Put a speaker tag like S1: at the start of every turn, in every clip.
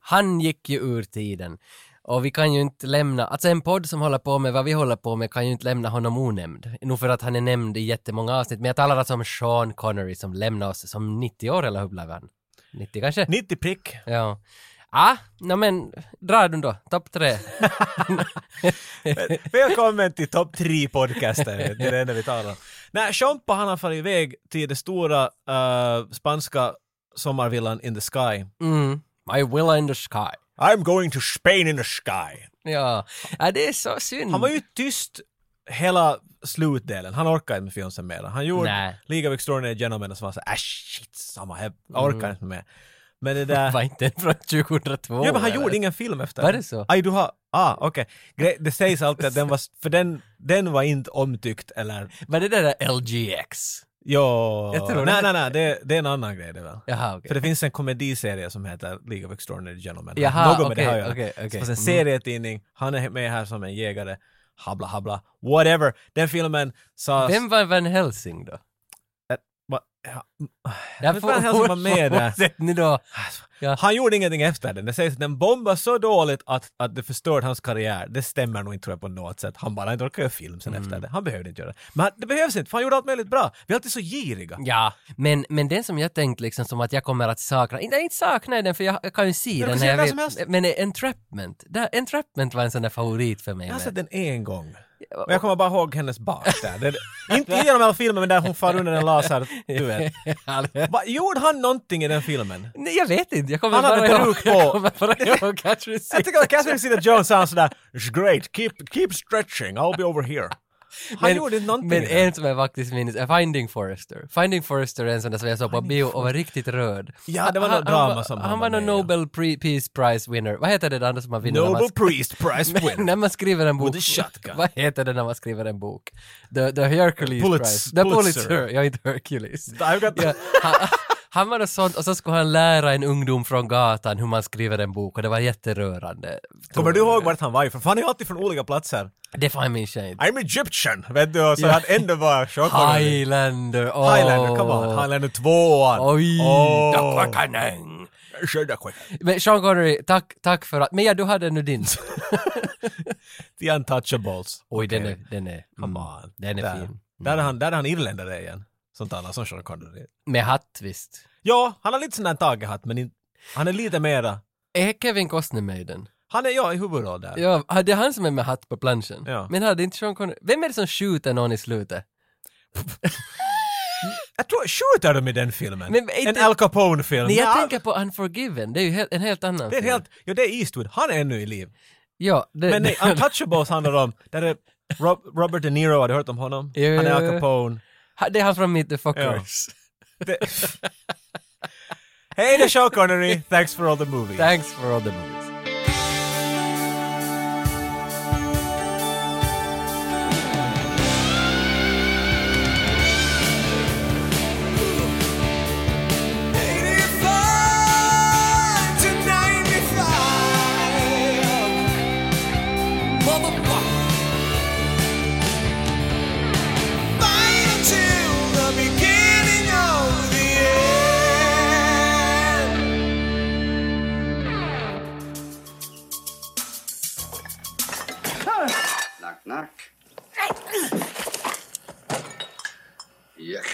S1: Han gick ju ur tiden. Och vi kan ju inte lämna, alltså en podd som håller på med vad vi håller på med kan ju inte lämna honom onämnd. Nog för att han är nämnd i jättemånga avsnitt, men jag talar alltså om Sean Connery som lämnar oss som 90 år eller hur blev han? 90 kanske?
S2: 90 prick.
S1: Ja. Ah, no men, dra du då, topp tre.
S2: Välkommen till topp 3 podcasten, det är det enda vi talar om. Nej, Chompa han har farit iväg till det stora eh, spanska sommarvillan in the sky.
S1: Mm. My Willa in the Sky.
S2: I'm going to Spain in the sky.
S1: Ja, ja det är så synd.
S2: Han var ju tyst hela slutdelen. Han orkade inte med Fionsen mer. Han gjorde
S1: Nej.
S2: League of Extraordinary Gentlemen och så var han såhär äh shit samma, jag
S1: Mm.
S2: orkar inte med. Men det där...
S1: Var inte den från 2002?
S2: Ja, men han
S1: eller?
S2: gjorde ingen film efter.
S1: Var det så?
S2: Aj, du har... Ah, okej. Gre- Det sägs alltid att den var... För den, den var inte omtyckt eller...
S1: Var det det där LGX?
S2: Jo...
S1: Jag tror
S2: nej,
S1: det.
S2: nej, nej, det, det är en annan grej det väl.
S1: Jaha, okej.
S2: För det finns en komediserie som heter League of Extraordinary Gentlemen.
S1: Jaha,
S2: Något med
S1: okej,
S2: det här att göra.
S1: okej, okej.
S2: Så fanns en
S1: Mm.
S2: serietidning, han är med här som en jägare, habla habla, whatever. Den filmen sa...
S1: Vem var Van Helsing då?
S2: Va- ja, Vet Van Helsing var med där.
S1: Fortsätt ni då. Ja.
S2: Han gjorde ingenting efter den. Det sägs att den bombade så dåligt att, att det förstörde hans karriär. Det stämmer nog inte tror jag på något sätt. Han bara inte orkade göra film
S1: Mm.
S2: sen efter det. Han behövde inte göra det. Men han- det behövs inte, för han gjorde allt möjligt bra. Vi är alltid så giriga.
S1: Ja, men, men den som jag tänkt liksom som att jag kommer att sakna, nej inte sakna den för jag, jag kan ju se
S2: kan
S1: den
S2: se
S1: här, jag
S2: när som helst.
S1: men Entrapment, där, Entrapment var en sån där favorit för mig.
S2: Jag har sett
S1: men-
S2: den en gång. Men jag kommer bara ihåg hennes bak där. Det, inte genom hela filmen, men där hon far under en laser, du vet. Va, gjorde han någonting i den filmen?
S1: Nej, jag vet inte, jag kommer
S2: Han hade
S1: bara ihåg,
S2: peruk på.
S1: jag kommer bara ihåg Catherine
S2: Jag tycker att Catherine Zeta-Jones sa sådär “It's great, keep, keep stretching, I'll be over here”. Han gjorde inte någonting.
S1: Men
S2: i den.
S1: en som jag faktiskt minns är Finding Forrester. Finding Forrester är en sån där som jag såg på bio och var riktigt röd.
S2: Ja, det var
S1: Han-
S2: något drama
S1: han,
S2: som
S1: han,
S2: han
S1: han var
S2: var
S1: någon
S2: med i, ja.
S1: Nobel Pre- Peace Prize winner. Vad heter det där andra som man vinner? när man
S2: Nobel
S1: sk-
S2: Priest Prize
S1: Men
S2: winner.
S1: när man skriver en bok,
S2: With a shotgun.
S1: vad heter det när man skriver en bok? The, the Hercules
S2: Pulitz-
S1: Prize. The Pulitzer.
S2: Pulitzer.
S1: ja inte Hercules.
S2: I've got
S1: Ja, han, han var något sånt och så skulle han lära en ungdom från gatan hur man skriver en bok och det var jätterörande.
S2: Kommer du ihåg vart han var ifrån? För han är ju alltid från olika platser.
S1: Det fan minns jag inte.
S2: I'm Egyptian, vet du, och så han ändå var Sean
S1: Highlander, åh.
S2: Highlander, come on. Highlander 2an.
S1: Oj,
S2: Åh.
S1: the quickening.
S2: Kör där quick.
S1: Men Sean Connery, tack, tack för att... Men ja, du hade nu din.
S2: The Untouchables.
S1: Oj, den
S2: Okej.
S1: är... Den är
S2: Come
S1: mm,
S2: on.
S1: Den är
S2: där.
S1: fin. Mm.
S2: Där är han, där är han irländare igen. Som talar som Sean Connery.
S1: Med hatt, visst.
S2: Ja, han har lite sån där tagehatt, men in, han är lite mera...
S1: Är Kevin Costner med i den?
S2: Han är, ja, i huvudroll där.
S1: Ja, ah, det är han som är med hatt på planschen.
S2: Ja.
S1: Men hade inte Sean Connery... Vem är det som skjuter någon i slutet?
S2: Jag tror, skjuter de i den filmen?
S1: Men inte-
S2: en Al Capone-film?
S1: Nej, jag
S2: Ja,
S1: tänker på Unforgiven. Det är ju helt, en helt annan
S2: Det är en
S1: film.
S2: helt... Ja, det är Eastwood. Han är ännu i liv.
S1: Ja, det,
S2: Men nej, Untouchables handlar om... Där är Rob, Robert De Niro, har du hört om honom?
S1: Jo, jo,
S2: Han är Al
S1: jo.
S2: Capone.
S1: Ha- det är han från Meet the Fuckers.
S2: Det... Hej, det är Sean Connery. Thanks for all the movies.
S1: Thanks for all the movies.
S3: Knock, knock. Yuck.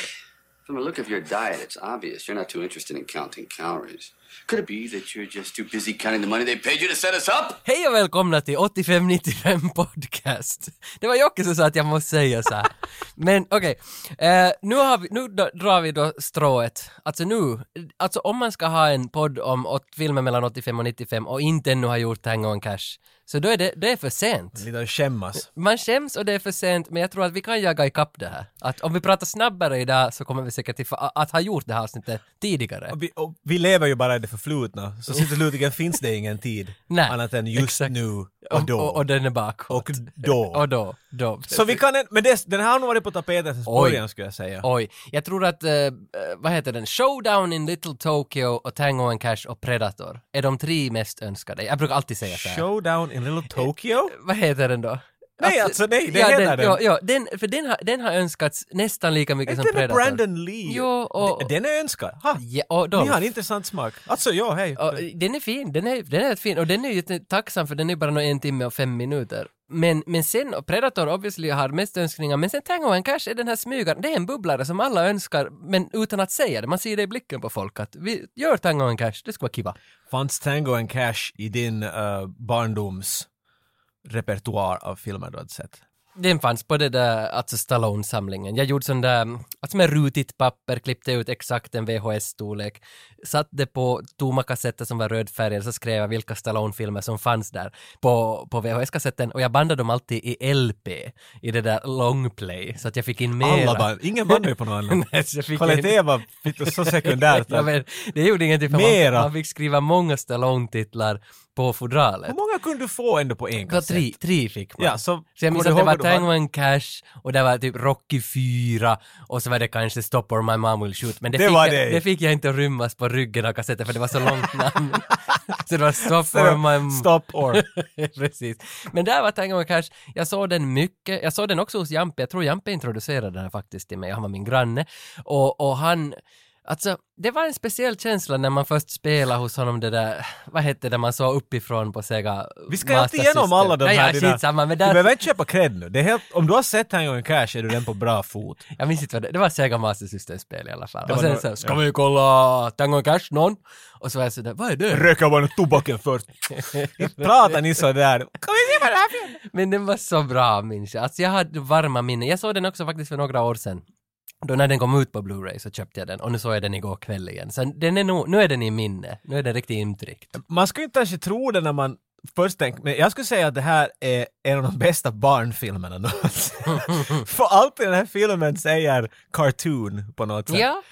S3: From the look of your diet, it's obvious you're not too interested in counting calories. Could it be that you're just too busy counting the money they paid you to set us up?
S1: Hej och välkomna till 8595 podcast. Det var Jocke som sa att jag måste säga så här. Men okej, eh, nu, har vi, nu då, drar vi då strået. Alltså nu, alltså om man ska ha en podd om åt, filmer mellan 85 och 95 och inte ännu har gjort Tango on Cash, så då är det, det är för sent.
S2: Lite att skämmas.
S1: Man skäms och det är för sent, men jag tror att vi kan jaga ikapp det här. Att om vi pratar snabbare idag så kommer vi säkert till, fa- att ha gjort det här avsnittet tidigare.
S2: Och vi, och vi lever ju bara i det förflutna, så till slutligen finns det ingen tid
S1: Nej,
S2: annat än just
S1: exakt.
S2: nu och
S1: Och,
S2: då.
S1: och, och den är bakåt.
S2: Och då.
S1: Och då, då.
S2: så vi kan en- men det, den här har nog varit på tapeten sen
S1: Oj.
S2: början skulle jag säga.
S1: Oj, jag tror att, eh, eh, vad heter den, Showdown in Little Tokyo och Tango and Cash och Predator är de tre mest önskade. Jag brukar alltid säga så här. Eh,
S2: Showdown in Little Tokyo?
S1: Vad heter den då?
S2: Nej, alltså nej, det heter den.
S1: Jo, jo, den, för den har, den har önskats nästan lika mycket eh, som
S2: Inte med
S1: Predator.
S2: Brandon Lee.
S1: Jo, och-
S2: Den- Den är önskad. Ha.
S1: Ja, och
S2: Ni har
S1: Dolph.
S2: en intressant smak. Alltså, ja, hej.
S1: Ja, eh. den är fin, den är, den är rätt fin och den är ju tacksam för den är bara nå en timme och fem minuter. Men, men sen, och Predator obviously har mest önskningar, men sen Tango and Cash är den här smygaren, det är en bubblare som alla önskar, men utan att säga det. Man ser det i blicken på folk att vi gör Tango and Cash, det skulle vara kiva.
S2: Fanns Tango and Cash i din eh, barndoms repertoar av filmer du hade sett?
S1: Den fanns på det där, alltså Stallone-samlingen. Jag gjorde sån där, alltså med rutigt papper, klippte ut exakt en VHS-storlek, satte på tomma kassetter som var rödfärgade, så skrev jag vilka Stallone-filmer som fanns där på, på VHS-kassetten och jag bandade dem alltid i LP, i det där longplay, så att jag fick in mera.
S2: Alla band. Ingen band ju på någon annan.
S1: Nej, så jag fick
S2: Kvalitet var lite så sekundärt.
S1: Ja, men det gjorde ingenting för man,
S2: Mera.
S1: man fick skriva många Stallone-titlar på fodralet.
S2: Hur många kunde du få ändå på en
S1: Ja,
S2: kassett?
S1: tre, tre fick man.
S2: Ja, så
S1: Så jag
S2: kommer
S1: minns
S2: du
S1: att det var
S2: ihåg vad du hade?
S1: Tango and Cash och det var typ Rocky 4 och så var det kanske Stop or My Mom Will Shoot. Men det,
S2: Det
S1: fick,
S2: var
S1: jag,
S2: det.
S1: det fick jag inte rymmas på ryggen av kassetten för det var så långt namn. så det var Stop
S2: Så det
S1: or
S2: var
S1: My Mom.
S2: Stop or.
S1: Precis. Men där var Tango and Cash, jag såg den mycket, jag såg den också hos Jampe, jag tror Jampe introducerade den här faktiskt till mig, han var min granne. Och, och han, alltså det var en speciell känsla när man först spelade hos honom det där, vad hette det man såg uppifrån på Sega
S2: Vi ska ju
S1: Master
S2: alltid igenom
S1: System.
S2: alla de
S1: Nej,
S2: här.
S1: Ja,
S2: dina-
S1: skitsamma, men
S2: Du
S1: där,
S2: behöver inte köpa cred nu. Det är helt, om du har sett Tango and Cash är du den på bra fot.
S1: Jag minns inte vad det, det var Sega Master System-spel i alla fall.
S2: Det
S1: och
S2: var
S1: sen så,
S2: några-
S1: ska
S2: ja.
S1: vi kolla Tango and Cash någon? Och så var jag sådär, vad är det?
S2: Röka bara tobaken först. Pratar ni sådär? Kan vi se vad det här för
S1: Men den var så bra minns jag. Alltså jag hade varma minnen. Jag såg den också faktiskt för några år sedan. Då när den kom ut på Blu-ray så köpte jag den och nu såg jag den igår kväll igen. Så den är nog, nu är den i minne. Nu är den riktigt intryckt.
S2: Man skulle inte kanske tro det när man först tänker, men jag skulle säga att det här är en av de bästa barnfilmerna någonsin. För allt i den här filmen säger cartoon på något sätt.
S1: Ja.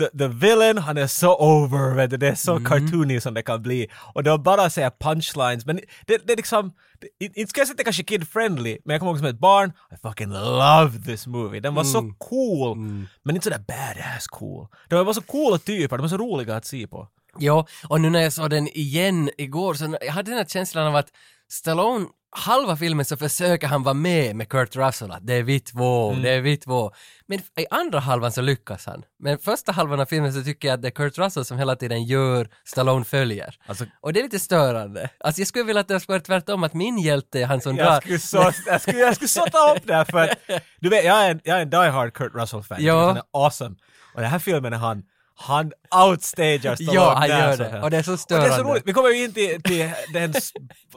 S2: The, the villain, han är så over, vet du. det är så cartoony som det er kan bli. Och de bara säger punchlines, men det, det är liksom, det- inte ska jag säga att det kanske är kid-friendly, men jag kommer ihåg som ett barn, I fucking love this movie. Den var så cool, men inte sådär er badass cool. De var så coola typer, de var så roliga att se på.
S1: Ja, och nu när jag såg den igen igår så jag hade den här känslan av att Stallone, halva filmen så försöker han vara med med Kurt Russell, att det är vi två,
S2: Mm.
S1: det är vi två. Men i andra halvan så lyckas han. Men första halvan av filmen så tycker jag att det är Kurt Russell som hela tiden gör, Stallone följer.
S2: Alltså-
S1: och det är lite störande. Alltså jag skulle vilja att det skulle vara tvärtom, att min hjälte är han som drar.
S2: Jag skulle, så, jag, skulle, jag skulle så ta upp det här för att, du vet, jag är en, jag är en die-hard Kurt Russell-fan.
S1: Ja.
S2: Han är awesome. Och den här filmen är han, han outstager Stallone
S1: Ja, han
S2: när
S1: gör
S2: som
S1: det.
S2: helst.
S1: Och det är så
S2: Och det är
S1: störande.
S2: så roligt. Vi kommer ju in till, till den, s-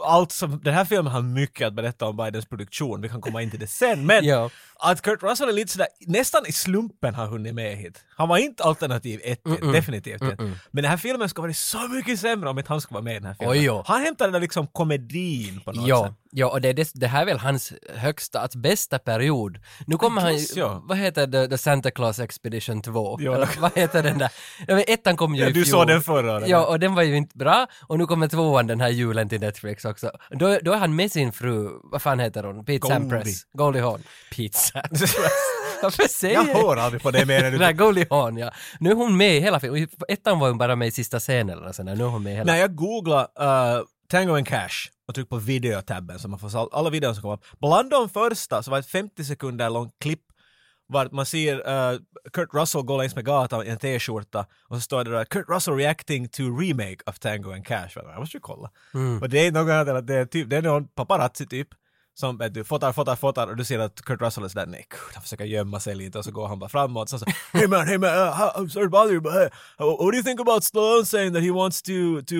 S2: allt som, den här filmen har mycket att berätta om Bidens produktion. Vi kan komma in till det sen. Men
S1: Ja.
S2: att Kurt Russell är lite sådär, nästan i slumpen har hunnit med hit. Han var inte alternativ ett,
S1: Mm,
S2: definitivt inte. Men den här filmen ska vara så mycket sämre om inte han ska vara med i den här filmen.
S1: Oj, ja.
S2: Han hämtar den där liksom komedin på något sätt.
S1: Ja, ja, och det, är dess- det här är väl hans högsta, alltså bästa period. Nu kommer han ju,
S2: guess, ja.
S1: vad heter det, The Santa Claus Expedition 2?
S2: Ja.
S1: Eller vad heter den där? Ja, men ettan kom ju
S2: Ja,
S1: i
S2: du
S1: fjol.
S2: såg den förra året.
S1: Ja, och den var ju inte bra. Och nu kommer tvåan den här julen till Netflix också. Då, då är han med sin fru, vad fan heter hon? Pete
S2: Goldie.
S1: Sampras. Goldie Hawn. Pete Sampras. Varför säger
S2: Jag hör aldrig på det mer än
S1: Den
S2: du
S1: där Goldie Hawn, ja. Nu är hon med i hela filmen. Ettan var hon bara med i sista scenen eller sådär. Nu är hon med i hela.
S2: När jag googlade eh, Tango and Cash och tryckte på videotabben så man får se all, alla videor som kom upp. Bland de första så var ett 50 sekunder långt klipp vart man ser eh, Kurt Russell gå längs med gatan i en t-skjorta och så står det där Kurt Russell reacting to remake of Tango and Cash. Jag bara, Jag måste ju kolla.
S1: Mm.
S2: Och det är något annat än att det är, typ, det är någon paparazzi typ som vet du, fotar, fotar, fotar och du ser att Kurt Russell är sådär nej, gud, han försöker gömma sig lite och så går han bara framåt så så hey man, hey man, uh, how- I'm sorry to bother you but uh, what do you think about Stallone saying that he wants to, to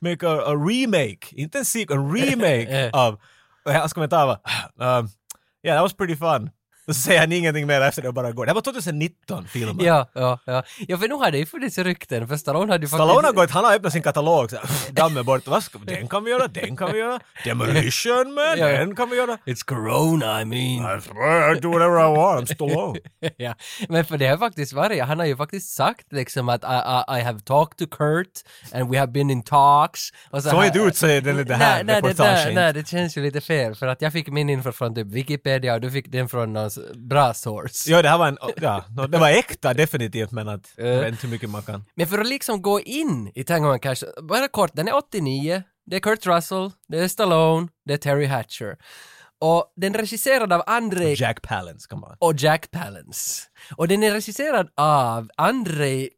S2: make a, a remake, inte en sequel, en
S1: Eh.
S2: remake av, och hans kommentar var um, yeah that was pretty fun. Och så säger han ingenting mer efter det och bara går. Det här var 2019 filmen.
S1: Ja, ja, ja. Ja, för nu hade ju funnits rykten, för Stallone hade ju faktiskt...
S2: Stallone har gått, han har öppnat sin katalog så här, dammen bort, vad ska, den kan vi göra, den kan vi göra, Demolition Man,
S1: Ja.
S2: den kan vi göra.
S1: It's corona, I mean.
S2: I do whatever I want, I'm Stallone.
S1: ja. Men för det har faktiskt varit, han har ju faktiskt sagt liksom att I, I, I have talked to Kurt and we have been in talks. Och
S2: Så inte ut säger den lite här
S1: nej, det, där,
S2: reportagen.
S1: nej, det känns ju lite fel för att jag fick min info från typ Wikipedia och du fick den från någon s- bra source.
S2: Ja, det här var en, ja, no, det var äkta definitivt men att,
S1: Eh.
S2: jag vet inte hur mycket man kan.
S1: Men för att liksom gå in i Tango and Cash, bara kort, den är 89, det är Kurt Russell, det är Stallone, det är Terry Hatcher. Och den är regisserad av Andrei
S2: Jack Palance, come on.
S1: och Jack Palance. Och den är regisserad av Andrei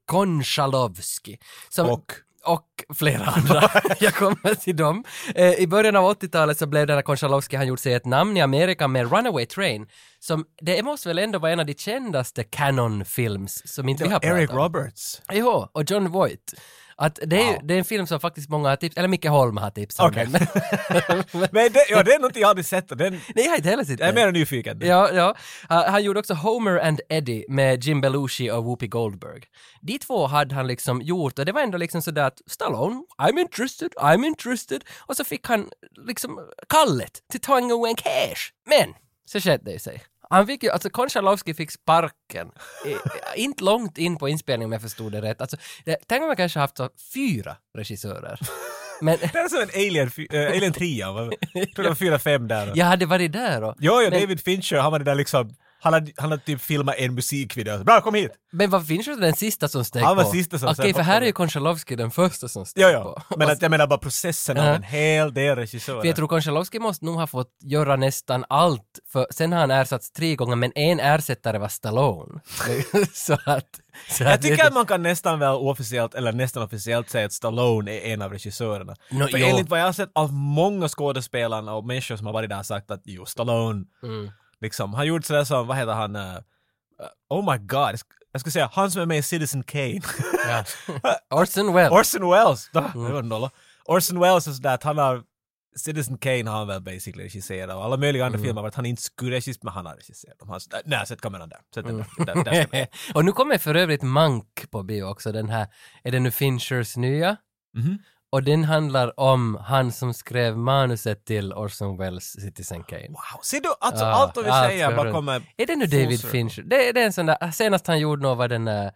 S1: Konchalovsky. Som,
S2: Och?
S1: och flera andra. Jag kommer till dem. Eh, I början av 80-talet så blev den här Konchalovsky, han gjort sig ett namn i Amerika med Runaway Train. Som, det måste väl ändå vara en av de kändaste Canon-films som inte vi har pratat
S2: Eric
S1: om.
S2: Roberts.
S1: Jo, och John Voight. Att det, är, det är en film som faktiskt många har tipsat, eller Micke Holm har tipsat om
S2: Okej.
S1: den. Men-
S2: Men det, ja, det är någonting jag aldrig sett och den,
S1: Nej, jag har inte heller sett
S2: jag är
S1: den.
S2: mer nyfiken.
S1: Ja, ja. Han, han gjorde också Homer and Eddie med Jim Belushi och Whoopi Goldberg. De två hade han liksom gjort och det var ändå liksom sådär att Stallone, I'm interested, I'm interested. Och så fick han liksom kallet till Tango and Cash. Men så skedde det ju sig. Han fick ju, alltså Konchalovsky fick sparken. I, inte långt in på inspelningen om jag förstod det rätt. Alltså, det, tänk om man kanske haft så, fyra regissörer. Men
S2: Det är som en alien, fy- eh, alien 3 jag tror det var fyra, fem där.
S1: jag hade varit där och...
S2: Jo, jo,
S1: men-
S2: David Fincher, han var det där liksom, han hade, han hade typ filmat en musikvideo. Bra, kom hit!
S1: Men vad finns det den sista som steg
S2: Han var
S1: på?
S2: sista som
S1: Okej,
S2: steg
S1: för
S2: på.
S1: här är ju Konchalovsky den första som steg
S2: Jo,
S1: på.
S2: jo. Men att, jag menar bara processen av
S1: Ja.
S2: en hel del regissörer.
S1: För jag tror Konchalovsky måste nog ha fått göra nästan allt, för sen har han ersatts tre gånger, men en ersättare var Stallone. så att... Så
S2: Jag tycker att man kan nästan väl officiellt, eller nästan officiellt säga att Stallone är en av regissörerna.
S1: Nå,
S2: För
S1: jo.
S2: enligt vad jag har sett av många skådespelarna och människor som har varit där har sagt att jo, Stallone,
S1: Mm.
S2: liksom, han gjorde sådär som, vad heter han, eh, eh, oh my god, jag sk- jag skulle säga han som är med i Citizen Kane.
S1: Ja. Orson Welles.
S2: Orson Welles! Då,
S1: Mm.
S2: Det var en nolla. Orson Welles är sådär att han har Citizen Kane har han väl basically regisserat och alla möjliga andra
S1: Mm.
S2: filmer har att han inte skulle regissera men han har regisserat dem. Han sådär, Nej, sätt kameran där. Sätt den
S1: Mm.
S2: där. där, där ska den.
S1: och nu kommer för övrigt Mank på bio också, den här, är det nu Finchers nya?
S2: Mhm.
S1: Och den handlar om han som skrev manuset till Orson Welles Citizen Kane.
S2: Wow, ser du? Alltså
S1: Ja,
S2: allt vad vi
S1: Ah, allt
S2: säger
S1: går
S2: bara
S1: runt.
S2: kommer...
S1: Är det nu
S2: Full
S1: David
S2: circle.
S1: Fincher? Det, det är en sån där, senast han gjorde något var den där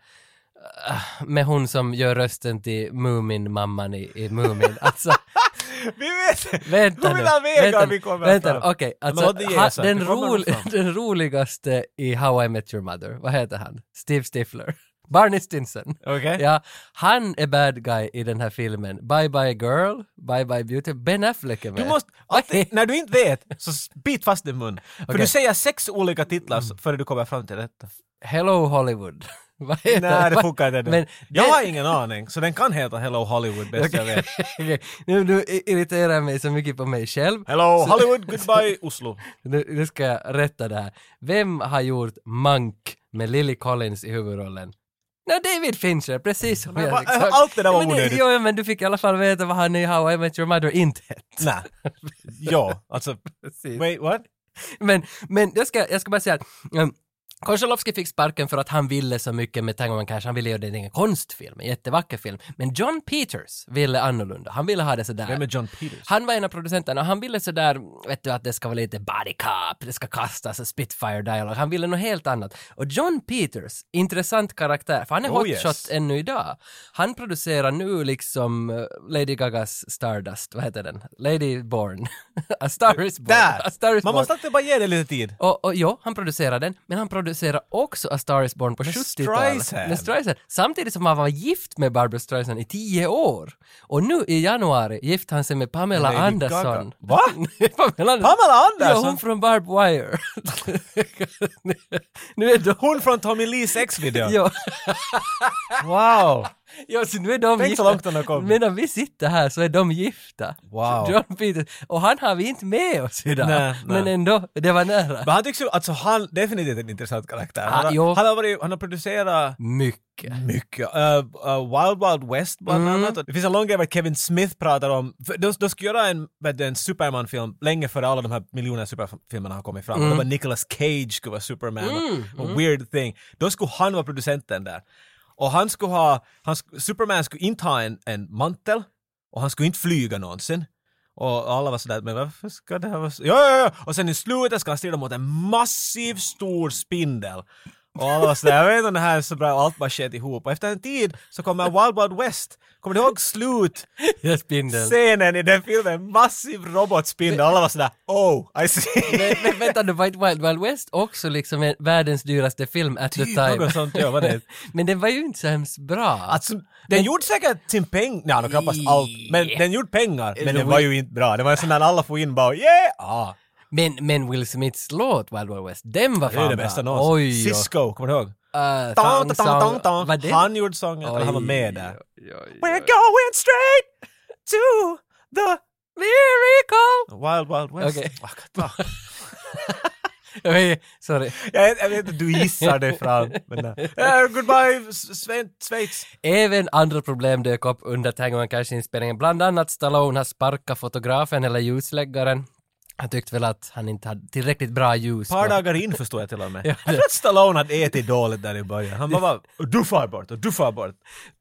S1: äh, med hon som gör rösten till Mumin-mamman i, i Mumin. Alltså,
S2: Vi vet!
S1: vänta
S2: På
S1: nu.
S2: mina vägar
S1: vänta,
S2: vi kommer
S1: vänta,
S2: fram.
S1: okej.
S2: Men
S1: alltså,
S2: låt det ge
S1: ha,
S2: sig,
S1: den,
S2: vi kommer
S1: rol,
S2: fram.
S1: den roligaste i How I Met Your Mother, vad heter han? Steve Stifler. Barney Stinson.
S2: Okej?
S1: Ja, han är bad guy i den här filmen. Bye Bye Girl, Bye Bye Beauty. Ben Affleck är med.
S2: Du måste, alltid, när du inte vet, så s- bit fast din mun. För
S1: Okej.
S2: du säger sex olika titlar så- före du kommer fram till detta.
S1: Hello Hollywood. vad heter
S2: Nej, det
S1: vad-
S2: funkar inte.
S1: Men
S2: jag
S1: det-
S2: har ingen aning, så den kan heta Hello Hollywood bäst jag vet.
S1: Okej, nu, nu i- irriterar jag mig så mycket på mig själv.
S2: Hello
S1: Så-
S2: Hollywood, goodbye Oslo.
S1: Nu, nu ska jag rätta det här. Vem har gjort Mank med Lily Collins i huvudrollen? Nej, David Fincher, precis som
S2: Men
S1: jag. liksom-
S2: vad- allt det där var
S1: Ja, men
S2: onödigt.
S1: Jo, men du fick i alla fall veta vad han i How I Met Your Mother inte hette.
S2: Nej. Ja, alltså,
S1: Precis.
S2: wait what?
S1: Men, men jag, ska, jag ska bara säga att um, Konchalovsky fick sparken för att han ville så mycket med Tango and Cash. Han ville göra den en konstfilm, en jättevacker film. Men John Peters ville annorlunda. Han ville ha det sådär.
S2: Vem är John Peters?
S1: Han var en av producenterna och han ville sådär, vet du, att det ska vara lite body cop, det ska kastas och spitfire dialog. Han ville något helt annat. Och John Peters, intressant karaktär, för han är
S2: Oh,
S1: hotshot
S2: yes.
S1: ännu idag. Han producerar nu liksom eh, Lady Gagas Stardust, vad heter den? Lady Born. A Star is Born. A Star
S2: Där!
S1: is
S2: Man
S1: Born.
S2: måste alltid bara ge det lite tid.
S1: Och, och ja, han producerar den, men han producerar också A Star Is Born på 70-talet.
S2: Streisand.
S1: Med Streisand. Samtidigt som han var gift med Barbra Streisand i tio år. Och nu i januari gifte han sig med Pamela
S2: Lady
S1: Anderson.
S2: Gaga. Va?
S1: Pamela Anderson?
S2: Pamela
S1: Ja, hon
S2: Anderson!
S1: från Barb Wire. nu är de...
S2: Hon från Tommy Lees ex-video.
S1: Ja,
S2: Wow!
S1: ja, så nu är de
S2: Tänk så långt hon har kommit.
S1: Medan vi sitter här så är de gifta.
S2: Wow.
S1: John Peters. Och han har vi inte med oss idag.
S2: Nej,
S1: Men
S2: nej.
S1: ändå, det var nära.
S2: Men han tycks ju, alltså han, definitivt en intressant karaktär. Han,
S1: Ah,
S2: har,
S1: jo.
S2: han, har, varit, han har producerat
S1: Mycket.
S2: mycket. Eh, eh, Wild Wild West bland
S1: Mm.
S2: annat. Och Det finns en lång grej vad Kevin Smith pratar om. För De, de skulle göra en, vet du, en Superman-film länge före alla de här miljoner superfilmerna har kommit fram.
S1: Mm.
S2: Och Det var Nicolas Cage skulle vara Superman och, och Weird Thing. Då skulle han vara producenten där. Och han skulle ha, han, sk- Superman skulle inte ha en, en mantel och han skulle inte flyga någonsin. Och alla var sådär, men varför ska det här vara så? Ja, ja, ja! Och sen i slutet ska han strida mot en massiv stor spindel. Och alla var sådär, jag vet inte om det här är så bra, och allt bara sket ihop. Och efter en tid så kommer Wild Wild West. Kommer du ihåg slutscenen
S1: Jag spindeln.
S2: i den filmen? Massiv robotspindel. Alla var sådär, oh, I
S1: Men,
S2: see.
S1: men vänta nu, Wild Wild Wild West också liksom är världens dyraste film at the time.
S2: Typ Något sånt, ja, vad det är.
S1: men den var ju inte så hemskt bra.
S2: Alltså, den gjorde säkert sin peng... Nej, no, knappast allt. Men den gjorde pengar. Men
S1: Det
S2: den
S1: var
S2: var ju inte bra. Det var en sån där alla får in bara, yeah! Ah.
S1: Men, men Will Smiths låt Wild Wild West, den var
S2: Det är
S1: fan
S2: det bästa
S1: bra.
S2: någonsin.
S1: Oj, oj.
S2: Cisco, kommer du ihåg?
S1: Uh,
S2: Tan, tan, tan, tan.
S1: Vad det?
S2: Han gjorde sången, eller han var
S1: Oj,
S2: med där.
S1: oj, oj,
S2: We're
S1: oj.
S2: going straight to the
S1: Miracle!
S2: wild wild west.
S1: Okej.
S2: Ah, gud, ah.
S1: Oj, Sorry.
S2: jag, jag vet att du gissar dig fram. Men, nej. Eh, goodbye S- Sven, Schweiz.
S1: Även andra problem dök upp under Tango and Cash-inspelningen. Bland annat Stallone har sparkat fotografen eller ljusläggaren. Han tyckte väl att han inte hade tillräckligt bra ljus.
S2: Ett par
S1: på-
S2: dagar in förstod jag till och med.
S1: Ja,
S2: Jag tror att Stallone hade ätit dåligt där i början. Han bara, var, du far bort och du far bort.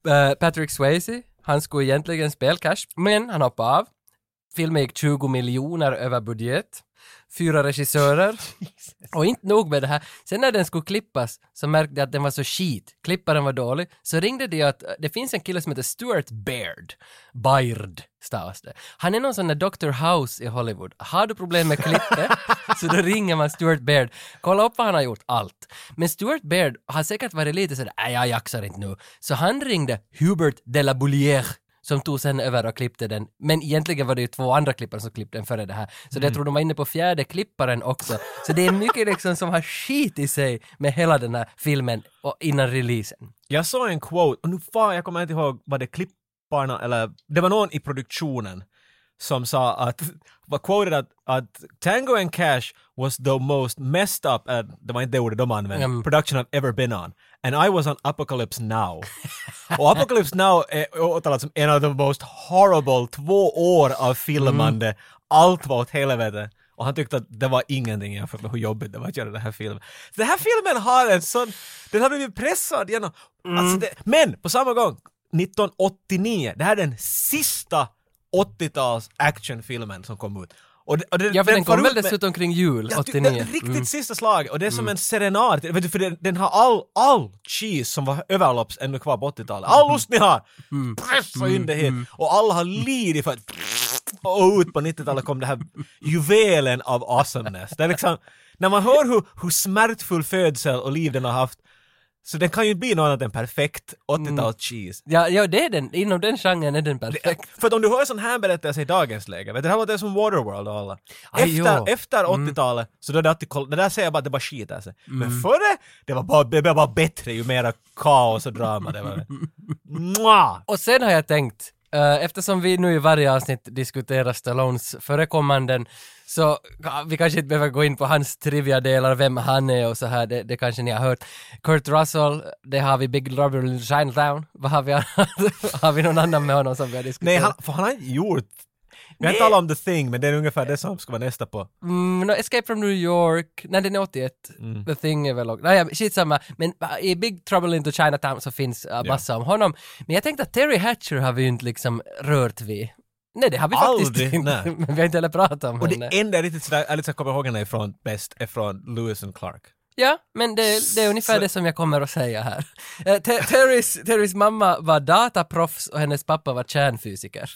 S1: Eh, Patrick Swayze, han skulle egentligen spela Cash, men han hoppade av. Filmen gick 20 miljoner över budget. Fyra regissörer. Och inte nog med det här. Sen när den skulle klippas så märkte jag att den var så skit. Klipparen var dålig. Så ringde det att eh, det finns en kille som heter Stuart Baird. Baird stavas det. Han är någon sån där Dr. House i Hollywood. Har du problem med klippet så då ringer man Stuart Baird. Kolla upp vad han har gjort. Allt. Men Stuart Baird har säkert varit lite sådär, nej jag jaxar inte nu. Så han ringde Hubert de la Boulière som tog sen över och klippte den. Men egentligen var det ju två andra klippare som klippte den före det här. Så
S2: Mm.
S1: jag tror de var inne på fjärde klipparen också. Så det är mycket liksom som har skit i sig med hela den här filmen och innan releasen.
S2: Jag såg en quote, och nu fan jag kommer inte ihåg vad det klipparna eller det var någon i produktionen som sa att, var quoted att, att Tango and Cash was the most messed up, äh, det var inte det ordet de använde,
S1: Mm.
S2: production I've ever been on. And I was on Apocalypse Now. och Apocalypse Now är åtalad som en av de most horrible två år av filmande. Allt var åt helvete. Och han tyckte att det var ingenting jämfört med hur jobbigt det var att göra den här filmen. Den här filmen har en sån, den har blivit pressad genom,
S1: Mm.
S2: alltså det, men på samma gång, 1989, det här är den sista 80-tals actionfilmen som kom ut. Och, det- och det,
S1: Ja, för den,
S2: far
S1: kom väl
S2: ut med-
S1: dessutom kring jul,
S2: Ja, ty-
S1: 89.
S2: Det, riktigt
S1: Mm.
S2: sista slaget och det är som en serenad. Vet du, för den, den har all, all cheese som var överlopps ännu kvar på 80-talet. All ost ni har! Pressa in det hit! Och alla har lidit för att... Och ut på 90-talet kom det här juvelen av awesomeness. Det är liksom, när man hör hur, hur smärtfull födsel och liv den har haft så den kan ju inte bli något annat än perfekt 80-tal cheese.
S1: Ja, ja, det är den. Inom den genren är den perfekt.
S2: För att om du hör sån här berättelse i dagens läge, vet du, det här låter som Waterworld och alla.
S1: Aj,
S2: Efter,
S1: jo. Mm.
S2: efter 80-talet, så då är det alltid, koll- det där säger jag bara att det bara skiter sig. Men före, det var bara, det blev bara bättre ju mera kaos och drama det var. Mwah!
S1: Och sen har jag tänkt, eh, eftersom vi nu i varje avsnitt diskuterar Stallones förekommanden, så ja, vi kanske inte behöver gå in på hans trivia-delar, vem han är och så här, det, det kanske ni har hört. Kurt Russell, det har vi, Big Robert in Chinatown, vad har vi annat? har vi någon annan med honom som vi har diskuterat?
S2: Nej, han, för han har inte gjort... Vi har
S1: Nej.
S2: talat om The Thing, men det är ungefär det som ska vara nästa på.
S1: Mm, no, Escape from New York, nej den är 81.
S2: Mm.
S1: The Thing är väl också, nej skitsamma. Men äh, i Big Trouble into Chinatown så finns äh, massa om honom. Men jag tänkte att Terry Hatcher har vi ju inte liksom rört vid. Nej det har vi faktiskt
S2: Aldrig,
S1: inte.
S2: nej.
S1: Men vi har inte heller pratat om
S2: Och
S1: henne.
S2: det enda jag riktigt sådär, ärligt sagt kommer ihåg henne ifrån bäst är från Lewis and Clark.
S1: Ja, men det, det är ungefär det som jag kommer att säga här. Eh, Te- Terrys, Terrys mamma var dataproffs och hennes pappa var kärnfysiker.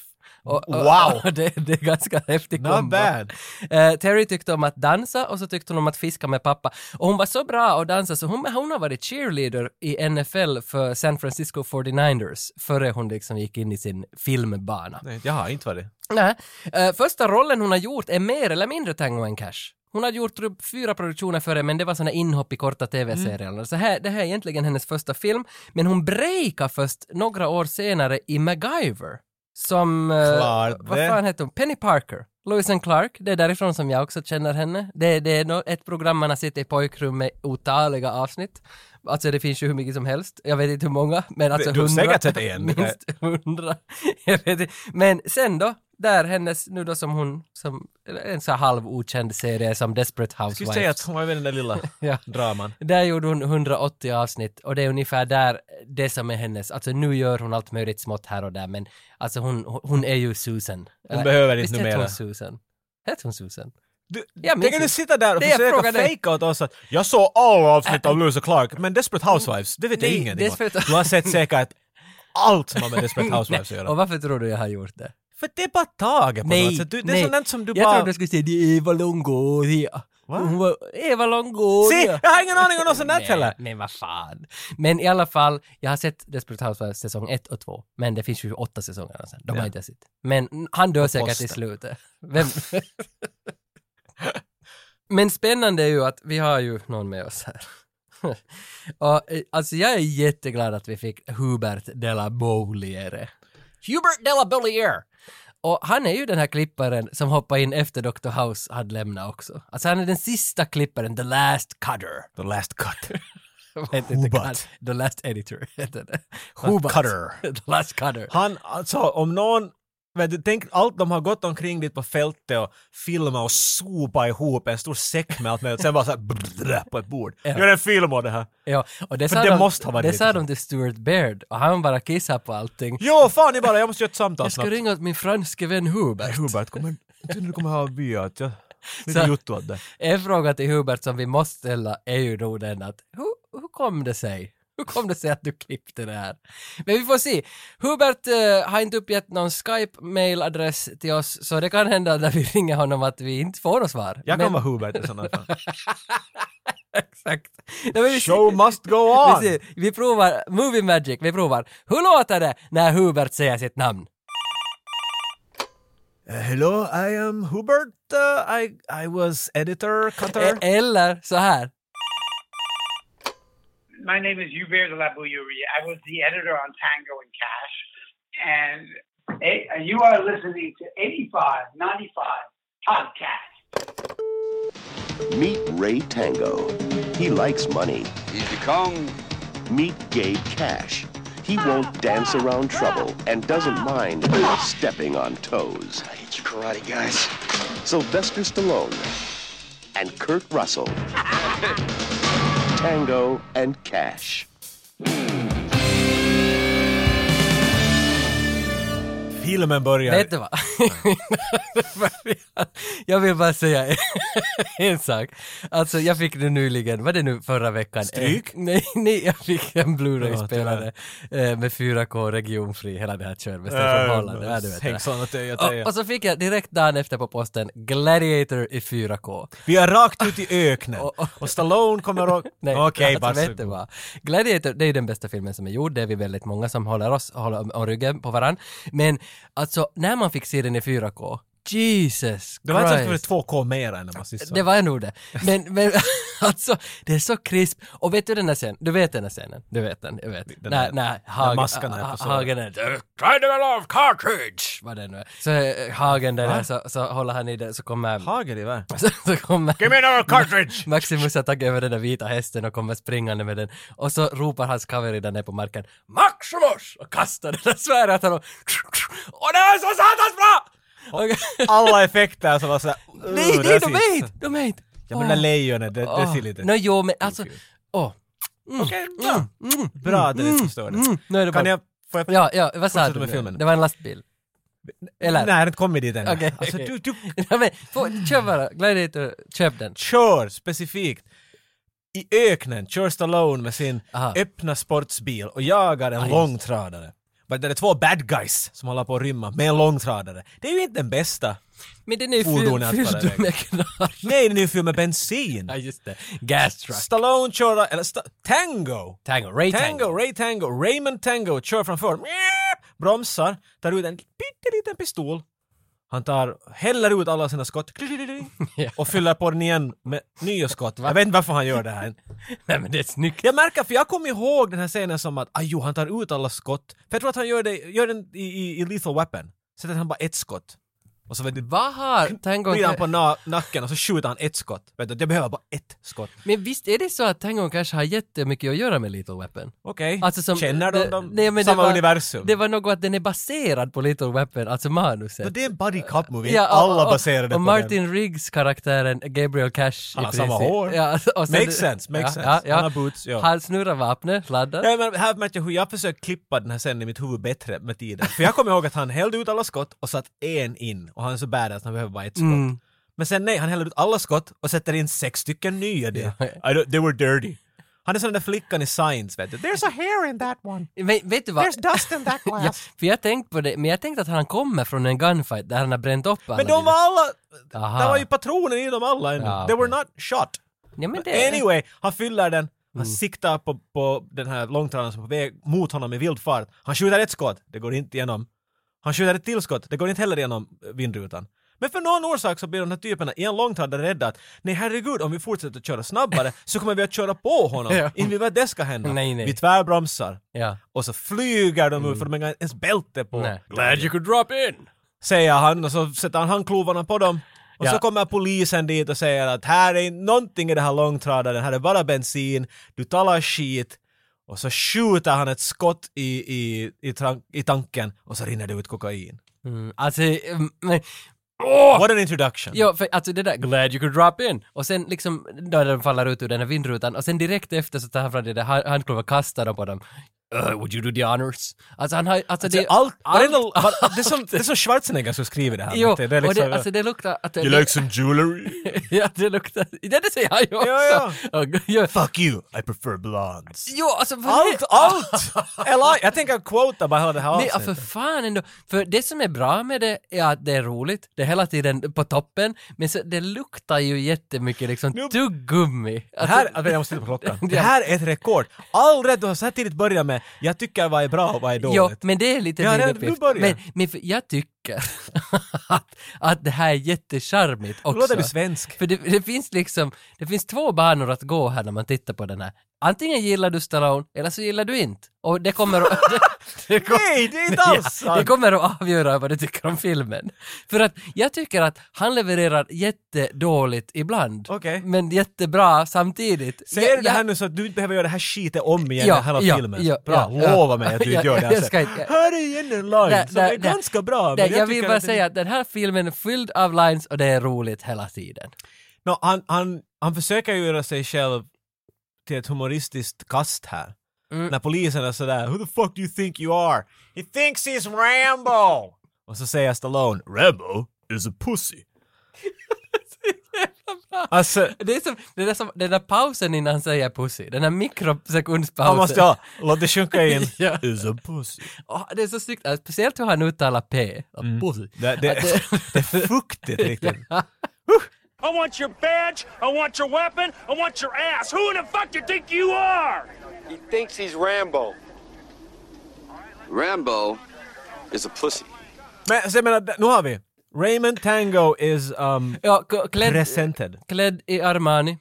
S1: Och, och,
S2: Wow.
S1: Och det, det är ganska häftig
S2: Not
S1: kombo.
S2: bad.
S1: Eh, Terry tyckte om att dansa och så tyckte hon om att fiska med pappa. Och hon var så bra att dansa så hon, hon har varit cheerleader i NFL för San Francisco 49ers före hon liksom gick in i sin filmbana.
S2: Nej, jag har inte varit.
S1: Nej. Eh, första rollen hon har gjort är mer eller mindre Tango and Cash. Hon hade gjort typ fyra produktioner före, men det var såna inhopp i korta tv-serier.
S2: Mm.
S1: Så här, det här är egentligen hennes första film, men hon breakade först några år senare i MacGyver. Som... eh,
S2: Klart
S1: vad
S2: det.
S1: fan hette hon? Penny Parker. Lois and Clark, det är därifrån som jag också känner henne. Det, det är nå- ett program man har sett i pojkrum med otaliga avsnitt. Alltså det finns ju hur mycket som helst. Jag vet inte hur många, men alltså
S2: du har
S1: hundra.
S2: säkert sett en.
S1: Minst hundra. Jag vet inte. Men sen då, där hennes, nu då som hon, som en så här halv okänd serie som Desperate
S2: Jag skulle säga att
S1: Housewives.
S2: hon var med i den där lilla
S1: Ja.
S2: draman.
S1: Där gjorde hon 180 avsnitt och det är ungefär där det som är hennes, alltså nu gör hon allt möjligt smått här och där men alltså hon, hon- hon är ju Susan.
S2: Hon
S1: Eller,
S2: behöver
S1: Visst
S2: inte
S1: hette hon
S2: numera.
S1: Susan? Hette hon Susan?
S2: Du,
S1: Jag minns
S2: tänker du
S1: inte.
S2: sitta där och
S1: Det jag
S2: försöka
S1: frågade dig.
S2: fejka åt oss att jag såg alla avsnitt av Lewis och Clark, men Desperate Housewives, det vet jag
S1: Mm. Nej,
S2: ingenting om.
S1: Desperate-
S2: Du har sett säkert allt som har med Desperate Housewives att
S1: Och
S2: göra.
S1: varför tror du jag har gjort det?
S2: För det är bara taget på något
S1: Nej,
S2: sätt. Du, det är
S1: nej.
S2: sånt som du
S1: jag
S2: bara...
S1: trodde du skulle säga det är Eva Longoria.
S2: Va?
S1: Hon var Eva Longoria.
S2: Se, jag har ingen aning om något sånt där
S1: Nej,
S2: heller!
S1: Men vad fan. Men i alla fall, jag har sett Desperate Housewives säsong 1 och 2, men det finns ju åtta säsonger sen. De har
S2: Ja.
S1: inte jag sett. Men han dör säkert i
S2: posten.
S1: slutet. Vem? Men spännande är ju att vi har ju någon med oss här. och, eh, alltså jag är jätteglad att vi fick Hubert de la Bouliere. Hubert de la Bouliere! Och han är ju den här klipparen som hoppade in efter Dr. House hade lämnat också. Alltså han är den sista klipparen, the last cutter.
S2: The last cut.
S1: Heter inte
S2: Hubert.
S1: cut, the last editor heter det. Hubert.
S2: cutter.
S1: the last cutter.
S2: Han, alltså om någon... Vet du, tänk allt de har gått omkring dit på fältet och filmat och sopat ihop en stor säck med allt möjligt. Sen bara såhär brr, på ett bord. Gör en film av det här.
S1: Ja, och det sa,
S2: det
S1: de,
S2: måste ha varit
S1: det
S2: lite
S1: sa
S2: så.
S1: de till Stuart Baird och han bara kissade på allting.
S2: Jo, fan ni bara, jag måste göra ett samtal
S1: Jag ska
S2: snabbt.
S1: ringa åt min franske vän Hubert.
S2: Hubert kommer... Jag tror du kommer ha byat. Jag... Lite
S1: Så-
S2: jotto åt det.
S1: En fråga till Hubert som vi måste ställa är ju nog den att hur, hur kom det sig? Hur kom det sig att du klippte det här? Men vi får se. Hubert eh, har inte uppgett någon Skype-mailadress till oss så det kan hända när vi ringer honom att vi inte får något svar.
S2: Jag
S1: Men-
S2: kan vara Hubert i sådana fall.
S1: Exakt. Nej, men vi-
S2: Show must go on!
S1: Vi, ser, vi provar Movie Magic, vi provar. Hur låter det när Hubert säger sitt namn?
S2: Uh, hello, I am Hubert. Uh, I, I was editor, cutter.
S1: E- eller så här.
S4: my name is Hubert de la Bouillerie. I was the editor on Tango and Cash. And eh, you are listening to 8595 Podcast.
S5: Meet Ray Tango. He likes money.
S3: He's become
S5: Meet Gabe Cash. He won't dance around trouble and doesn't mind stepping on toes.
S3: I hate you karate guys.
S5: Sylvester Stallone and Kurt Russell. Tango and Cash.
S2: Filmen börjar.
S1: eh, Vet du vad? jag vill bara säga en sak. Alltså jag fick det nyligen, var det nu förra veckan?
S2: Stryk?
S1: Eh, Nej, nej jag fick en
S2: Ja,
S1: Blu-ray-spelare eh, med 4K regionfri, hela det här köret med Stefan
S2: Äh, Eh,
S1: Holland. Ja, du vet det.
S2: Häxan och Teja
S1: Och,
S2: Teja.
S1: och så fick jag direkt dagen efter på posten Gladiator i 4K.
S2: Vi är rakt ut i öknen.
S1: Och- och-
S2: Och Stallone kommer och...
S1: Nej,
S2: Okej,
S1: alltså, vet du
S2: varsågod.
S1: vad? Gladiator, det är ju den bästa filmen som är gjord, det är vi väldigt många som håller oss, håller om, om ryggen på varann. Men alltså, när man fick se den i 4K, Jesus
S2: Det var alltså inte så att det
S1: Christ.
S2: var 2K mer än när man sist såg.
S1: Det var nog det. Men, men alltså, det är så krisp. Och vet du den här scenen? Du vet den här scenen? Du vet den? Jag vet.
S2: Den
S1: när,
S2: här-
S1: när Hagen...
S2: maskan är på
S1: Ha-
S2: såret.
S1: Hagen är... Try to love cartridge! Vad det nu är. Så eh, Hagen där, så, så håller han i det, så kommer...
S2: Hagel i världen.
S1: Så, så kommer...
S2: Give me another cartridge!
S1: Maximus har tagit över den där vita hästen och kommer springande med den. Och så ropar hans kavalleri där nere på marken Maximus! Och kastar det där svärdet åt honom. Och det är så satans bra! Och-
S2: Alla effekter som var såhär...
S1: Nej, nej, de är inte! Ah. De är inte!
S2: Ja men det där lejonet, det, det ser
S1: Nå
S2: lite...
S1: jo, men alltså... Åh.
S2: Okej, bra. Bra att det är förstår
S1: Mm,
S2: det.
S1: nu är det
S2: Kan
S1: bara...
S2: jag... Får jag...
S1: Ja, ja, vad sa
S2: Fortsätter
S1: du?
S2: med
S1: nu?
S2: filmen.
S1: Det var en lastbil. Eller?
S2: Nej, jag har inte kommit dit än.
S1: Okej,
S2: Alltså
S1: okej.
S2: du, du
S1: Ja, men, få, köp bara, Gladiator, köp den.
S2: kör specifikt i öknen, kör Stallone med sin
S1: Aha. Ah,
S2: öppna sportsbil och jagar en långtradare. Men det är två bad guys som håller på att rymma med en långtradare. Det är ju inte den bästa.
S1: Men den är ju
S2: Fordonet
S1: fylld-
S2: bara
S1: fylld
S2: vägen.
S1: med knarr.
S2: Nej, den är ju fylld med bensin.
S1: Ja, just det. Gas truck.
S2: Stallone kör, eller sta- Tango!
S1: Tango, Ray Tango.
S2: Tango, Ray Tango, Raymond Tango kör framför. Bromsar, tar ut en pytteliten pistol. Han tar, häller ut alla sina skott och fyller på den igen med nya skott. Jag vet inte varför han gör det här.
S1: Nej men det är snyggt.
S2: Jag märker, för jag kommer ihåg den här scenen som att ajo, han tar ut alla skott. För jag tror att han gör, det, gör den i, i, i Lethal Weapon. Sätter han bara ett skott. Och så vet du,
S1: Vad har Tango...
S2: vrider han på na- nacken och så skjuter han ett skott. Vet du, jag behöver bara ett skott.
S1: Men visst är det så att Tango kanske har jättemycket att göra med Little Weapon?
S2: Okej,
S1: Alltså som,
S2: känner de, de
S1: nej, men det
S2: samma
S1: var-
S2: universum?
S1: Det var något att den är baserad på Little Weapon, alltså manuset.
S2: Men det är en buddy cop movie,
S1: Ja, och-
S2: alla
S1: och-
S2: baserade
S1: Och
S2: på
S1: Martin
S2: den.
S1: Riggs karaktären Gabriel Cash
S2: Han
S1: i
S2: har samma
S1: princip.
S2: hår.
S1: Ja, och sen-
S2: Makes sense, makes sense. Han har boots, ja.
S1: Han snurrar vapnet, laddar.
S2: Ja, men här märkte jag hur jag försökte klippa den här scenen i mitt huvud bättre med tiden. För jag kommer ihåg att han hällde ut alla skott och satt en in och han är så badass, han behöver bara ett skott.
S1: Mm.
S2: Men sen nej, han häller ut alla skott och sätter in sex stycken nya. Det. I don't, they were dirty. Han är som den där flickan i Science, vet du. There's a hair in that one.
S1: Men vet du vad?
S2: There's dust in that
S1: Ja,
S2: glass.
S1: för jag tänkte på det, men jag tänkte att han kommer från en gunfight där han har bränt upp alla
S2: Men de var
S1: dina-
S2: alla...
S1: Aha.
S2: Det var ju patroner i dem alla ändå.
S1: Ah. Ja,
S2: They were
S1: okej.
S2: not shot.
S1: Ja, men det...
S2: Anyway, han fyller den, han
S1: Mm.
S2: siktar på, på den här långtradaren som är på väg mot honom i vild fart. Han skjuter ett skott, det går inte igenom. Han skjuter ett till skott, det går inte heller igenom eh, vindrutan. Men för någon orsak så blir de här typerna i en långtradare rädda att nej herregud, om vi fortsätter att köra snabbare så kommer vi att köra på honom.
S1: Ja.
S2: Inte vi vet det ska hända.
S1: Nej, nej.
S2: Vi tvärbromsar.
S1: Ja.
S2: Och så flyger de ut för de har inte ens bälte på.
S1: Nej. Glad you could drop in!
S2: Säger han och så sätter han handklovarna på dem. Och
S1: Ja.
S2: så kommer polisen dit och säger att här är inte någonting i den här långtradaren, här är bara bensin, du talar skit. Och så skjuter han ett skott i, i, i, tran- i tanken och så rinner det ut kokain.
S1: Mm, alltså, mm, men... Åh!
S2: What an introduction!
S1: Ja, för alltså det där “Glad you could drop in” och sen liksom då den faller ut ur den här vindrutan och sen direkt efter så tar han fram det där hand- handklovet och kastar dem på dem. Uh, would you do the honors? Alltså han har alltså,
S2: Det är allt, varenda, var, det, är som, det är som Schwarzenegger som skriver det här.
S1: Jo,
S2: vet du. det är liksom,
S1: och det, alltså det luktar... Att det,
S2: you like some jewelry?
S1: ja, det luktar... Ja, det säger han ju också!
S2: Ja,
S1: Och, ja.
S2: Fuck you, I prefer blondes.
S1: Jo, alltså... vad
S2: Allt,
S1: är-
S2: allt! Eller, jag tänker quota bara hela det här
S1: Nej, ja,
S2: avsnittet.
S1: för fan ändå. För det som är bra med det är att det är roligt, det är hela tiden på toppen, men så, det luktar ju jättemycket liksom
S2: Nu-
S1: tuggummi.
S2: Det
S1: Alltså,
S2: här, alltså, jag måste titta på klockan.
S1: Ja.
S2: Det här är ett rekord. All rätt du har så här tidigt börjat med, jag tycker vad är bra och vad är
S1: Ja,
S2: dåligt.
S1: men det är lite
S2: Ja,
S1: min
S2: det-
S1: uppgift.
S2: nu börjar.
S1: Men, men för jag tycker att, att det här är jättecharmigt också.
S2: Nu låter du svensk.
S1: För det, det finns liksom, det finns två banor att gå här när man tittar på den här. Antingen gillar du Stallone eller så gillar du inte. Och det kommer att... det, det kom-
S2: Nej, det är inte alls
S1: Det
S2: sant!
S1: kommer att avgöra vad du tycker om filmen. För att jag tycker att han levererar jättedåligt ibland.
S2: Okej.
S1: Men jättebra samtidigt.
S2: Säger
S1: Jag-
S2: du det
S1: jag-
S2: här nu så att du inte behöver göra det här skiten om igen i hela filmen? bra,
S1: ja.
S2: lova mig att du
S1: Ja,
S2: inte gör det här
S1: jag
S2: sen.
S1: ska inte-
S2: Här är igen en line
S1: Där-
S2: som
S1: där-
S2: är
S1: där-
S2: ganska bra, men
S1: där,
S2: jag,
S1: jag, vill
S2: tycker
S1: bara
S2: att det-
S1: säga att den här filmen är fylld av lines och det är roligt hela tiden.
S2: Nå, han, han, han försöker ju göra sig själv till ett humoristiskt kast här.
S1: Mm.
S2: När polisen är sådär “Who the fuck do you think you are?” “He thinks he's Rambo!” Och så säger Stallone “Rambo is a pussy”. alltså,
S1: Det är som, det är som den där pausen innan han säger pussy, den där mikrosekundspausen.
S2: han måste ha, låt det sjunka in.
S1: Ja.
S2: “Is a pussy”.
S1: Åh, det är så snyggt, Alltså, speciellt hur han uttalar P. Pussy.
S2: Mm.
S1: eh,
S2: Det, det, det är fuktigt riktigt.
S6: I want your badge. I want your weapon. I want your ass. Who in the fuck do you think you are?
S7: He thinks he's Rambo.
S3: Rambo is a pussy.
S2: Men så jag menar, nu har vi. Raymond Tango is um,
S1: Ja, k- klädd,
S2: presented.
S1: klädd i Armani.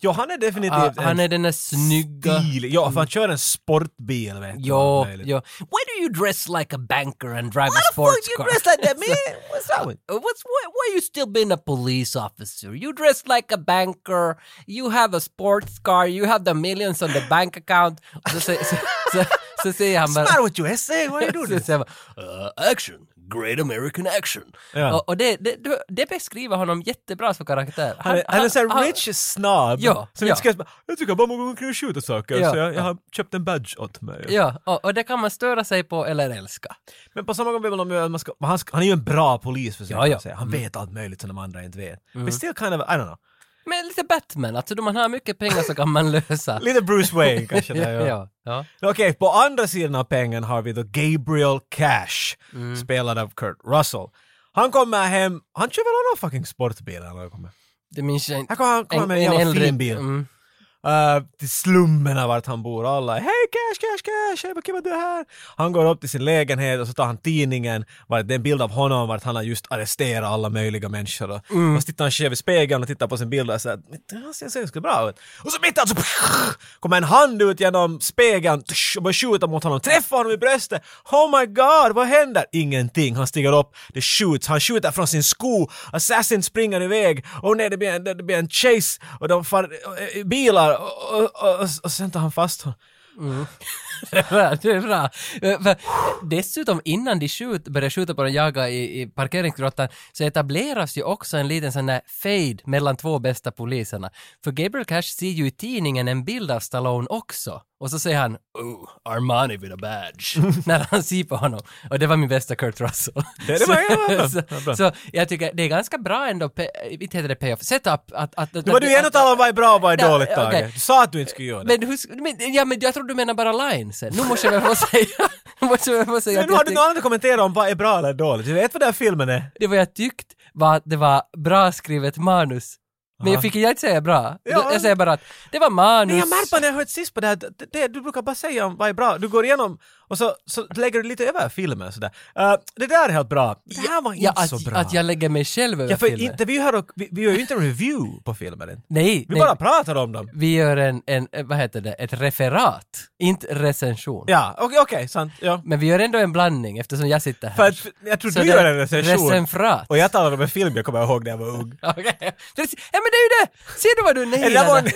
S2: Ja, han är definitivt
S1: Ah,
S2: en
S1: han är den där snygga...
S2: bil. Ja, för han kör en sportbil vet du. allt
S1: Jo,
S2: möjligt.
S1: jo. Why do you dress like a banker and drive a
S2: Why
S1: sports car?
S2: man? What's up with-
S1: Uh, What's why, why you still being a police officer? You dress like a banker. You have a sports car. You have the millions on the bank account. Så säger så, så, så, säger han bara...
S2: What's with you essay? Why are you doing
S1: Så
S2: this?
S1: säger han bara, "Uh, action, great American action.
S2: Ja.
S1: Och, och det, det, det beskriver honom jättebra som karaktär.
S2: Han är, han är sån här rich snob.
S1: Ja,
S2: som
S1: ja.
S2: inte ska, jag tycker bara man går omkring och skjuter saker,
S1: Ja,
S2: så jag,
S1: ja.
S2: jag har köpt en badge åt mig.
S1: Ja, och, och det kan man störa sig på eller älska.
S2: Men på samma gång vill man ju att man ska, men han, ska, han är ju en bra polis för sig.
S1: Ja, ja.
S2: säga. Han vet allt möjligt som de andra inte vet. Men still kind of, I don't know.
S1: Men lite Batman, alltså då man har mycket pengar så kan man lösa.
S2: Lite Bruce Wayne kanske. där, ja.
S1: ja, ja.
S2: Okej, på andra sidan av pengen har vi då Gabriel Cash, spelad av Kurt Russell. Han kommer hem, han kör väl annan fucking sportbil eller vad kommer.
S1: Det minns jag inte.
S2: Här kommer han kommer med en, jävla fin bil.
S1: Mm.
S2: Eh, till slummen vart han bor. Alla ”Hej Cash, Cash, Cash! Hej, vad kul att du är här!” Han går upp till sin lägenhet och så tar han tidningen. Vart det är en bild av honom vart han har just arresterat alla möjliga människor. Och, och så tittar han själv i spegeln och tittar på sin bild och säger ”Han ser så ganska bra ut”. Och så mitt i allt så kommer en hand ut genom spegeln tsch, och börjar skjuta mot honom. Träffar honom i bröstet! ”Oh my god, vad händer?” Ingenting. Han stiger upp, det skjuts. Han skjuter från sin sko. Assassin springer iväg. Och nej, det blir en, det blir en chase och de far i bilar och, och, och, och, och sen tar han fast honom.
S1: Det är bra, det är bra. Eh, För dessutom innan de skjut, börjar skjuta på den jaga i, i parkeringsgrottan så etableras ju också en liten sån där fade mellan två bästa poliserna. För Gabriel Cash ser ju i tidningen en bild av Stallone också. Och så säger han oh, Armani with a badge” när han ser på honom. Och det var min bästa Kurt Russell.
S2: Det- det var- ja, bra.
S1: så,
S2: Ja, bra.
S1: så jag tycker det är ganska bra ändå, pe- inte heter det payoff, setup att... att, att
S2: Nu var du igen och talade om vad är bra och vad är
S1: Ja,
S2: dåligt
S1: okej.
S2: Tage. Du sa att du inte skulle göra det.
S1: Men, hur, sk- men, ja, men jag tror du menar bara linesen. Nu måste jag väl få säga... Nu måste jag väl få säga
S2: Men
S1: att
S2: nu
S1: jag
S2: har du
S1: tyck-
S2: något annat att kommentera om vad är bra eller dåligt. Du vet vad den här filmen är?
S1: Det var jag tyckt var att det var bra skrivet manus. Men jag fick jag inte säga bra.
S2: Ja.
S1: Jag säger bara att det var manus.
S2: Nej, jag märkte när jag hört sist på det här, det, det, du brukar bara säga om vad är bra, du går igenom och så, så lägger du lite över filmen sådär. Uh, det där är helt bra, det här var
S1: ja,
S2: inte
S1: att,
S2: så bra.
S1: att jag lägger mig själv över
S2: ja, för
S1: filmen.
S2: inte, vi, gör, och- vi, vi gör ju inte en review på filmen. än.
S1: Nej,
S2: Vi
S1: nej.
S2: bara pratar om dem.
S1: vi gör en, en, eh, vad heter det, ett referat. Inte recension.
S2: Ja, okej, okej, sant. Ja.
S1: Men vi gör ändå en blandning eftersom jag sitter här.
S2: För att, jag tror
S1: Så
S2: du
S1: det-
S2: gör en recension.
S1: recenfrat.
S2: Och jag talar om en film jag kommer ihåg när jag var ung.
S1: Okej. Precis. Ja men det är ju det! Ser du vad du
S2: Är det där
S1: nailar?
S2: var-
S1: Det,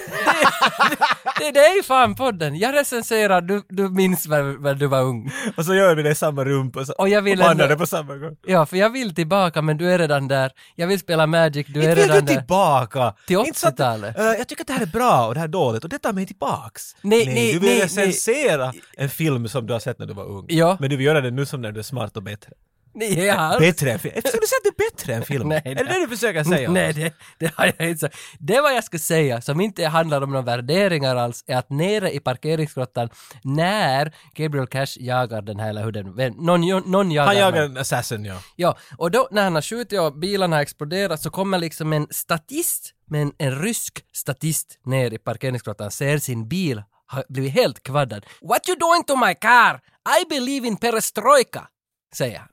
S1: det, det är ju fan podden. Jag recenserar, du, du minns när, när du var ung.
S2: Och så gör vi det i samma rum och, så,
S1: Och jag vill
S2: och
S1: ändå-
S2: bandar det på samma gång.
S1: Ja, för jag vill tillbaka men du är redan där. Jag vill spela Magic, du är
S2: Inte vill
S1: redan
S2: du
S1: där.
S2: tillbaka!
S1: Till
S2: Inte så att-
S1: 80-talet.
S2: Eh, jag tycker att det här är bra och det här är dåligt och det tar mig tillbaks.
S1: Nej, nej,
S2: du vill
S1: nej,
S2: recensera en film som du har sett när du var ung.
S1: Ja.
S2: Men du vill göra det nu som när du är smart och bättre.
S1: Nej, jag har-
S2: Bättre än film? Ska du säga att det är bättre än film?
S1: Nej,
S2: är det
S1: nej.
S2: det du försöker säga?
S1: Nej, det, det har jag inte sagt. Det vad jag skulle säga, som inte handlar om några värderingar alls, är att nere i parkeringsgrottan, när Gabriel Cash jagar den här, eller hur den, vem- någon, någon jagar
S2: Han jagar
S1: honom.
S2: en assassin, ja.
S1: Ja, och då när han har skjutit och bilarna har exploderat så kommer liksom en statist, men en rysk statist ner i parkeringsgrottan, ser sin bil ha blivit helt kvaddad. What you doing to my car? I believe in perestrojka, säger han.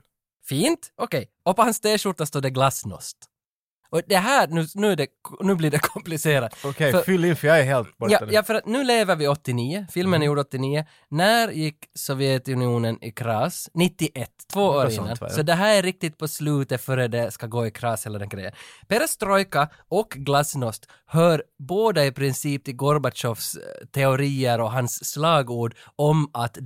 S1: Fint, okej. Och på hans t-skjorta står det glasnost. Och det här, nu, nu, är det, nu blir det komplicerat.
S2: Okej,
S1: För-
S2: fyll in för jag är helt borta
S1: Ja,
S2: nu.
S1: ja, för att nu lever vi 89, filmen är gjord 89. När gick Sovjetunionen i kras? 91, två år
S2: Något
S1: innan.
S2: sånt, va, ja.
S1: Så det här är riktigt på slutet före det ska gå i kras eller den grejen. Perestrojka och glasnost hör båda i princip till Gorbatjovs eh, teorier och hans slagord om att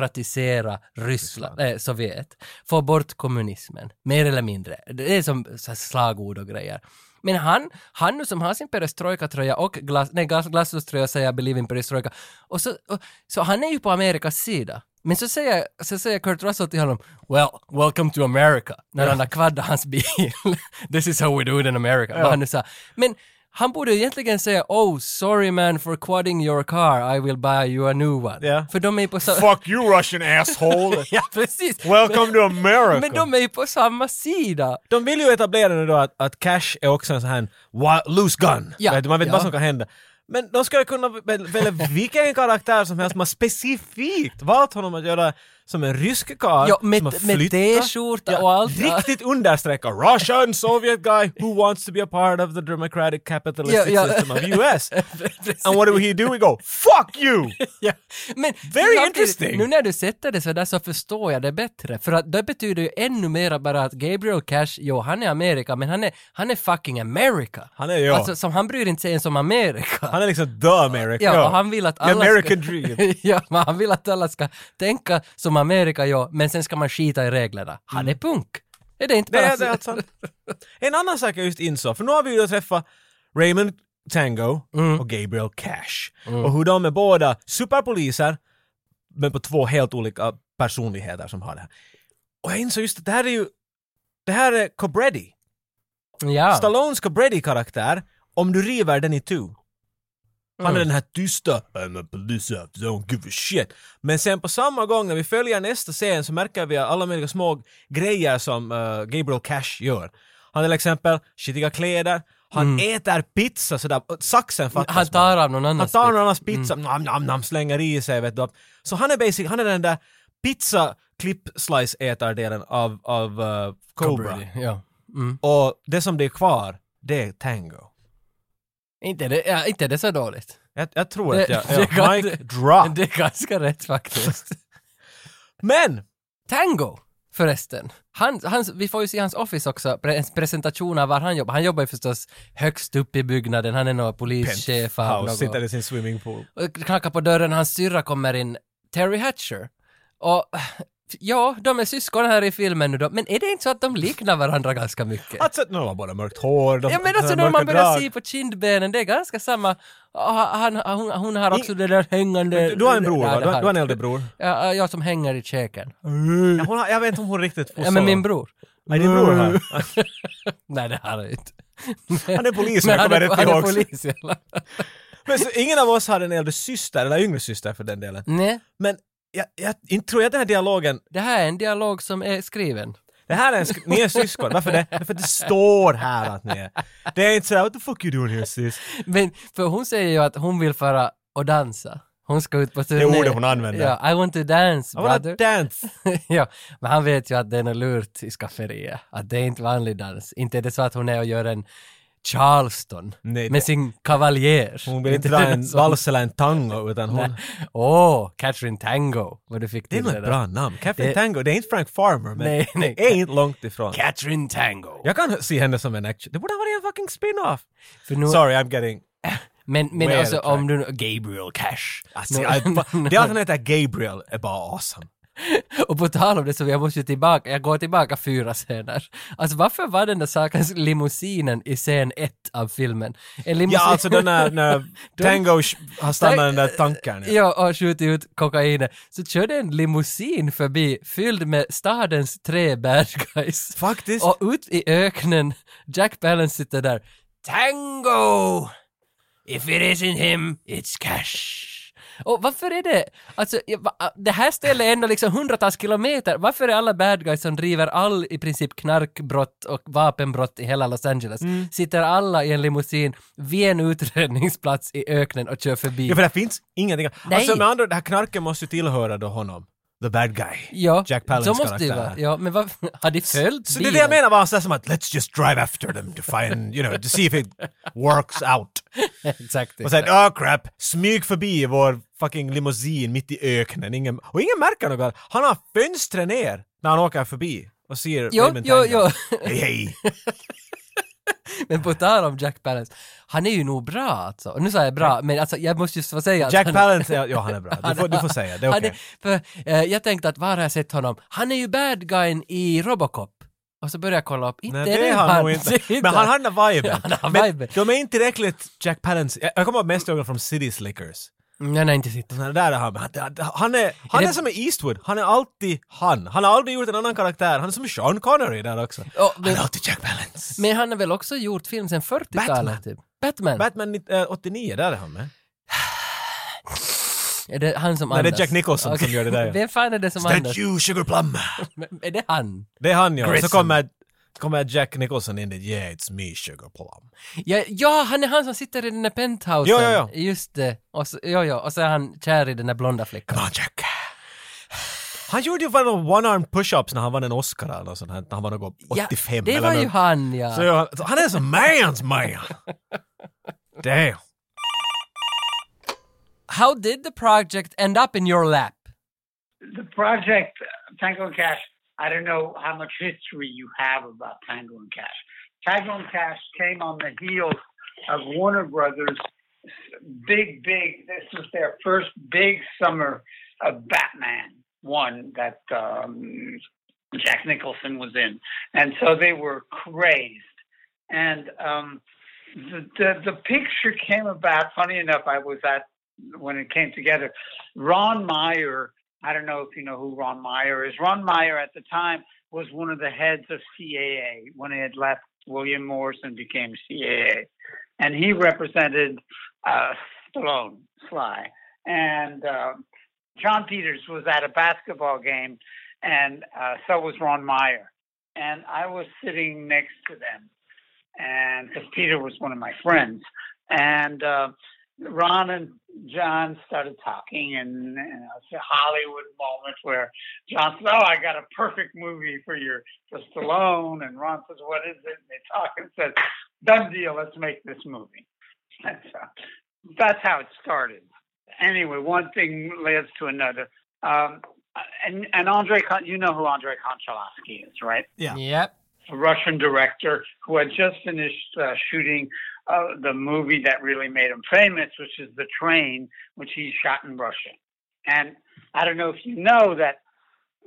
S1: demokratisera Ryssland, eh, Sovjet. Få bort kommunismen, mer eller mindre. Det är som så här slagord och grejer. Men han, han nu som har sin perestrojka-tröja och glas, nej, glas, glasnost-tröja säger jag believe in perestrojka. Och så, och, så han är ju på Amerikas sida. Men så säger, så säger Kurt Russell till honom “Well, welcome to America” när han har kvaddat hans bil. “This is how we do it in America”, vad han nu sa. Men han borde egentligen säga “Oh, sorry man for quadding your car, I will buy you a new one”.
S2: Ja.
S1: För de är ju på samma...
S8: Fuck you, Russian asshole!
S1: ja, precis!
S8: Welcome to America!
S1: Men de är ju på samma sida!
S2: De vill ju etablera nu då att, att Cash är också en sån här wa- loose gun.
S1: Ja,
S2: Vet du, man vet
S1: ja.
S2: inte vad som kan hända. Men de ska ju kunna väl- välja vilken karaktär som helst. Man har specifikt valt honom att göra som en rysk karl
S1: Ja, med-
S2: som har
S1: med
S2: flyttat.
S1: t-skjorta och allt.
S2: Riktigt understreckar Russian Soviet guy who wants to be a part of the democratic capitalistic
S1: Ja, ja.
S2: system of US.
S1: Precis.
S2: And what do he do? We go, fuck you!
S1: Ja. Men
S2: Very
S1: samtidigt,
S2: interesting.
S1: Nu när du sätter det så där så förstår jag det bättre. För att det betyder ju ännu mer bara att Gabriel Cash, jo han är Amerika, men han är, han är fucking America.
S2: Han är- ja.
S1: Alltså som han bryr inte sig ens om Amerika.
S2: Han är liksom the American.
S1: Ja, och han vill att
S2: The
S1: alla
S2: American
S1: ska,
S2: dream.
S1: ja, men han vill att alla ska tänka som Amerika, ja, men sen ska man skita i reglerna. Han är punk. Är det inte
S2: Det
S1: bara
S2: är Mm. det alltså. En annan sak jag just insåg, för nu har vi ju då träffat Raymond Tango och Gabriel Cash. Och hur de är båda superpoliser, men på två helt olika personligheter som har det här. Och jag insåg just att det här är ju, det här är Cobretti.
S1: Ja.
S2: Stallones Cobretti-karaktär, om du river den i tu. Han är den här tysta, "Äh, I'm a police officer, I don't give a shit. Men sen på samma gång när vi följer nästa scen så märker vi alla möjliga små grejer som eh, Gabriel Cash gör. Han har till exempel skitiga kläder, han äter pizza sådär, och saxen fattas
S1: Han tar
S2: bara.
S1: av någon
S2: Han
S1: annans
S2: tar någon annans pizza, nam, nam, nam, slänger i sig vet du. Så han är basic, han är den där pizza klipp slice ätardelen av, av eh, Cobra.
S1: Cobra. Ja.
S2: Och det som det är kvar, det är tango.
S1: Inte det, ja, inte det så dåligt.
S2: Jag, jag tror
S1: Det-
S2: att jag...
S1: det
S2: ja,
S1: kan-
S2: mic drop.
S1: Det är ganska rätt faktiskt.
S2: Men!
S1: Tango, förresten. Han, han, vi får ju se hans office också, pre, en presentation av var han jobbar. Han jobbar ju förstås högst upp i byggnaden, han är någon polischef av
S2: Penthouse sitter
S1: något.
S2: i sin swimmingpool.
S1: Och knackar på dörren, hans syrra kommer in, Terry Hatcher. Och ja, de är syskon här i filmen nu då, men är det inte så att de liknar varandra ganska mycket?
S2: Alltså, nu har båda mörkt hår, de
S1: Ja men alltså
S2: de
S1: när
S2: har
S1: man
S2: mörka
S1: börjar
S2: drag.
S1: se på kindbenen, det är ganska samma. Ah, Han, hon, hon har också det där hängande...
S2: Du, du har en bror
S1: Ja,
S2: va?
S1: det
S2: Du, har-
S1: har
S2: du har en
S1: jag.
S2: äldre bror.
S1: Ja, jag som hänger i käken.
S2: Ja, Hon har, jag vet inte om hon riktigt får
S1: Ja men min bror.
S2: Nej, din bror har.
S1: Nej det har jag inte.
S2: Han är polis,
S1: Men
S2: jag kommer
S1: är-
S2: rätt
S1: han är
S2: ihåg.
S1: polis i alla fall.
S2: Men så, ingen av oss har en äldre syster, eller yngre syster för den delen.
S1: Nej,
S2: Men jag, jag inte tror jag den här dialogen...
S1: det här är en dialog som är skriven.
S2: Det här är en sk- ni är syskon, varför det? Därför att det står här att ni är. Det är inte så här, what the fuck you doing here sis?
S1: Men för hon säger ju att hon vill fara och dansa. Hon ska ut på turné.
S2: ordet hon använder.
S1: Ja, I want to dance
S2: I wanna
S1: brother.
S2: dance!
S1: ja, men han vet ju att det är något lurt i skafferiet. Att det är inte vanlig dans. Inte är det så att hon är och gör en charleston
S2: Nej,
S1: med
S2: det-
S1: sin kavaljer.
S2: Hon vill inte
S1: det
S2: dra
S1: är
S2: en
S1: något sånt.
S2: vals eller en tango utan hon...
S1: Åh, Catherine Tango. Vad du fick
S2: Det är
S1: till
S2: nog ett
S1: där.
S2: bra namn. Catherine
S1: Det-
S2: Tango, det är inte Frank Farmer men
S1: Nej, nej.
S2: det är inte långt ifrån.
S1: Catherine Tango.
S2: Jag kan se henne som en action... Det borde ha varit en fucking spin-off!
S1: För nu,
S2: Sorry, I'm getting...
S1: men men
S2: Way
S1: alltså
S2: out of
S1: om du... Gabriel Cash. Nu-
S2: Alltså, I, det att han heter Gabriel är bara awesome.
S1: Och på tal om det så jag måste ju tillbaka, jag går tillbaka fyra scener. Alltså varför var den där sakens limousinen i scen ett av filmen? En limousin...
S2: Ja, alltså den där när Tango sh- har stannat den där tanken. Ja.
S1: Ja, och skjutit ut kokainet. Så körde en limousin förbi fylld med stadens tre bad guys.
S2: Faktiskt.
S1: Och ut i öknen, Jack Palance sitter där. Tango! If it isn't him, it's cash. Och varför är det, alltså jag- va- det här stället är ändå liksom hundratals kilometer, varför är alla bad guys som driver all i princip knarkbrott och vapenbrott i hela Los Angeles,
S2: Mm.
S1: sitter alla i en limousin vid en utredningsplats i öknen och kör förbi?
S2: ja, för det finns ingenting.
S1: Nej.
S2: Alltså med andra det här knarket måste ju tillhöra då honom. The bad guy.
S1: Ja,
S2: Jack
S1: så
S2: Palance
S1: måste det ju
S2: karaktär
S1: vara.
S2: här.
S1: Ja, men vad, har de följt
S2: Så det är
S1: bilen?
S2: det jag menar var sådär som att let's just drive after them to find, you know, to see if it works out.
S1: Exakt.
S2: Och
S1: exakt.
S2: sen, oh crap, smyg förbi vår fucking limousin mitt i öknen. Ingen, och ingen märker något. Han har fönstren ner när han åker förbi och ser
S1: Jo,
S2: Raymond
S1: jo,
S2: Tango.
S1: jo.
S2: Hej, hej.
S1: Men på tal om Jack Palance, han är ju nog bra alltså. Och nu sa jag bra, men alltså jag måste just få säga att
S2: Jack
S1: han-
S2: Palance, ja, ja han är bra. Du får, du får säga, det är
S1: han
S2: okej.
S1: för, eh, jag tänkte att var har jag sett honom? Han är ju bad guyen i Robocop. Och så började jag kolla upp, inte
S2: Nej,
S1: är
S2: det är han nog inte. Men han har den där viben.
S1: Han har viben.
S2: Men de är inte tillräckligt Jack Palance. Jag- Jag kommer ihåg mest ihåg från City Slickers.
S1: Nej, nej, inte sitt.
S2: Den här där är han. Han- Han är, han
S1: det-
S2: är som i Eastwood. Han är alltid han. Han har aldrig gjort en annan karaktär. Han är som Sean Connery där också.
S1: Ja, men-
S2: han är alltid Jack Palance.
S1: Men han har väl också gjort film sen 40-talet
S2: Batman.
S1: typ? Batman.
S2: Batman nitt- eh, 89, där är han med.
S1: är det han som
S2: Nej, det är
S1: andas?
S2: Jack Nicholson som
S1: Okej.
S2: gör det där, ja.
S1: Vem fan är det som andas?
S2: Statue Sugar Plum.
S1: Men Är det han?
S2: Det är han ja. Så
S1: Grissom.
S2: kommer, kommer Jack Nicholson in dit. Yeah, it's me Sugar Plum.
S1: Ja, ja, han är han som sitter i den där penthousen.
S2: Jo, jo, jo.
S1: Just det. Och så, jo, jo. Och så är han kär i den där blonda flickan.
S2: Come on Jack. Han gjorde ju bara någon one-arm push-ups när han vann en Oscar eller något sånt här. Han var något 85
S1: ja, det
S2: eller
S1: var ju
S2: något.
S1: han ja.
S2: Så jag, så han är som man's man. Damn.
S1: How did the project end up in your lap?
S4: The project uh, Tango and Cash. I don't know how much history you have about Tango and Cash. Tango and Cash came on the heels of Warner Brothers' big, big. This was their first big summer of Batman one that um, Jack Nicholson was in, and so they were crazed. And um, the, the the picture came about. Funny enough, I was at when it came together. Ron Meyer. I don't know if you know who Ron Meyer is. Ron Meyer at the time was one of the heads of CAA when he had left William Morrison became CAA, and he represented uh, Stallone, Sly, and uh, John Peters was at a basketball game, and uh, so was Ron Meyer, and I was sitting next to them, and because Peter was one of my friends, and. Uh, Ron and John started talking, and, and it's a Hollywood moment where John said, "Oh, I got a perfect movie for your for Stallone," and Ron says, "What is it?" And they talk and says, "Done deal. Let's make this movie." And so that's how it started. Anyway, one thing leads to another. Um, and and Andre, Kon- you know who Andre Konchalovsky is, right?
S2: Yeah.
S1: Yep.
S4: a Russian director who had just finished uh, shooting uh, the movie that really made him famous, which is The Train, which he shot in Russia. And I don't know if you know that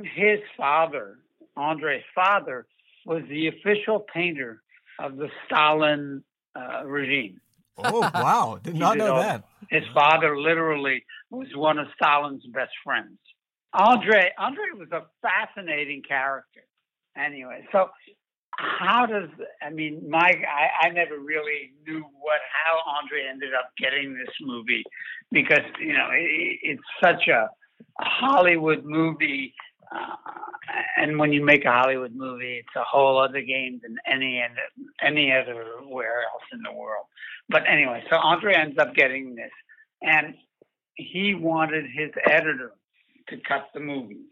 S4: his father, Andre's father, was the official painter of the Stalin uh, regime.
S2: Oh wow, did
S4: not know that. His father literally was one of Stalin's best friends. Andre Andre was a fascinating character. Anyway, so how does I mean my I, I never really knew what how Andre ended up getting this movie because you know it, it's such a Hollywood movie Uh, and when you make a Hollywood movie, it's a whole other game than any and any otherwhere else in the world. But anyway, so Andre ends up getting this, and he wanted his editor to cut the movie,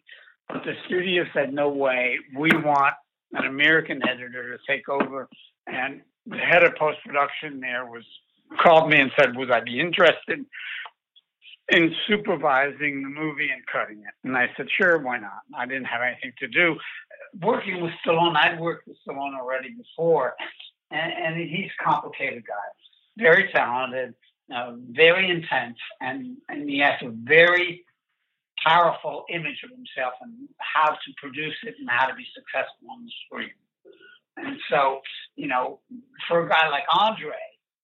S4: but the studio said no way. We want an American editor to take over, and the head of post production there was called me and said, "Would I be interested?" in supervising the movie and cutting it. And I said, sure, why not? I didn't have anything to do. Working with Stallone, I'd worked with Stallone already before, and, and he's a complicated guy, very talented, uh, very intense, and, and he has a very powerful image of himself and how to produce it and how to be successful on the screen. And so, you know, for a guy like Andre,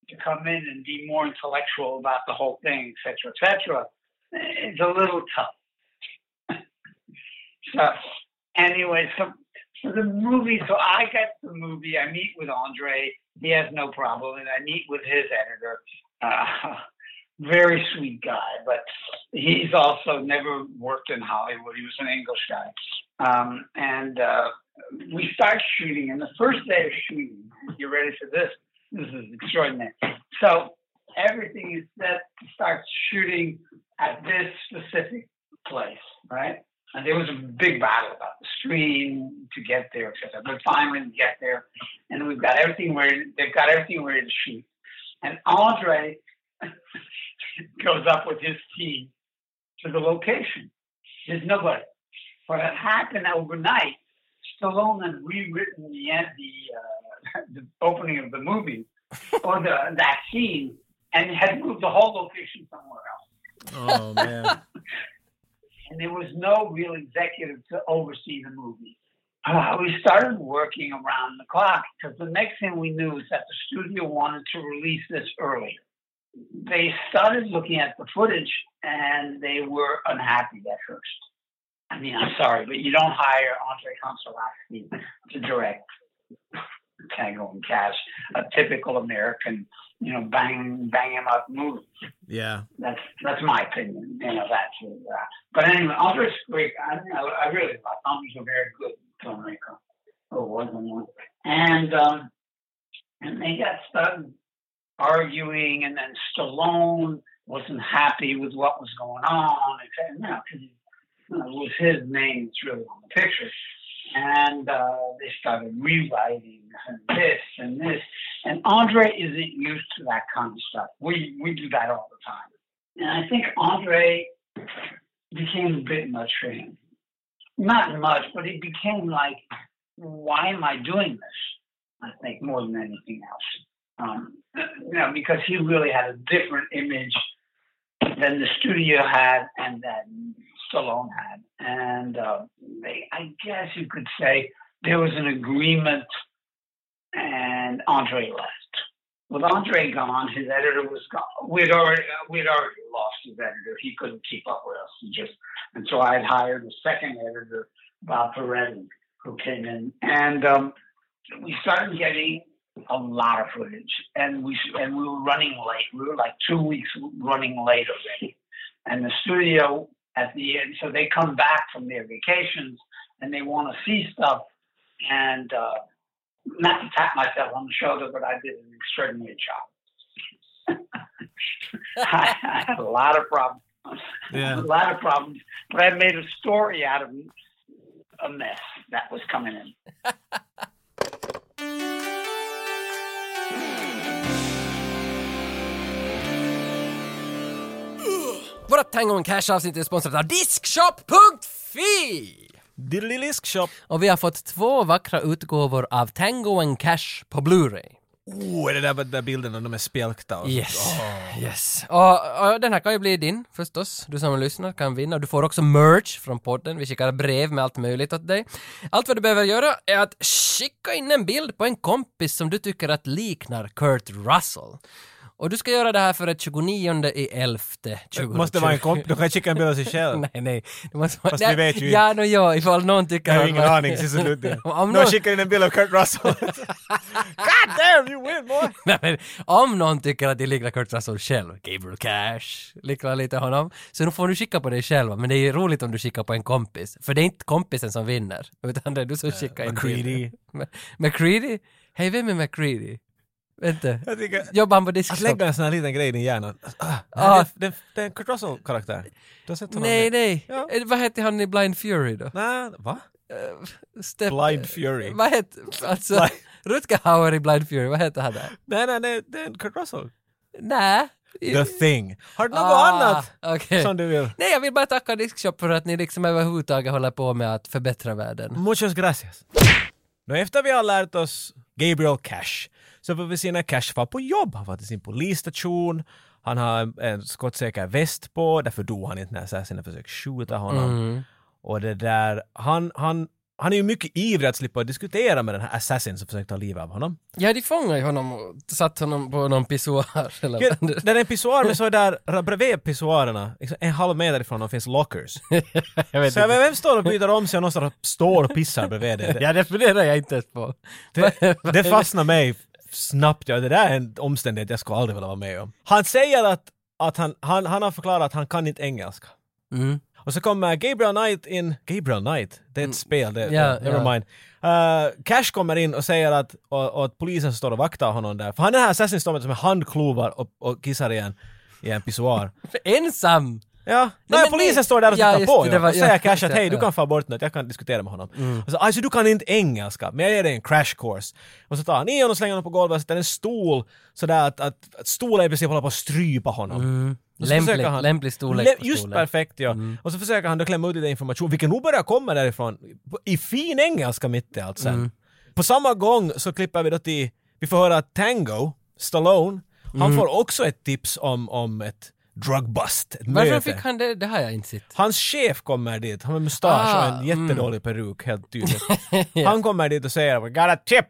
S4: to come in and be more intellectual about the whole thing, et cetera, et cetera, it's a little tough. so, anyway, so, so the movie, so I get the movie, I meet with Andre, he has no problem, and I meet with his editor. Uh, very sweet guy, but he's also never worked in Hollywood. He was an English guy. Um, and uh, we start shooting, and the first day of shooting, you ready for this? this is extraordinary. So everything is set to start shooting at this specific place, right? And there was a big battle about the screen to get there, etc. But finally, we get there, and we've got everything ready. They've got everything ready to shoot, and Andre goes up with his team to the location. There's nobody. But it happened overnight. Stallone had rewritten the end, the uh, the opening of the movie or the that scene and had moved the whole location somewhere
S2: Oh
S4: else.
S2: man.
S4: And there was no real executive to oversee the movie. Uh, we started working around the clock because the next thing we knew is that the studio wanted to release this early. They started looking at the footage and they were unhappy at first. I mean, I'm sorry, but you don't hire Andre Konsolovsky to direct Tango and Cash, a typical American, you know, bang bang 'em up movie.
S2: Yeah.
S4: That's that's my opinion. You know, that's uh, but anyway, Andre's great. I don't know, I really like Andre's a very good filmmaker. Or was one. And um, and they got stuck arguing, and then Stallone wasn't happy with what was going on. Except, you know, 'cause it was his name that's really on the picture. And uh, they started rewriting and this and this. And Andre isn't used to that kind of stuff. We we do that all the time. And I think Andre became a bit much for him. Not much, but it became like, why am I doing this? I think more than anything else. Um, you know, because he really had a different image than the studio had and that Stallone had. And uh, they, I guess you could say there was an agreement, and Andre left. With Andre gone, his editor was gone. We'd already uh, we'd already lost his editor. He couldn't keep up with us. He just and so I had hired a second editor, Bob Peretti, who came in, and um, we started getting a lot of footage, and we and we were running late. We were like two weeks running late already, and the studio at the end. So they come back from their vacations and they want to see stuff. And uh, not to tap myself on the shoulder, but I did an extraordinary job. I, I had a lot of problems,
S2: Yeah.
S4: a lot of problems, but I made a story out of a mess that was coming in.
S1: Vårat Tango and Cash avsnitt är sponsrat av Diskshop.fi!
S2: Diddlylisk shop.
S1: Och vi har fått två vackra utgåvor av Tango and Cash på Blu-ray.
S2: Oh, är det där med den där bilden när de är spjälkta? och-
S1: Yes, yes. Och, och den här kan ju bli din förstås. Du som lyssnar kan vinna. Du får också merch från podden. Vi skickar brev med allt möjligt åt dig. Allt vad du behöver göra är att skicka in en bild på en kompis som du tycker att liknar Kurt Russell. Och du ska göra det här före 29 i 11 2020.
S2: Måste vara en komp... Du kan skicka en bild av sig själv.
S1: Nej, nej. Det måste vara...
S2: Fast vi vet ju
S1: Ja, no, ja, ifall någon tycker...
S2: Jag har
S1: att
S2: ingen
S1: man-
S2: aning, sist och slutligen.
S1: Om
S2: Någon
S1: någon-
S2: skickar in en bild av Kurt Russell. God damn, you win boy!
S1: Nej, men om någon tycker att det liknar Kurt Russell själv, Gabriel Cash liknar lite honom, så nu får du skicka på dig själv. Men det är ju roligt om du skickar på en kompis, för det är inte kompisen som vinner, utan det är du som skickar in
S2: Eh, McCready.
S1: bilden. Ma- McCready? Hej, vem är McCready? Vänta,
S2: Jag tycker...
S1: jobbar han på
S2: Att
S1: diskstopp?
S2: lägga en sån här liten grej i din hjärna. Ah,
S1: Ah.
S2: ah. Det, det, det är en Kurt Russell-karaktär. Du har sett honom?
S1: Nej, nej.
S2: Ja.
S1: Eh, Vad hette han i Blind Fury då?
S2: Nej, va?
S1: Step...
S2: Blind Fury.
S1: Vad hette... Alltså,
S2: Blind-
S1: Rutger Hauer i Blind Fury, vad hette han där?
S2: Nej, nej, nej, det är en Kurt Russell.
S1: Nä?
S2: The Thing. Har du något
S1: Eh, Ah,
S2: annat
S1: okej.
S2: som du vill?
S1: Nej, jag vill bara tacka Diskshop för att ni liksom överhuvudtaget håller på med att förbättra världen.
S2: Muchas gracias. Nu efter vi har lärt oss Gabriel Cash så får vi se när Cash var på jobb. Han var till sin polisstation, han har en, en skottsäker väst på, därför dog han inte när assassinen försökte skjuta honom. Och det där, han, han, han är ju mycket ivrig att slippa diskutera med den här assassinen som försökte ta livet av honom.
S1: Ja, de fångade ju honom och satt honom på någon pissoar eller
S2: Ja,
S1: vad det-
S2: Där är en pissoar, men så är där ra- bredvid pissoarerna, liksom en halv meter ifrån dem finns lockers.
S1: jag vet
S2: Så jag vet, vem står och byter om sig och någon står och- står och pissar bredvid det?
S1: Ja, det funderar jag inte ens på.
S2: Det, det fastnar mig snabbt. Ja, det där är en omständighet jag skulle aldrig vilja vara med om. Han säger att, att han, han, han har förklarat att han kan inte engelska.
S1: Mm.
S2: Och så kommer Gabriel Knight in. Gabriel Knight? Det är ett spel, det,
S1: ja,
S2: never
S1: ja.
S2: mind. Uh, Cash kommer in och säger att, och, och att polisen som står och vaktar honom där. För han är den här assassin som står med handklovar och, och kissar i en, i en pissoar.
S1: Ensam!
S2: Ja,
S1: Nej,
S2: Nej,
S1: men
S2: polisen
S1: nej.
S2: står där och
S1: Ja,
S2: tittar
S1: just
S2: på
S1: det,
S2: ju.
S1: det var-
S2: och säger
S1: ja,
S2: Cash
S1: just
S2: att
S1: det,
S2: hej, du
S1: ja. Mm.
S2: kan få bort något, jag kan diskutera med honom. Och så, alltså du kan inte engelska, men jag ger dig en crash course. Och så tar han i honom och slänger honom på golvet och sätter en stol sådär att, att, att stolen i princip håller på att strypa honom. Och så
S1: Mm. Lämplig-
S2: försöker
S1: lämplig storlek på Mm.
S2: Just
S1: stolen.
S2: perfekt ja. Och så försöker han då klämma ut lite information, vilken nog börjar komma därifrån i fin engelska mitt i allt sen.
S1: Mm.
S2: På samma gång så klipper vi då till, vi får höra att Tango, Stallone, han
S1: Mm.
S2: får också ett tips om, om ett drug bust, ett
S1: Varför
S2: möte.
S1: fick han det? Det har jag inte sett.
S2: Hans chef kommer dit, han med mustasch och
S1: Ah,
S2: en jättedålig peruk helt tydligt. Han kommer dit och säger “We got a tip!”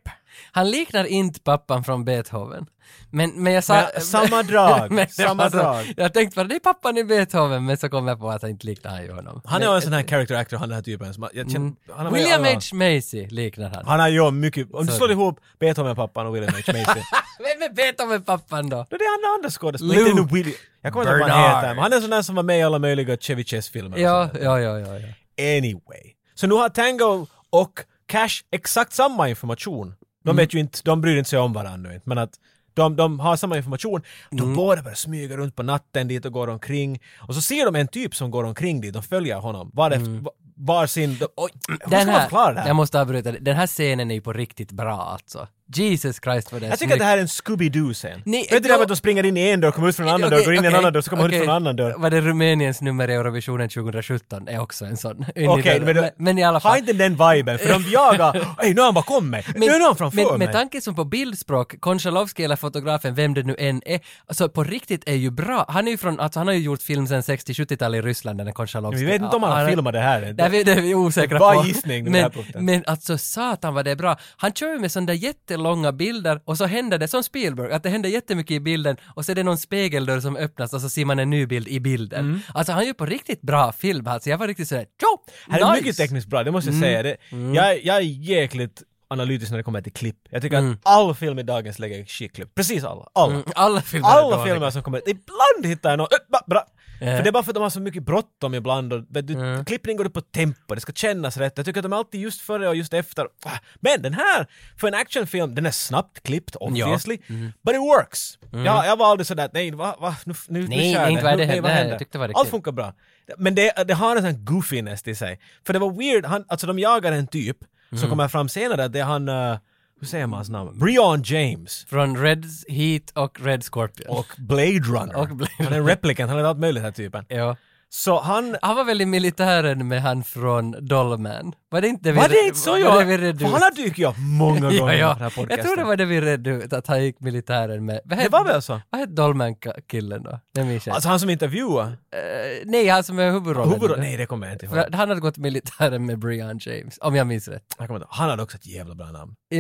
S1: Han liknar inte pappan från Beethoven. Men, men jag sa...
S2: Men samma drag,
S1: det var
S2: samma
S1: så-
S2: drag.
S1: Jag tänkte bara, det är pappan i Beethoven, men så kom jag på att han inte liknar han ju honom.
S2: Han är
S1: Men-
S2: ju en sån här character actor, han den här typen. Som, jag känner, han har med i
S1: Mm. William
S2: alla-
S1: H. Macy liknar han.
S2: Han har ju mycket, om du slår ihop Beethoven-pappan och William H. Macy.
S1: Vem är Beethoven-pappan då?
S2: Då det är han andra skådespelaren, inte
S1: Lou
S2: nu William. Jag kommer inte ihåg vad han
S1: Bernard.
S2: heter, men han är en sån där som var med i alla möjliga Chevy Chase-filmer. och
S1: Ja,
S2: sånt där.
S1: ja, ja, ja. ja.
S2: Anyway. Så nu har Tango och Cash exakt samma information. De
S1: Mm.
S2: vet ju inte, de bryr inte sig om varandra nu inte, men att de, de har samma information. De
S1: Mm.
S2: båda börjar smyga runt på natten dit och går omkring. Och så ser de en typ som går omkring dit, de följer honom. Var, det, va- var sin... De, oj, hur ska man förklara det här?
S1: Mm. Jag måste avbryta, det. den här scenen är ju på riktigt bra alltså. Jesus Christ vad det är
S2: Jag tycker att det här är en Scooby-Doo-scen.
S1: Ni-
S2: Vet du det där
S1: då- Eh,
S2: med att de springer in i en dörr, kommer ut från en annan dörr, går in i en annan dörr, så kommer de ut från en annan dörr.
S1: Var det Rumäniens nummer i Eurovisionen 2017 är också en sån. In i
S2: Okej,
S1: den.
S2: men,
S1: men, men i alla fall.
S2: Ha inte den viben, för de jagar. Ej, nu har han bara kommit. nu är någon framför
S1: men
S2: mig.
S1: med tanke som på bildspråk, Konchalovsky eller fotografen, vem det nu än är, alltså på riktigt är ju bra. Han är ju från, alltså han har ju gjort film sedan 60-70-talet i Ryssland, den här Konchalovsky.
S2: Vi vet inte om han har filmat det här.
S1: Nej, vi- det är vi osäkra
S2: Bara
S1: på.
S2: gissning på den här
S1: men,
S2: punkten.
S1: men alltså satan vad det är bra. Han kör ju med sådana där jättelånga bilder och så händer det som Spielberg, att det händer jättemycket i bilden och så är det någon spegeldörr som öppnas och så ser man en ny bild i bilden.
S2: Mm.
S1: Alltså han gör på riktigt bra film alltså. Jag var riktigt sådär tjo!
S2: Här är
S1: nice. Mm.
S2: mycket tekniskt bra, det måste jag säga. Det, jag, jag är jäkligt analytisk när det kommer till klipp. Jag tycker
S1: Mm.
S2: att all film i dagens läge är skitklipp. Precis alla. Alla.
S1: Alla filmer är
S2: Alla
S1: dåliga. Eh.
S2: filmer som kommer ibland hittar jag någon, "Ö, va, bra. För det är bara för att de har så mycket bråttom ibland och vet du, klippning går upp på tempo, det ska kännas rätt. Jag tycker att de alltid just före och just efter. Ah, Men den här, för en actionfilm, den är snabbt klippt obviously,
S1: Mm.
S2: but it works. Jag, jag var aldrig sådär, nej, va, va, nu, nu, nu
S1: Nej,
S2: kör
S1: nej,
S2: det.
S1: inte vad är
S2: Nu-
S1: det här?
S2: nej, vad
S1: Nej, jag
S2: händer?
S1: tyckte det var
S2: Allt
S1: riktigt.
S2: funkar bra. Men det, det har en sån goofiness till sig. För det var weird, han, alltså de jagar en typ
S1: Mm.
S2: som kommer fram senare, det är han, eh, hur säger man hans namn? Brian James
S1: Från Red Heat och Red Scorpion.
S2: och Blade Runner.
S1: Och Blade
S2: Han är en replikant, han är allt möjligt den här typen.
S1: Ja.
S2: Så han...
S1: Han var väl i militären med han från Dollman? Var det inte vi,
S2: Var det inte så
S1: var
S2: jag?
S1: det vi redde
S2: För han
S1: ut?
S2: har dykt upp många gånger
S1: Ja,
S2: i
S1: ja.
S2: den här podcasten.
S1: Jag tror det var det vi redde ut, att han gick militären med... Vad
S2: Det
S1: hette-
S2: var väl så?
S1: Vad hette Dolman-killen då? Den minns jag
S2: Alltså han som intervjuar.
S1: inte. Eh, Nej, han som är huvudrollen.
S2: Huvudrollen? Nej, det kommer jag inte ihåg.
S1: För Han hade gått militären med Brian James, om jag minns rätt.
S2: Jag kommer inte ihåg. Han hade också ett jävla bra namn.
S1: Jo,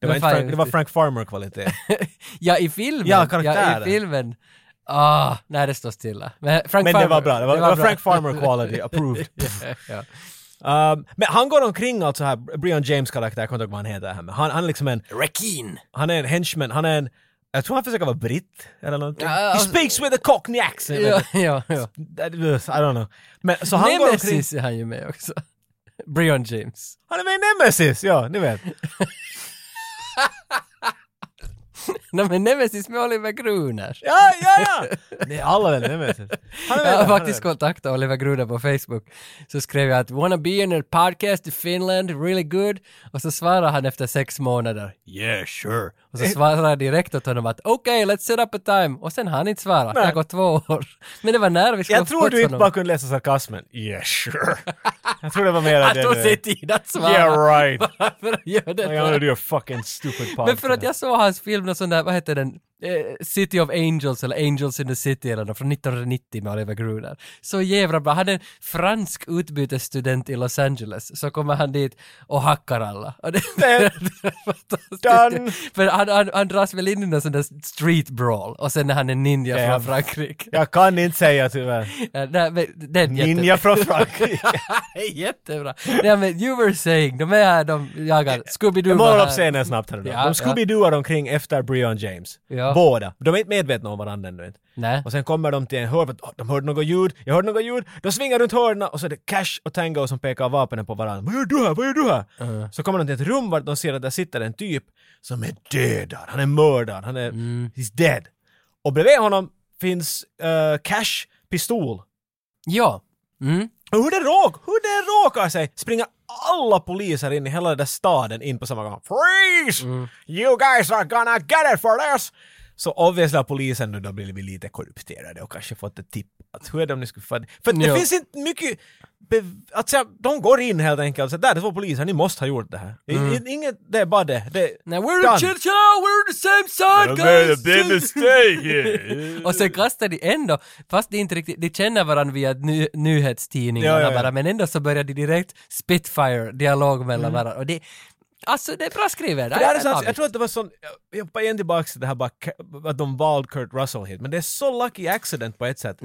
S2: Det var,
S1: Men
S2: inte
S1: fan,
S2: Frank, det var Frank Farmer-kvalitet.
S1: ja, i filmen.
S2: Ja,
S1: Ja,
S2: karaktären.
S1: i filmen. Ah, nej det står stilla. Men, Frank
S2: Men
S1: Farmer,
S2: det var bra. Det var, det var
S1: bra.
S2: Frank Farmer quality, approved.
S1: ja.
S2: Um, men han går omkring alltså här, Brian James karaktär, jag kommer inte ihåg vad han heter här, men han, han är liksom en,
S1: Rakin.
S2: han är en henchman, han är en, jag tror han försöker vara britt eller någonting.
S1: Ja,
S2: He
S1: alltså-
S2: speaks with a cockney accent.
S1: Ja, ja, ja.
S2: That was- I don't know. Men, så han går omkring,
S1: Nemesis är han ju med också. Brian James.
S2: han är med i Nemesis, ja ni vet.
S1: Nej men Nemesis med Oliver Gruner.
S2: Ja, ja, ja! Det är alla väl Nemesis. Han
S1: Jag
S2: är med där,
S1: har
S2: han är
S1: faktiskt
S2: där.
S1: kontaktat Oliver Gruner på Facebook. Så skrev jag att “Wanna be in a podcast i Finland, really good” och så svarade han efter sex månader
S2: Yeah, sure.
S1: och så svarade jag direkt åt honom att “Okej, let's set up a time” och sen har han inte svarat. Det har
S2: Nej.
S1: gått två år. Men det var när vi skulle
S2: Jag tror
S1: fått
S2: du inte
S1: honom.
S2: bara kunde läsa sarkasmen. Yeah, sure. Jag tror det var mer
S1: Han
S2: det.
S1: tog
S2: du
S1: sig
S2: vet.
S1: tid att svara.
S8: Yeah, right.
S1: Bara för att göra det
S2: I'm
S1: där.
S2: gonna do a fucking stupid podcast.
S1: Men för att jag såg hans film, någon sån där, vad heter den, eh, City of Angels eller Angels in the City eller något, från 1990 med Oliver Gruner. Så jävla bra. Han är en fransk utbytesstudent i Los Angeles, så kommer han dit och hackar alla. Och det, det är fantastiskt.
S8: Done.
S1: För han, han, han dras väl in i någon sån där street brawl och sen är han en ninja
S2: Ja,
S1: från
S2: jag-
S1: Frankrike.
S2: Jag kan inte säga tyvärr.
S1: Ja, nej, men det är jätte-
S2: Ninja från Frankrike.
S1: Jättebra. Nej men you were saying, de är här, de jagar Scooby-Doo.
S2: Jag målar
S1: var
S2: upp
S1: här.
S2: scenen snabbt här nu.
S1: Ja,
S2: de Scooby-Dooar omkring efter Brian James.
S1: Ja.
S2: Båda. De är inte medvetna om varandra ännu. inte.
S1: Nej.
S2: Och sen kommer de till en hörn, för att, "Åh, de hörde något ljud, jag hörde något ljud, de svingar runt hörnen och så är det Cash och Tango som pekar vapnen på varandra. Vad gör du här, vad gör du här?
S1: Uh-huh.
S2: Så kommer de till ett rum där de ser att där sitter en typ som är dödad, han är mördad, han är...
S1: Mm.
S2: He's dead. Och bredvid honom finns eh, Cash pistol.
S1: Ja. Mm.
S2: Och hur det, råk, hur det råkar sig springer alla poliser in i hela den där staden in på samma gång. Freeze!
S1: Mm.
S2: You guys are gonna get it for this! Så obviously har polisen nu då blivit lite korrumperade och kanske fått ett tipp att hur är det om ni skulle få det? För det
S1: Ja.
S2: finns inte mycket... bev- Att säga, de går in helt enkelt och säger där det var poliser, ni måste ha gjort det här. I- i- Inget, det är bara det. det
S1: Mm. Nej, we're
S2: done.
S1: the church, oh, we're the same side
S8: made a
S1: guys!
S8: big mistake here.
S1: Och sen kastar de ändå, fast de inte riktigt, de känner varandra via ny, nyhetstidningarna
S2: Ja, ja, ja.
S1: bara, men ändå så börjar de direkt spitfire-dialog mellan
S2: Mm.
S1: varandra. Och det, alltså det är bra skrivet.
S2: För det här är
S1: Jag-
S2: så
S1: jag
S2: här,
S1: tar
S2: jag tror att det var sån, jag hoppar igen tillbaka till det här bara, Ke- att de valde Kurt Russell hit, men det är så lucky accident på ett sätt.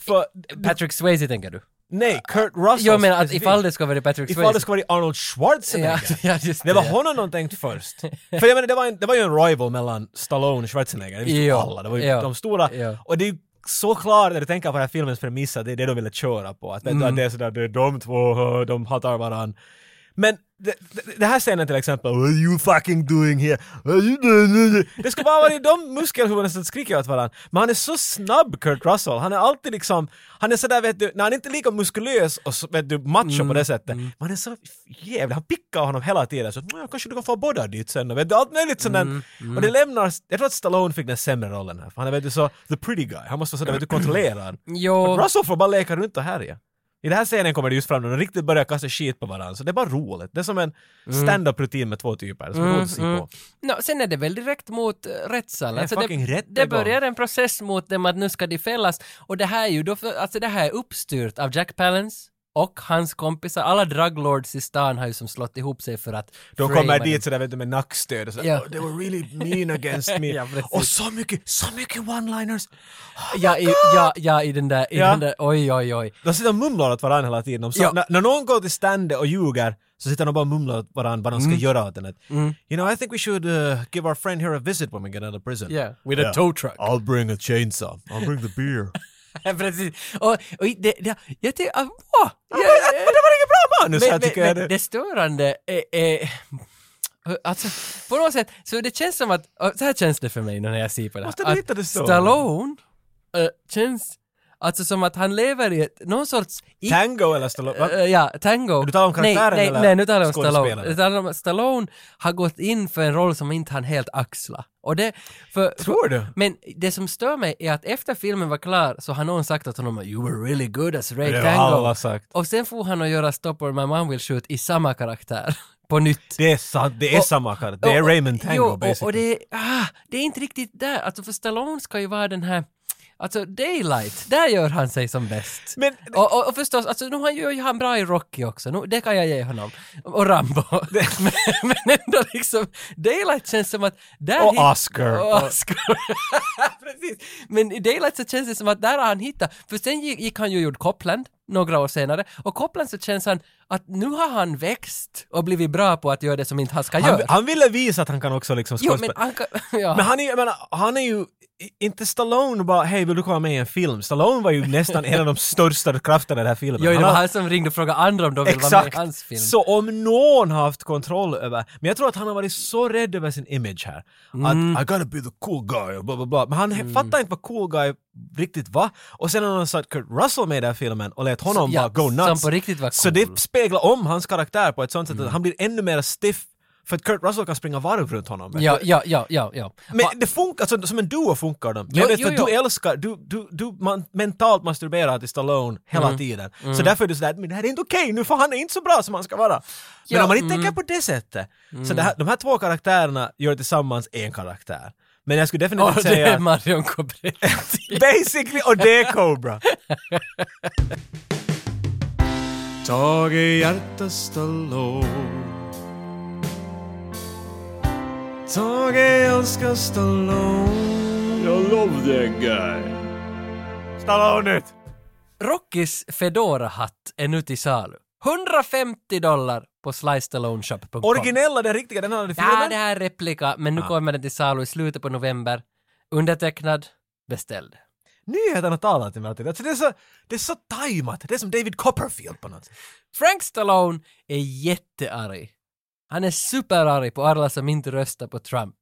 S2: För
S1: det. Patrick Swayze tänker du?
S2: Nej, Kurt Russell
S1: Mm. Jag menar att
S2: specifikt.
S1: ifall det ska vara Patrick Swayze.
S2: Ifall det ska vara
S1: ja,
S2: Arnold Schwarzenegger.
S1: ja, just
S2: Det var
S1: ja.
S2: honom de tänkt först. För jag menar, det var, en, det var ju en rival mellan Stallone och Schwarzenegger. Det visste ju
S1: Ja,
S2: alla. Det var ju
S1: ja,
S2: de stora.
S1: ja.
S2: Och det är ju så klart när du tänker på den här filmens premiss att det är det de ville köra på. Att, vet
S1: Mm.
S2: du, att det är sådär, det är de två, de hatar varann. Men det, det, det här scenen till exempel, What are you fucking doing here? What are you doing here?" Det ska bara vara de muskelhuvudena som skriker åt varandra. Men han är så snabb, Kurt Russell. Han är alltid liksom, han är sådär vet du, när han är inte lika muskulös och så, vet du, macho på det sättet. Men han är så jävla, han pickar honom hela tiden. Så "Nå, kanske du kan få båda dit sen och vet du, allt möjligt sådant. Och det lämnar, jag tror att Stallone fick den sämre rollen här. För han är vet du så, the pretty guy. Han måste vara sådär vet du, kontrollerad.
S1: Jo,
S2: Russell får bara leka runt och härja. I den här scenen kommer det just fram när de riktigt börjar kasta skit på varandra, så det är bara roligt. Det är som en
S1: Mm.
S2: stand-up-rutin med två typer, som är roligt att se på. Alltså,
S1: no, sen är det väl direkt mot eh, rättssalen.
S2: Det är
S1: Mm, Alltså
S2: fucking
S1: det,
S2: rättegång.
S1: det börjar en process mot dem att nu ska de fällas. Och det här är ju då, för, alltså det här är uppstyrt av Jack Palance och hans kompisar. Alla druglords i stan har ju som slått ihop sig för att...
S2: De
S1: frama
S2: kommer
S1: dem.
S2: dit sådär vet du med nackstöd och sådär
S1: Ja.
S2: oh, “They were really mean against me”
S1: Ja, precis.
S2: och så mycket, så mycket one-liners!
S1: Ja, i, ja, ja, i den där, i
S2: Oh Ja.
S1: den där, oj, oj, oj.
S2: De sitter och mumlar åt varandra hela tiden. De sa,
S1: Ja.
S2: när, när någon går till stande och ljuger så sitter de bara och mumlar åt varandra vad de ska
S1: Mm.
S2: göra åt den. Att, You know, I think we should uh, give our friend here a visit when we get out of prison.
S1: Yeah, with a tow truck.
S2: I'll bring a chainsaw. I'll bring the beer.
S1: Precis. Och, och i- det, det, jag tycker, ah, åh, jag-
S2: Men det var inget bra manus här
S1: men,
S2: tycker
S1: men,
S2: jag.
S1: men det störande är, är Alltså, på något sätt, så det känns som att, och så här känns det för mig nu när jag ser på det här.
S2: Måste du
S1: att
S2: hitta det störande?
S1: Stallone eh, känns, alltså som att han lever i ett, någon sorts... i-
S2: Tango eller Stallone? Va?
S1: eh, ja, tango.
S2: Du talar om
S1: nej,
S2: karaktären
S1: nej,
S2: eller
S1: nej, nu talar jag om Stallone.
S2: skådespelaren?
S1: Jag talar om, Stallone har gått in för en roll som inte han helt axla. Och det, för,
S2: Tror du?
S1: men det som stör mig är att efter filmen var klar så har någon sagt åt honom “You were really good as Ray
S2: Det har
S1: Tango”.
S2: alla sagt.
S1: Och sen får han att göra “Stop or my mom will shoot” i samma karaktär. På nytt.
S2: Det är, sant, det är
S1: Och-
S2: samma karaktär. Det är
S1: Och- och-
S2: Raymond Tango
S1: jo, och,
S2: basically.
S1: och det, är- ah, det är inte riktigt där. Alltså för Stallone ska ju vara den här Alltså Daylight, där gör han sig som bäst.
S2: Men-
S1: och, och, och förstås, alltså nu han gör ju han bra i Rocky också, nu, det kan jag ge honom. Och Rambo. men, men ändå liksom, Daylight känns som att... Där
S2: Och
S1: hit-
S2: Oscar.
S1: Och Oscar. Precis. Men i Daylight så känns det som att där har han hittat, för sen gick, gick han ju och gjorde Copland några år senare, och Copland så känns han att nu har han växt och blivit bra på att göra det som inte han ska
S2: Han,
S1: göra.
S2: han ville visa att han kan också liksom
S1: Jo, men
S2: skådespela.
S1: han kan... Ja.
S2: Men han är, ju- jag menar, han är ju, i- inte Stallone bara hej vill du komma med i en film? Stallone var ju nästan en av de största krafterna i den här filmen.
S1: Jo, det
S2: Han
S1: var
S2: har-
S1: han som ringde och frågade andra om de ville vara med
S2: Exakt!
S1: i hans film.
S2: Så om någon har haft kontroll över, men jag tror att han har varit så rädd över sin image här.
S1: Mm.
S2: Att I gotta be the cool guy och bla bla bla. Men han fattar inte vad cool guy riktigt var. Och sen har han satt Kurt Russell med i den här filmen och lät honom
S1: ja,
S2: bara go
S1: som
S2: nuts.
S1: på riktigt var
S2: Så
S1: cool. Mm.
S2: det speglar om hans karaktär på ett sånt sätt att han blir ännu mer stiff. För att Kurt Russell kan springa varv runt honom.
S1: Ja, ja, ja, ja, ja.
S2: Men
S1: Va-
S2: det funkar, alltså, som en duo funkar de. Men
S1: Jo,
S2: jag vet
S1: jo,
S2: att
S1: jo.
S2: du älskar, du, du, du man, mentalt masturberar till Stallone hela
S1: Mm.
S2: tiden. Så därför är du sådär, men det här är inte okej nu för han är inte så bra som han ska vara. Men
S1: Ja,
S2: om man inte
S1: mm.
S2: tänker på det sättet, så det här, de här två karaktärerna gör tillsammans en karaktär. Men jag skulle definitivt
S1: och det
S2: säga
S1: är
S2: att
S1: Marion Cobretti.
S2: basically, och det är Cobra.
S9: Tage Hjärta Stallone Tage älskar Stallone
S8: I love that guy.
S2: Stallone ut!
S1: Rockys Fedora-hatt är nu till salu. 150 dollar på slicestalloneshop.com.
S2: Originella, den riktiga, den hade filmen.
S1: Ja, det här är replika, men nu kommer den till salu i slutet på november. Undertecknad, beställd.
S2: Nyheterna talar till mig alltid. Alltså, det, är så, det är så tajmat, det är som David Copperfield på något sätt.
S1: Frank Stallone är jättearg. Han är superarg på alla som inte röstar på Trump.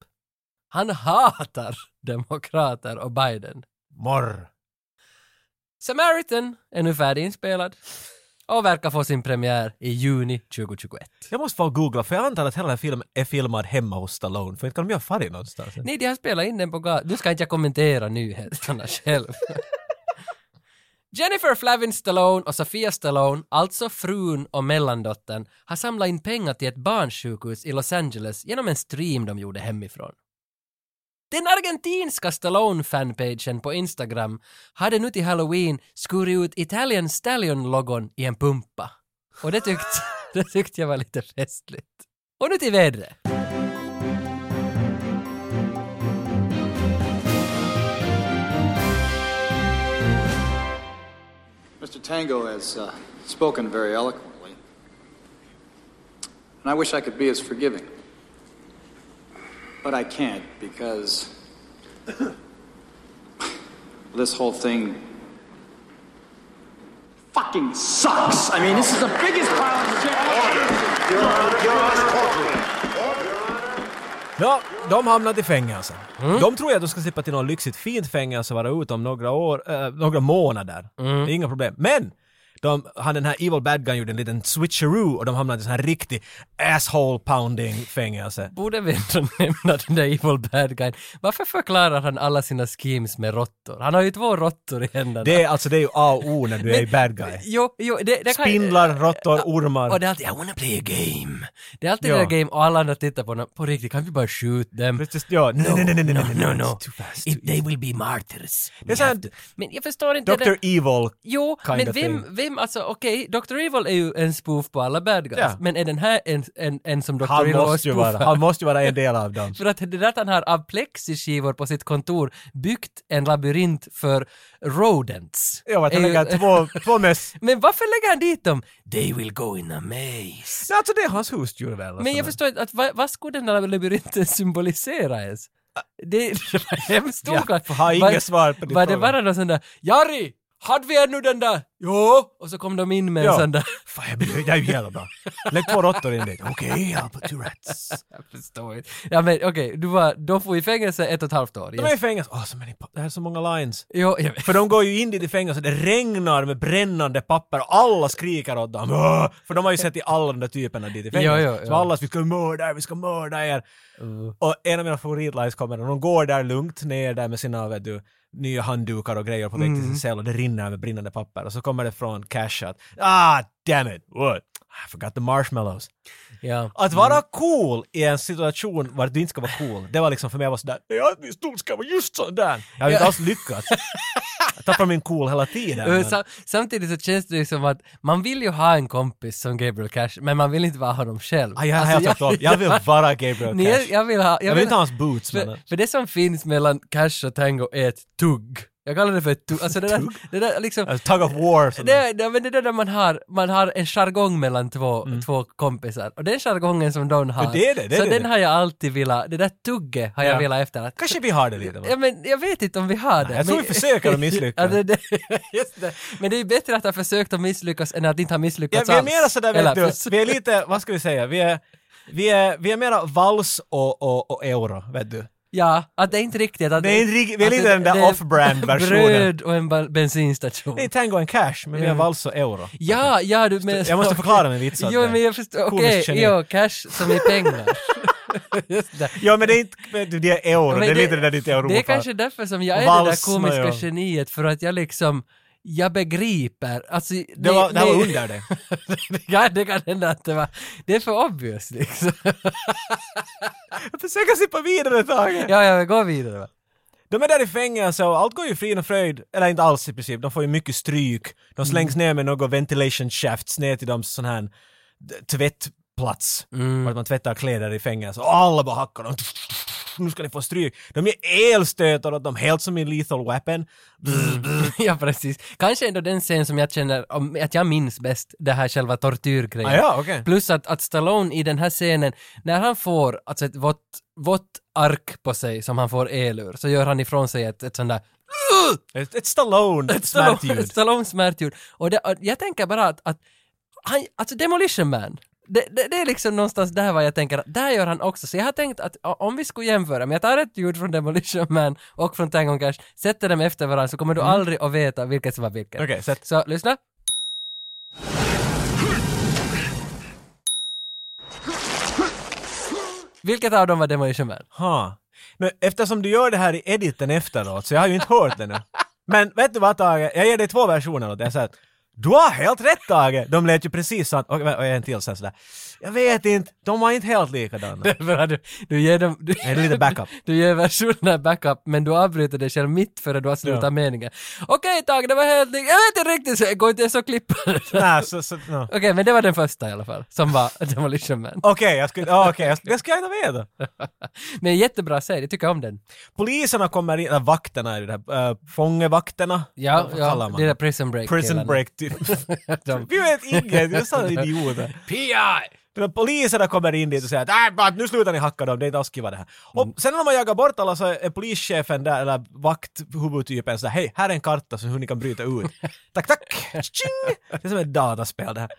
S1: Han hatar demokrater och Biden.
S2: Morr.
S1: Samaritan är nu färdiginspelad och verkar få sin premiär i juni 2021.
S2: Jag måste få googla, för jag antar att hela den här filmen är filmad hemma hos Stallone, för inte kan de göra färg någonstans.
S1: Nej, de har spelat in den på gatan. Nu ska inte jag kommentera nyheterna själv. Jennifer Flavin Stallone och Sofia Stallone, alltså frun och mellandottern, har samlat in pengar till ett barnsjukhus i Los Angeles genom en stream de gjorde hemifrån. Den argentinska Stallone-fanpagen på Instagram hade nu till Halloween skurit ut Italian Stallion-logon i en pumpa. Och det tyckte, det tyckte jag var lite festligt. Och nu till vädret.
S10: Mr. Tango has uh, spoken very eloquently, and I wish I could be as forgiving. But I can't because this whole thing fucking sucks. I mean, this is the biggest pile of shit I've ever
S2: Ja, de hamnat i fängelse.
S1: Mm.
S2: De tror ju att de ska slippa till något lyxigt fint fängelse och vara ute om några år, eh, några månader.
S1: Mm.
S2: Det är inga problem. Men! De, han den här evil bad guy gjorde en liten switcheroo och de hamnade i sån här riktig asshole pounding fängelse.
S1: Borde vi ändå nämna den där evil bad guyn? Varför förklarar han alla sina schemes med råttor? Han har ju två råttor i händerna.
S2: Det är alltså, det är ju A och O när du är bad guy.
S1: Jo, jo, det, det kan...
S2: Spindlar, råttor, ormar.
S1: Och det är alltid I wanna play a game. Det är alltid
S2: Ja.
S1: det där game och alla andra tittar på honom. På riktigt, kan vi bara skjuta dem?
S2: Precis, ja. Nej, nej, nej, nej, nej, nej,
S1: no,
S2: nej,
S1: no.
S2: it's too fast,
S1: If they will be martyrs.
S2: Det är så
S1: We
S2: här-
S1: have to- Men jag förstår inte
S2: Dr.
S1: det.
S2: Evil.
S1: Jo,
S2: kind
S1: men
S2: of
S1: vem, vem, alltså okej, Dr. Evil är ju en spoof på alla bad guys.
S2: Ja.
S1: Men är den här en, en, en som Dr.
S2: Han
S1: Evil var
S2: måste ju
S1: spoof
S2: vara,
S1: för?
S2: han måste ju vara en del av dem.
S1: För att det där att han har av plexiskivor på sitt kontor byggt en labyrint för rodents.
S2: Ja, att han
S1: Är ju-
S2: lägger två, två möss.
S1: Men varför lägger han dit dem? They will go in a maze.
S2: Nej, alltså det är hans husdjur väl? alltså.
S1: Men jag förstår inte, att, vad, vad skulle den där labyrinten symbolisera ens? Det, det var hemskt
S2: Ja,
S1: oklart.
S2: jag har
S1: Var-
S2: inget svar på din
S1: Var det
S2: fråga.
S1: bara någon sån där ”Jari, hade vi ännu den där?” ”Jo!” Och så kom de in med en
S2: Ja.
S1: sån där...
S2: Fan, jag blir, det är ju jävla bra. Lägg två råttor in dit. Okej, jag har two rats.
S1: Jag förstår inte. Ja men okej, du var, de får i fängelse ett och ett halvt år.
S2: De är i fängelse. Åh, så many pa- det här är så många lines.
S1: Jo, jag vet.
S2: För de går ju in dit i fängelse, det regnar med brännande papper och alla skriker åt dem. Åh! För de har ju sett i alla de där typerna dit i fängelse.
S1: Ja, Uh. ja, ja.
S2: Så alla, vi ska mörda er, vi ska mörda er. Och en av mina favoritlines kommer när de går där lugnt ner där med sina, vet du, nya handdukar och grejer på väg
S1: Mm.
S2: till sin cell och det rinner med brinnande papper. Och så kommer det från Cash att ah, damn it, what? I forgot the marshmallows.
S1: Ja.
S2: Att vara cool i en situation var du inte ska vara cool, det var liksom för mig jag var sådär, jag min stol ska vara just sån där. Jag har ju inte alls lyckats. Jag tappar min cool hela tiden.
S1: Men
S2: men-
S1: sam- Samtidigt så känns det ju som att man vill ju ha en kompis som Gabriel Cash, men man vill inte vara honom själv. Alltså,
S2: Ah, jag har helt tvärtom. Jag vill vara Gabriel
S1: Nej,
S2: Cash.
S1: Jag vill, ha,
S2: Jag vill inte ha hans boots,
S1: För,
S2: men-
S1: för det som finns mellan Cash och Tango är ett tugg. Jag kallar det för ett tugg. Alltså det där, det där liksom...
S2: Alltså, Tug of war. som-
S1: Det, det, men det är där man har, man har en jargong mellan två, två kompisar. Och den jargongen som Don har,
S2: Ja, Mm. det är det, det
S1: så
S2: är det.
S1: den har jag alltid velat, det där tugget har jag
S2: Ja.
S1: velat efter. Att,
S2: Kanske vi har det lite. va?
S1: Ja, men jag vet inte om vi har det.
S2: jag tror
S1: men-
S2: vi försöker och misslyckas.
S1: Ja, det, det, just det. Men det är ju bättre att ha försökt och misslyckats än att inte ha
S2: Ja,
S1: misslyckats
S2: vi är
S1: alls.
S2: mera sådär, vet
S1: Eller
S2: du,
S1: försökt.
S2: Alltså, vi är lite, vad ska vi säga, vi är, vi är, vi är mera vals och, och, och euro, vet du.
S1: Ja, att det är inte riktigt. Att
S2: Det är inte riktigt- vi är
S1: att
S2: lite
S1: det-
S2: den där
S1: det är
S2: off-brand versionen.
S1: Bröd och en ba- bensinstation.
S2: Det är tango and cash, men vi är
S1: Ja.
S2: vals och euro.
S1: Ja, ja du menar...
S2: Jag måste förklara min vits åt
S1: Jo,
S2: dig.
S1: men jag förstår. Okej,
S2: Komiskt geni.
S1: jo, cash som är pengar. Just det.
S2: Ja men det är inte, vet du, det är euro,
S1: Men
S2: det, är lite det där ditt euro
S1: Det är kanske därför som jag är det där
S2: Valsna,
S1: komiska
S2: ja.
S1: geniet, för att jag liksom, jag begriper. Alltså,
S2: det, var, det här var under det.
S1: ja, det kan hända att det var, det är för obvious liksom.
S2: Jag försöker slippa vidare Tage!
S1: ja, ja, men gå vidare. va.
S2: De är där i fängelse och allt går ju frid och fröjd, eller inte alls i princip, de får ju mycket stryk.
S1: Mm.
S2: De slängs ner med några ventilation shafts ner till deras sån här d- tvättplats.
S1: Mm.
S2: Vart man tvättar kläder i fängelse och alla bara hackar dem. Nu ska ni få stryk. De ger elstötar åt dem helt som i Lethal Weapon.
S1: ja, precis. Kanske ändå den scen som jag känner, om- att jag minns bäst, det här själva tortyrgrejen.
S2: Ah, ja, okej.
S1: Plus att, att Stallone i den här scenen, när han får alltså ett vått, vått ark på sig som han får el ur, så gör han ifrån sig ett, ett sånt där
S2: Ett, ett Stallone ett
S1: Stallone-
S2: smärtljud.
S1: Stallone smärtljud. Och det, och jag tänker bara att, att han, alltså Demolition Man, det, det, det är liksom någonstans där vad jag tänker att där gör han också. Så jag har tänkt att o- om vi skulle jämföra, men jag tar ett ljud från Demolition Man och från Tango Cash, sätter dem efter varandra så kommer du aldrig att veta vilket som var vilket.
S2: Mm. Okej, sätt.
S1: Så lyssna. Vilket av dem var Demolition Man?
S2: Ha. Men eftersom du gör det här i editen efteråt, så jag har ju inte hört det nu. Men vet du vad Tage, jag ger dig två versioner åt det. Jag säger att Du har helt rätt Tage! De lät ju precis så att, och, och en till så här, sådär. Jag vet inte, de var inte helt likadana.
S1: För att du, du ger dem... Du,
S2: Är det lite backup?
S1: Du ger versionen av backup, men du avbryter dig själv mitt före du har slutat
S2: Ja.
S1: meningen. Okej Tage, det var helt... Jag vet inte riktigt, så jag går inte ens att klippa det. Okej,
S2: Nej, så, så, no. Okej,
S1: men det var den första i alla fall, som var liksom Demolition Man.
S2: jag skulle, ja, okej, jag, det ska jag inte veta.
S1: Men jättebra säg, jag tycker om den.
S2: Poliserna kommer in, eller vakterna är det där, äh, fångevakterna?
S1: Ja,
S2: Vad kallar
S1: ja
S2: man
S1: det där
S2: dem?
S1: Prison Break
S2: Prison break typ.
S1: De-
S2: Vi vet inget, det är sådana idioter.
S1: PI!
S2: Men poliserna kommer in dit och säger att "Nej, bara, nu slutar ni hacka dem, det är taskigt vad det här.
S1: Mm.
S2: Och sen när man jagar bort alla så är polischefen där, eller vakthuvudtypen sådär, hej, här är en karta som hur ni kan bryta ut. tack, tack! Tjing! Det är som ett dataspel det här.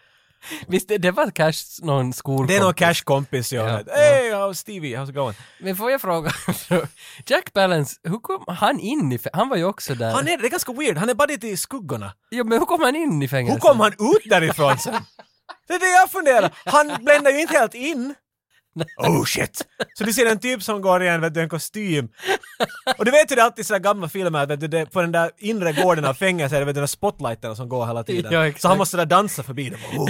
S1: Visst, det, det var Cash någon skolkompis?
S2: Det är någon cash-kompis jag
S1: Ja,
S2: har. Hey, how's Stevie, how's it going?
S1: Men får jag fråga, Jack Palance, hur kom han in i fä- Han var ju också där.
S2: Han är, det är ganska weird, han är bara lite i skuggorna.
S1: Jo, men hur kom han in i fängelset?
S2: Hur kom han ut därifrån sen? Det är det jag funderar. Han bländar ju inte helt in. Oh shit! Så du ser en typ som går i en, vet du, en kostym. Och du vet hur det är alltid i sådana gamla filmer, vet du, det, på den där inre gården av fängelset, vet du, de där spotlighterna som går hela tiden.
S1: Ja, exakt.
S2: så han måste där dansa förbi dem. Oh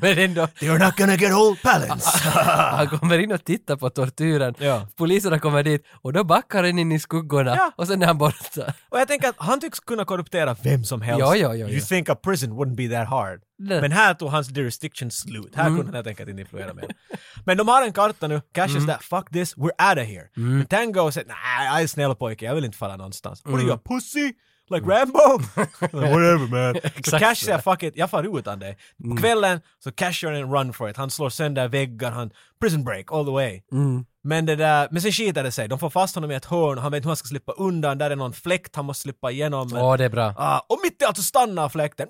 S1: Men ändå,
S2: You're not gonna get old balance!
S1: Han kommer in och tittar på tortyren.
S2: Ja.
S1: Poliserna kommer dit och då backar han in i skuggorna
S2: Ja.
S1: och sen är han borta.
S2: Och jag tänker att han tycks kunna korruptera vem som helst.
S1: Ja, ja, ja,
S2: You
S1: ja.
S2: think a prison wouldn't be that hard.
S1: Det-
S2: Men här tog hans jurisdiction slut. Här kunde han helt enkelt inte influera mer. Men de har en karta nu. Cash is that, fuck this, we're out of here. Men Tango säger nej, jag är snäll pojke, jag vill inte falla någonstans. What are you, a pussy? Like Rambo? like, whatever man. så Cash säger fuck it, jag far utan dig. På kvällen så Cash gör en run for it. Han slår sönder väggar, han prison break all the way. Men, det där, men sen skiter det sig. De får fast honom i ett hörn och han vet inte hur han ska slippa undan. Där är någon fläkt han måste slippa igenom. men-
S1: Åh, det är bra.
S2: Ah, och mitt i allt så stannar fläkten.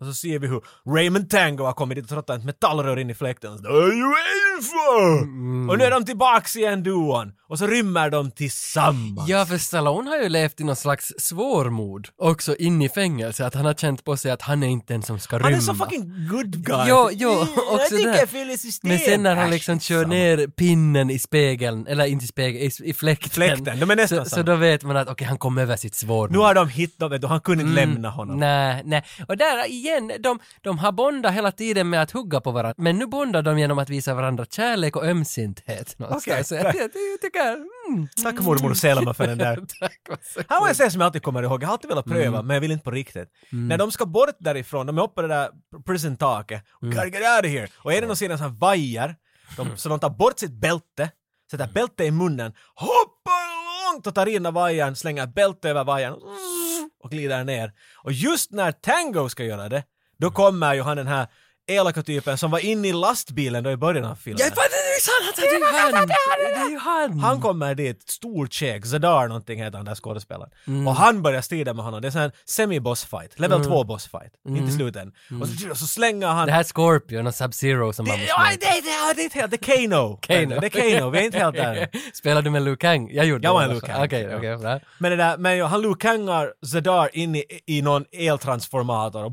S2: Och så ser vi hur Raymond Tango har kommit dit och trottat ett metallrör in i fläkten. Och så, "Are you in for?"
S1: Mm.
S2: Och nu är de tillbaks igen duon. Och så rymmer de tillsammans.
S1: Ja, för Stallone har ju levt i någon slags svårmod också in i fängelse. Att han har känt på sig att han är inte den som ska rymma.
S2: Han är så fucking good guy.
S1: Jo, jo,
S2: Mm,
S1: också
S2: Jag tycker
S1: det.
S2: jag fyller system.
S1: Men sen när han
S2: Äsch,
S1: liksom kör
S2: samma.
S1: ner pinnen i spegeln, eller inte i spegeln, i, i fläkten.
S2: Fläkten, de är nästan
S1: så, så
S2: samma.
S1: då vet man att okej, han kom över sitt svårmod. Mm,
S2: Nu har de hittat, vet du, han kunde inte lämna honom.
S1: Nej, nej. Och där igen, de, de har bondat hela tiden med att hugga på varandra, men nu bondar de genom att visa varandra kärlek och ömsinthet någonstans. Så
S2: Okej,
S1: jag, jag, jag tycker... Mm.
S2: Tack mormor Selma för den där.
S1: Tack, vad så
S2: Här var en scen som jag alltid kommer ihåg, jag har alltid velat pröva men jag vill inte på riktigt. När de ska bort därifrån, de är uppe på det där prison-taket, gotta get out of here! Och är det någon sidan som vajar, de, så de tar bort sitt bälte, sätter bältet i munnen, hoppar långt och tar in av vajern, slänger ett bälte över vajern och glider ner. Och just när Tango ska göra det, då kommer ju han den här elaka typen som var inne i lastbilen då i början av filmen.
S1: Jag fattar inte, det är ju han! Det är ju han!
S2: Han kommer dit, stor check, Zadar någonting heter han där skådespelaren.
S1: Mm.
S2: Och han börjar strida med honom. Det är sån här semi-boss fight, level 2 boss fight. Inte slut än. Och så, så slänger han...
S1: Mm. Det här är Scorpion och Sub-Zero som
S2: det,
S1: man måste
S2: det, det, det, det är inte helt... Det är Kano.
S1: Kano.
S2: Det är Kano, vi är inte helt där.
S1: Spelade du med Liu Kang? Jag gjorde
S2: Jag var
S1: det.
S2: en Liu Kang.
S1: Okej, okej, bra.
S2: Men, det där, men ja, han lukangar Zadar in i, i någon eltransformator och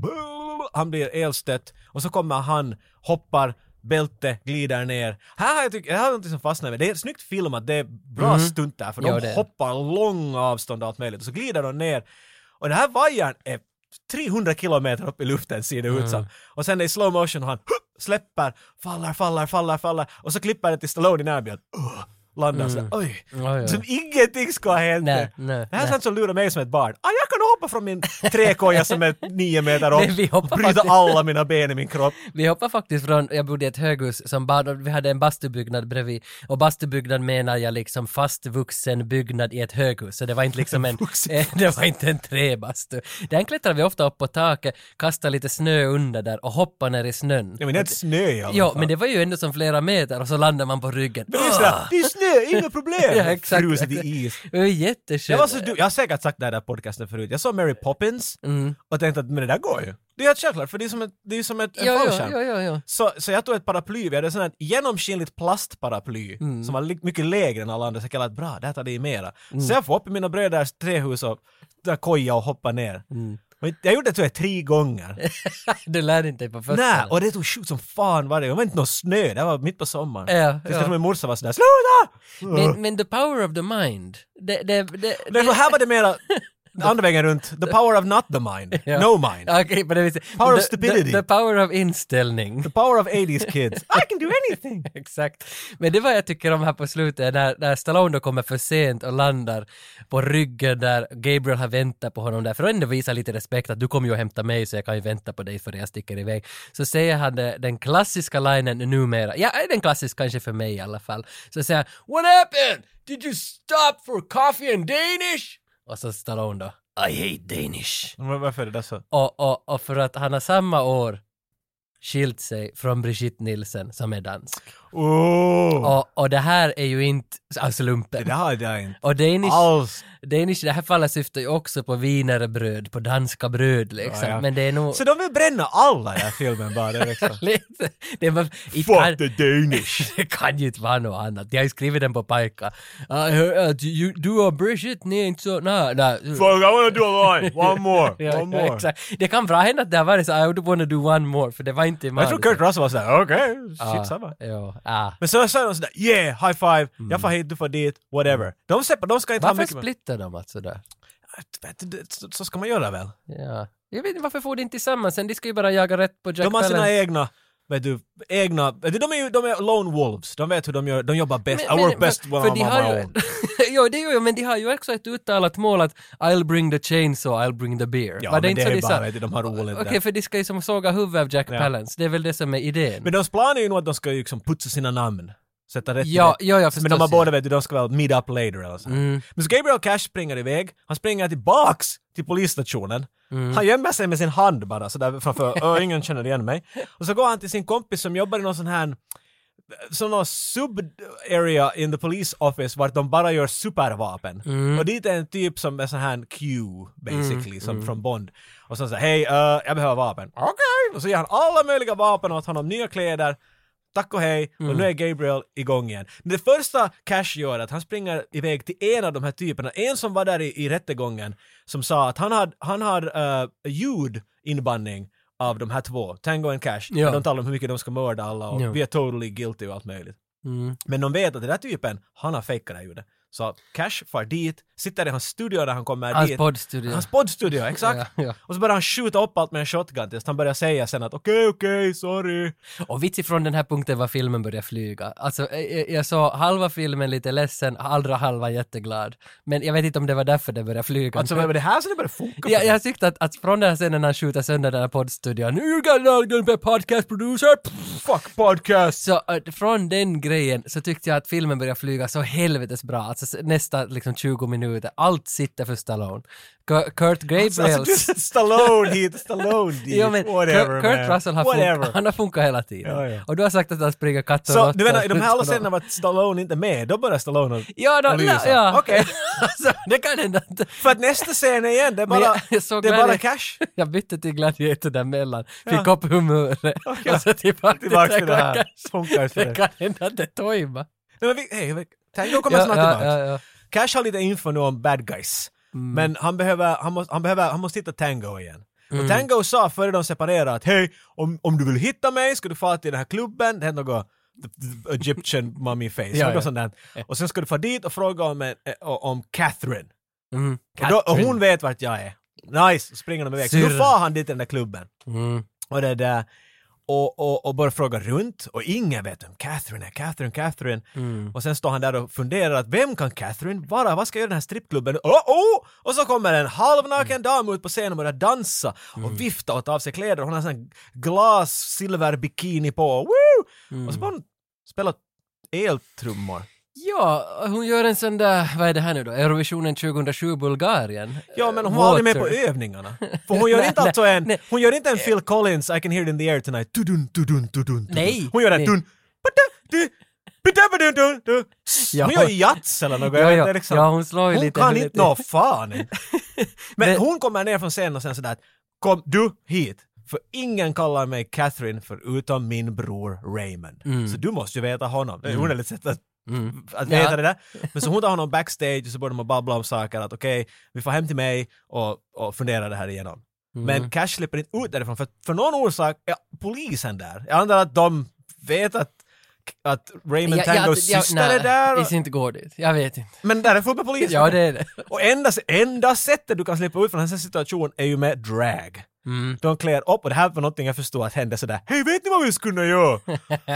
S2: han blir elstött och så kommer han, hoppar, bälte, glider ner. Här har jag tyckt, här har jag någonting som fastnar med. Det är snyggt filmat, det är bra stunt där för de
S1: Mm. Ja, det är det.
S2: hoppar långa avstånd och allt möjligt och så glider de ner. Och den här vajern är 300 kilometer upp i luften ser det
S1: Mm.
S2: ut som. Och sen det är slow motion och han släpper, faller, faller, faller, faller och så klipper det till Stallone i närbild. Uh, landar sådär,
S1: Mm.
S2: oj.
S1: Oj, oj.
S2: Som ingenting ska ha hänt.
S1: Nej, nej,
S2: det här är
S1: nej.
S2: sånt som lurar mig som ett barn. Ah, jag kan hoppa från min träkoja som är nio meter
S1: Men vi
S2: upp och
S1: hoppar
S2: bryta
S1: faktiskt-
S2: alla mina ben i min kropp.
S1: Vi hoppar faktiskt från, jag bodde i ett höghus som bara, vi hade en bastubyggnad bredvid och bastubyggnad menar jag liksom fastvuxen byggnad i ett höghus så det var inte liksom en, eh, det var inte en träbastu. Den klättrade vi ofta upp på taket, kastade lite snö under där och hoppade ner i snön.
S2: Ja, men det är inte snö i alla
S1: Ja,
S2: fall.
S1: men det var ju ändå som flera meter och så landade man på ryggen.
S2: Men det är sådär, det är snö, inga problem!
S1: Ja, exakt.
S2: Frusit i is.
S1: Det var jätteskönt.
S2: Jag, var så, du- jag har säkert sagt det här i podcasten förut. Jag såg Mary Poppins
S1: Mm.
S2: och tänkte att men det där går ju. Det är helt självklart, för det är som, ett, det är som ett, en
S1: Ja, ja,
S2: fallskärm.
S1: ja, ja, ja.
S2: Så, så jag tog ett paraply, vi hade ett sånt här genomskinligt plastparaply
S1: Mm.
S2: som var li- mycket lägre än alla andra, så jag kallade att bra, där tar det i mera. Så jag får upp i mina bröders trähus och där koja och hoppa ner.
S1: Mm.
S2: Och jag gjorde det tror jag tre gånger.
S1: Du lärde inte dig på första.
S2: Nej, och det tog sjukt som fan var det. Det var inte någon snö, det var mitt på sommaren.
S1: Ja,
S2: Tills
S1: ja.
S2: ja. min morsa var sådär ”Sluta!”
S1: Men, men the power of the mind. Det, det, det,
S2: Men så här var det mera andra vägen runt, the power of not the mind,
S1: Ja.
S2: no mind.
S1: Okej, på det viset.
S2: Power of
S1: The-
S2: stupidity.
S1: The, the power of inställning.
S2: The power of 80s kids. I can do anything!
S1: Exakt. Men det var jag tycker om här på slutet, när, när Stallone då kommer för sent och landar på ryggen där Gabriel har väntat på honom där, för att ändå visa lite respekt att du kommer ju och hämta mig så jag kan ju vänta på dig före jag sticker iväg. Så säger han det, den klassiska linen numera, ja den klassiska kanske för mig i alla fall, så säger han “What happened? Did you stop for coffee and Danish?” Och så Stallone då “I hate Danish”
S2: Men Varför är det där så?
S1: och, och, och för att han har samma år skilt sig från Brigitte Nielsen som är dansk.
S2: Oh.
S1: Och, och det här är ju inte av
S2: Det
S1: slumpen.
S2: där hade jag inte
S1: Och Danish,
S2: alls
S1: Danish i det här fallet syftar ju också på vinerbröd, på danska bröd liksom.
S2: Ja, ja.
S1: Men det är nog...
S2: Så de vill bränna alla i den här filmen bara. Det är liksom.
S1: Lite- det var, it
S2: Fuck
S1: kan,
S2: the Danish!
S1: det kan ju inte vara något annat. Jag har ju skrivit den på pajka. I heard att you- du och Brigitte, ni är inte så... Nej, nej.
S2: Fuck, I wanna do a line! One more!
S1: Ja,
S2: One
S1: ja,
S2: more!
S1: exakt. Det kan bra hända att det har varit så I would wanna do one more, för det var inte i
S2: Jag tror
S1: manuset.
S2: Kurt Russell var sådär, okej,
S1: Ja,
S2: shit samma.
S1: Ja, ah.
S2: Men så sa de sådär, yeah, high five, jag får hit, du får dit, whatever. De, separ, de ska inte
S1: Mm. Varför
S2: ha mycket...
S1: splittar de alltså där?
S2: Vet du, det- så- Så ska man göra väl?
S1: Ja. Jag vet inte varför får de inte tillsammans sen, de ska ju bara jaga rätt på Jack
S2: De har sina
S1: Palance.
S2: egna, vet du, egna... vet du, De är ju de är lone wolves, de vet hur de gör, de jobbar bäst. I work best when
S1: för de
S2: I'm on
S1: har
S2: my
S1: ju,
S2: own.
S1: jo, det gör jag, men de har ju också ett uttalat mål att I'll bring the chainsaw, I'll bring the beer.
S2: Ja,
S1: Var
S2: men det
S1: inte så
S2: är
S1: de
S2: bara,
S1: sa?
S2: vet du, de har roligt
S1: Okej,
S2: där.
S1: för de ska ju som såga huvudet av Jack
S2: Ja.
S1: Palance, det är väl det som är idén.
S2: Men deras plan är ju nog att de ska ju liksom putsa sina namn. Sätta rätt i
S1: Ja,
S2: det.
S1: ja, ja,
S2: Men de har
S1: förstås, ja.
S2: båda vet du, de ska väl meet up later eller så.
S1: Mm.
S2: Men så Gabriel Cash springer iväg, han springer tillbaks till polisstationen.
S1: Mm.
S2: Han gömmer sig med sin hand bara sådär framför, "Ö, ingen känner igen mig. Och så går han till sin kompis som jobbar i någon sån här som någon sub-area in the police office vart de bara gör supervapen.
S1: Mm.
S2: Och dit är en typ som är sån här Q basically, som
S1: mm.
S2: från Bond. Och så säger hej, eh, jag behöver vapen. Okej! Och så ger han alla möjliga vapen åt honom, nya kläder, tack och hej,
S1: Mm.
S2: och nu är Gabriel igång igen. Det första Cash gör är att han springer iväg till en av de här typerna, en som var där i, i rättegången, som sa att han hade han had, uh, ljud inbandning av de här två, Tango och Cash,
S1: Ja.
S2: ja. de talar om hur mycket de ska mörda alla och
S1: Ja.
S2: vi är totally guilty och allt möjligt.
S1: Mm.
S2: Men de vet att den där typen, han har fejkat det här ljudet. Så Cash far dit, sitter i hans studio när han kommer
S1: Hans
S2: dit.
S1: poddstudio.
S2: Hans poddstudio, exakt.
S1: Ja, ja.
S2: Och så börjar han skjuta upp allt med en shotgun tills han börjar säga sen att okej, okej, sorry.
S1: Och vits ifrån den här punkten var filmen började flyga. Alltså, jag, jag såg halva filmen lite ledsen, andra halvan jätteglad. Men jag vet inte om det var därför det började flyga.
S2: Alltså men det här så det börjar funka.
S1: jag, jag tyckte att, att från den här scenen när han skjuter sönder den här poddstudion, you got gonna be a podcast producer!
S2: Fuck podcast!
S1: Så eh, från den grejen så tyckte jag att filmen började flyga så helvetes bra. Alltså s- nästa liksom 20 minuter, allt sitter för Stallone. Ku- Kurt Gabriels...
S2: Alltså, du, dus Stallone hit, Stallone dit,
S1: Jo, men Kurt,
S2: whatever
S1: Kurt
S2: man.
S1: Russell har,
S2: whatever.
S1: funkat, han har funkat hela tiden.
S2: Ja, ja.
S1: Och du har sagt att han springer katt och
S2: Så
S1: råtta
S2: du menar
S1: och
S2: i nou de här alla
S1: struts på
S2: scenerna var Stallone inte med, då börjar Stallone och,
S1: Ja, då,
S2: och lysa.
S1: ja.
S2: Okej.
S1: alltså, det kan hända inte.
S2: För att nästa scen igen, det är
S1: Men
S2: bara,
S1: jag såg
S2: det är
S1: Gladi-
S2: bara cash.
S1: Jag bytte till Gladiator däremellan,
S2: Ja.
S1: fick upp humöret
S2: Okej.
S1: och så tillbaka,
S2: Tillbaks till det här.
S1: Gladiator.
S2: Funkar för
S1: Det
S2: det.
S1: kan hända att det tojmar.
S2: Nej, men vi, hej, vi- Tango kommer snart
S1: ja,
S2: tillbaka.
S1: ja, ja.
S2: Cash har lite info nu om bad guys.
S1: Mm.
S2: Men han behöver, han måste, han behöver, han måste hitta Tango igen.
S1: Mm.
S2: Och Tango sa före de separerade att hej, om, om du vill hitta mig ska du fara till den här klubben, det hände något the- the Egyptian mummy face,
S1: Ja,
S2: något
S1: ja.
S2: sånt där. Och sen ska du fara dit och fråga om, en, eh, om Catherine.
S1: Mm.
S2: Och, då, och hon vet vart jag är. Nice! Så springer de iväg. Så då
S1: Syrra.
S2: far han dit till den där klubben.
S1: Mm.
S2: Och det där. Och, och, och börjar fråga runt och ingen vet vem Catherine är, Catherine, Catherine. Och sen står han där och funderar att vem kan Catherine vara? Vad ska jag göra i den här strippklubben? Oh, oh! Och så kommer en halvnaken dam ut på scenen och börjar dansa och vifta och ta av sig kläder. Hon har en sån här glas silverbikini på. Woo! Och så bara hon spela eltrummor.
S1: Ja, hon gör en sån där, vad är det här nu då, Eurovisionen 2007 Bulgarien?
S2: Ja, men hon
S1: Eh,
S2: var aldrig med
S1: Water.
S2: på övningarna. För hon gör
S1: Nej,
S2: inte alltså en,
S1: nej.
S2: hon gör inte en Phil Collins, I can hear it in the air tonight. Tudun, tudun, tudun, tudun.
S1: Nej,
S2: Hon gör en
S1: nej.
S2: dun, pata, du, pata, pata, dun, dun.
S1: Ja.
S2: Hon gör jazz eller något. jag
S1: Ja,
S2: vet
S1: ja.
S2: inte liksom.
S1: Ja, hon slår ju
S2: Hon
S1: lite-
S2: kan
S1: lite-
S2: inte nå fan. Men,
S1: Men-
S2: hon kommer ner från scenen och sen sådär, att, kom du hit. För ingen kallar mig Catherine förutom min bror Raymond.
S1: Mm.
S2: Så du måste ju veta honom. Det är underligt sätt att att veta
S1: Ja.
S2: det där. Men så hon tar honom backstage och så börjar de att babbla om saker att okej, vi får hem till mig och, och fundera det här igenom.
S1: Mm.
S2: Men Cash slipper inte ut därifrån för att för någon orsak är polisen där. Jag antar att de vet att, att Raymond Tangos syster är där.
S1: Nej, det inte går dit. Jag vet inte.
S2: Men där är fullt med poliser.
S1: Ja, det är det.
S2: Och enda, enda sättet du kan slippa ut från den här situationen är ju med drag.
S1: Mm.
S2: De klär upp och det här var någonting jag förstår att hände sådär. Hej, vet ni vad vi skulle kunna göra?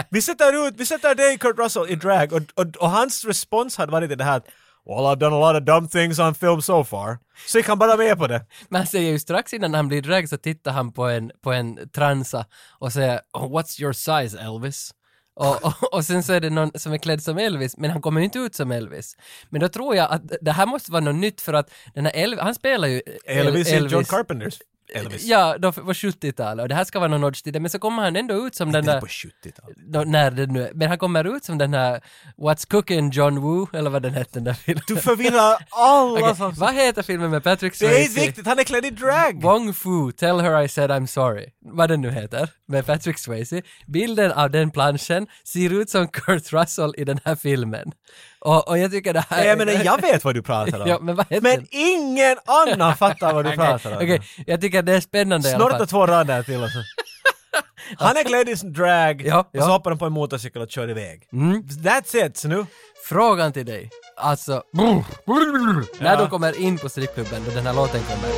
S2: vi sätter ut, vi sätter dig Kurt Russell i drag och, och, och hans respons hade varit det här att Well I've done a lot of dumb things on film so far. Så jag kan bara med på det.
S1: Men han säger ju strax innan han blir drag så tittar han på en, på en transa och säger oh, “What's your size Elvis?” och, och, och sen så är det någon som är klädd som Elvis, men han kommer ju inte ut som Elvis. Men då tror jag att det här måste vara något nytt för att den här Elvis, han spelar ju El-
S2: Elvis, är John Carpenters Elvis.
S1: Ja, då var 70-talet och det här ska vara någon nudge till det, men så kommer han ändå ut som den
S2: Det är
S1: där...
S2: på 70-talet.
S1: Nå, när det nu är. Men han kommer ut som den här What's Cooking John Woo, eller vad den hette den där filmen.
S2: Du förvirrar alla
S1: Okej,
S2: som...
S1: Vad heter filmen med Patrick
S2: Det
S1: Swayze?
S2: är inte viktigt, han är klädd i drag!
S1: Wong Fu, Tell Her I Said I'm Sorry, vad den nu heter, med Patrick Swayze. Bilden av den planschen ser ut som Kurt Russell i den här filmen. Och, och jag tycker det här...
S2: Nej, Jag menar, jag vet vad du pratar om.
S1: Ja, men vad heter
S2: Men
S1: den?
S2: ingen annan fattar vad du pratar om.
S1: Okej, jag tycker det är spännande i alla
S2: Snorta
S1: fall.
S2: två rader till alltså. Han är klädd i sin drag
S1: Ja,
S2: och
S1: ja. Mm.
S2: så hoppar han på en motorcykel och kör iväg. That's it, så nu.
S1: Frågan till dig, alltså... När du kommer in på strippklubben, då den här låten kommer.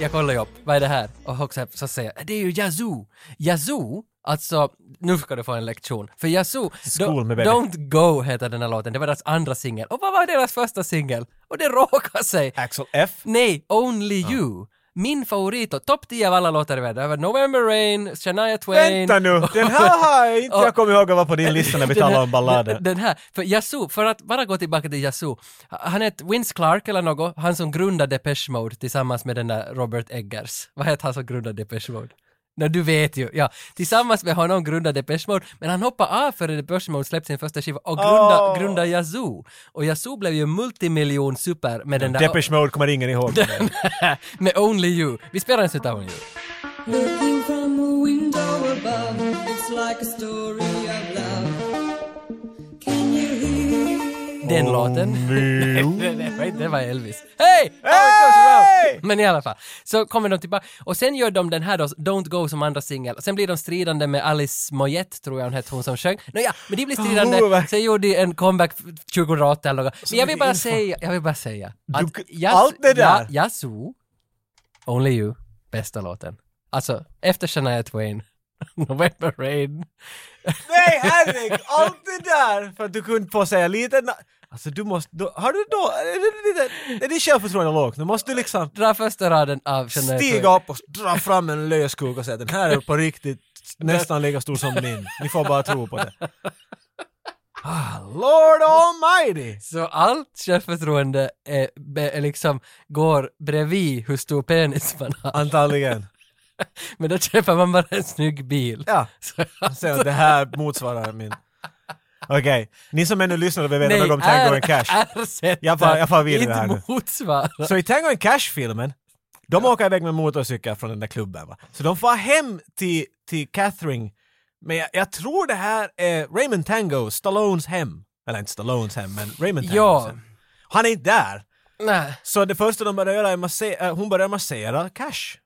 S1: Jag kollar ju upp, vad är det här? Och också så säger jag, det är ju Yazoo! Yazoo, alltså, nu ska du få en lektion. För Yazoo,
S2: Skol med
S1: Don't-
S2: baby.
S1: Don't Go heter den här låten, det var deras andra singel. Och vad var deras första singel? Och det råkar sig
S2: Axel F.
S1: Nej, Only You. Min favorit och topp 10 av alla låtar i världen. Det var November Rain, Shania Twain.
S2: Vänta nu, den här har jag inte,
S1: Och-
S2: jag kommer ihåg att vara på din lista när vi
S1: den
S2: talade
S1: här-
S2: om ballader.
S1: Den, den här, för Yazoo, för att bara gå tillbaka till Yazoo. Han hette Vince Clark eller något, han som grundade Depeche Mode tillsammans med den där Robert Eggers. Vad hette han som grundade Depeche Mode? Nej, du vet ju. Ja, tillsammans med honom grundade Depeche Mode, men han hoppade av före Depeche Mode släppte sin första skiva och grundade,
S2: Åh.
S1: grundade Yazoo. Och Yazoo blev ju multimiljon super med den där... Äh,
S2: Depeche Mode kommer ingen ihåg.
S1: med Only You. Vi spelar en snutt av Only You.
S11: Looking from a window above, it's like a story of love. Can you hear?
S1: Den låten. Nej, det var inte- det var Elvis. Hey! How it goes
S2: Hey!
S1: around!
S2: Nej!
S1: Men i alla fall, så kommer de tillbaka. Och sen gör de den här då, Don't Go som andra singel. Sen blir de stridande med Alice Moyette, tror jag hon hette, hon som sjöng. Nåja, men de blir
S2: Oh,
S1: stridande.
S2: vad-
S1: Sen gjorde de en comeback 2008 eller något.
S2: Så
S1: Men jag vill
S2: mycket
S1: bara
S2: info.
S1: säga, jag vill bara säga.
S2: Du-
S1: Yas-
S2: allt det där.
S1: Ja, Yazoo, Only You, bästa låten. Alltså, efter Shania Twain, November Rain.
S2: Nej, herregud! Allt det där för att du kunde få säga lite... na- Alltså du måste... Då, har du då... Är det, lite, är ditt självförtroende lågt? Nu måste du liksom
S1: Dra första raden av Shania
S2: stiga upp och dra fram en löskuk och säga den här är på riktigt nästan lika stor som min. Ni får bara tro på det. Ah, Lord almighty!
S1: Så allt självförtroende är, be, är liksom går bredvid hur stor penis man har.
S2: Antagligen.
S1: Men då köper man bara en snygg bil.
S2: Ja.
S1: Så,
S2: Säg att det här motsvarar min. Okej, ni som ännu lyssnar vill veta
S1: nej,
S2: något om Tango
S1: är-
S2: and Cash.
S1: ersätta,
S2: Jag far- jag far vidare här nu.
S1: Inte motsvara.
S2: Så i Tango and Cash-filmen, de åker iväg med motorcykel från den där klubben va. Så de far hem till, till Catherine, men jag, jag tror det här är Raymond Tango, Stallones hem. Eller inte Stallones hem, men Raymond Tangos
S1: Ja.
S2: hem. Han är inte där!
S1: Nej.
S2: Så det första de börjar göra är masse- eh, hon börjar massera Cash.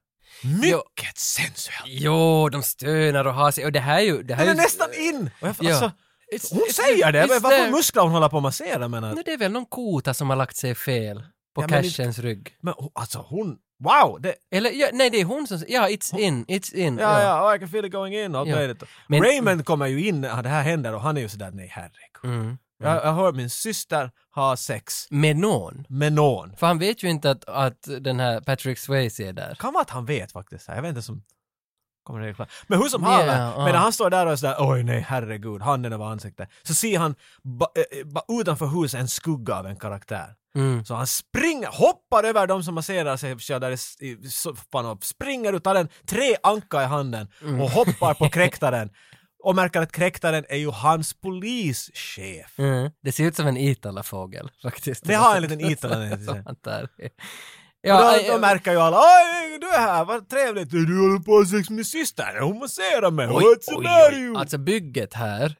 S2: Mycket sensuellt!
S1: Jo, de stönar och har sig. Och det här är ju... Det här
S2: Den är
S1: ju,
S2: nästan in! Och jag,
S1: Ja.
S2: alltså,
S1: It's-
S2: hon
S1: it's-
S2: säger det,
S1: it's
S2: men varför
S1: there.
S2: musklar hon hålla på och massera menar
S1: Nej, det är väl någon kota som har lagt sig fel på
S2: Ja, men
S1: cashens rygg.
S2: Men hon- alltså hon, wow! Det,
S1: Eller, ja, nej det är hon som... Ja, it's in, it's in.
S2: Ja, ja, oh, I can feel it going in. Allt
S1: Ja.
S2: möjligt.
S1: Men-
S2: Raymond kommer ju in när det här händer och han är ju sådär, nej herregud.
S1: Mm.
S2: Jag, jag hör min syster ha sex
S1: Med någon.
S2: med någon.
S1: För han vet ju inte att, att den här Patrick Swayze är där.
S2: Kan vara att han vet faktiskt. Jag vet inte som... Kommer det klart. Men hur som haver,
S1: Ja, ja.
S2: medan han står där och är sådär, oj nej herregud, handen över ansiktet. Så ser han ba, eh, ba, utanför huset en skugga av en karaktär.
S1: Mm.
S2: Så han springer, hoppar över de som masserar sig själv där i, s- i soffan och springer och tar en tre anka i handen
S1: Mm.
S2: och hoppar på kräktaren. Och märker att kräktaren är ju hans polischef.
S1: Mm. Det ser ut som en italafågel faktiskt.
S2: Det har en liten Itala i sig.
S1: Som han tar.
S2: Och
S1: Ja, eh,
S2: då, då märker ju alla oj du är här, vad trevligt, du håller på med sex med min syster, hon masserar mig, what's the matter you?
S1: Alltså bygget här. äh,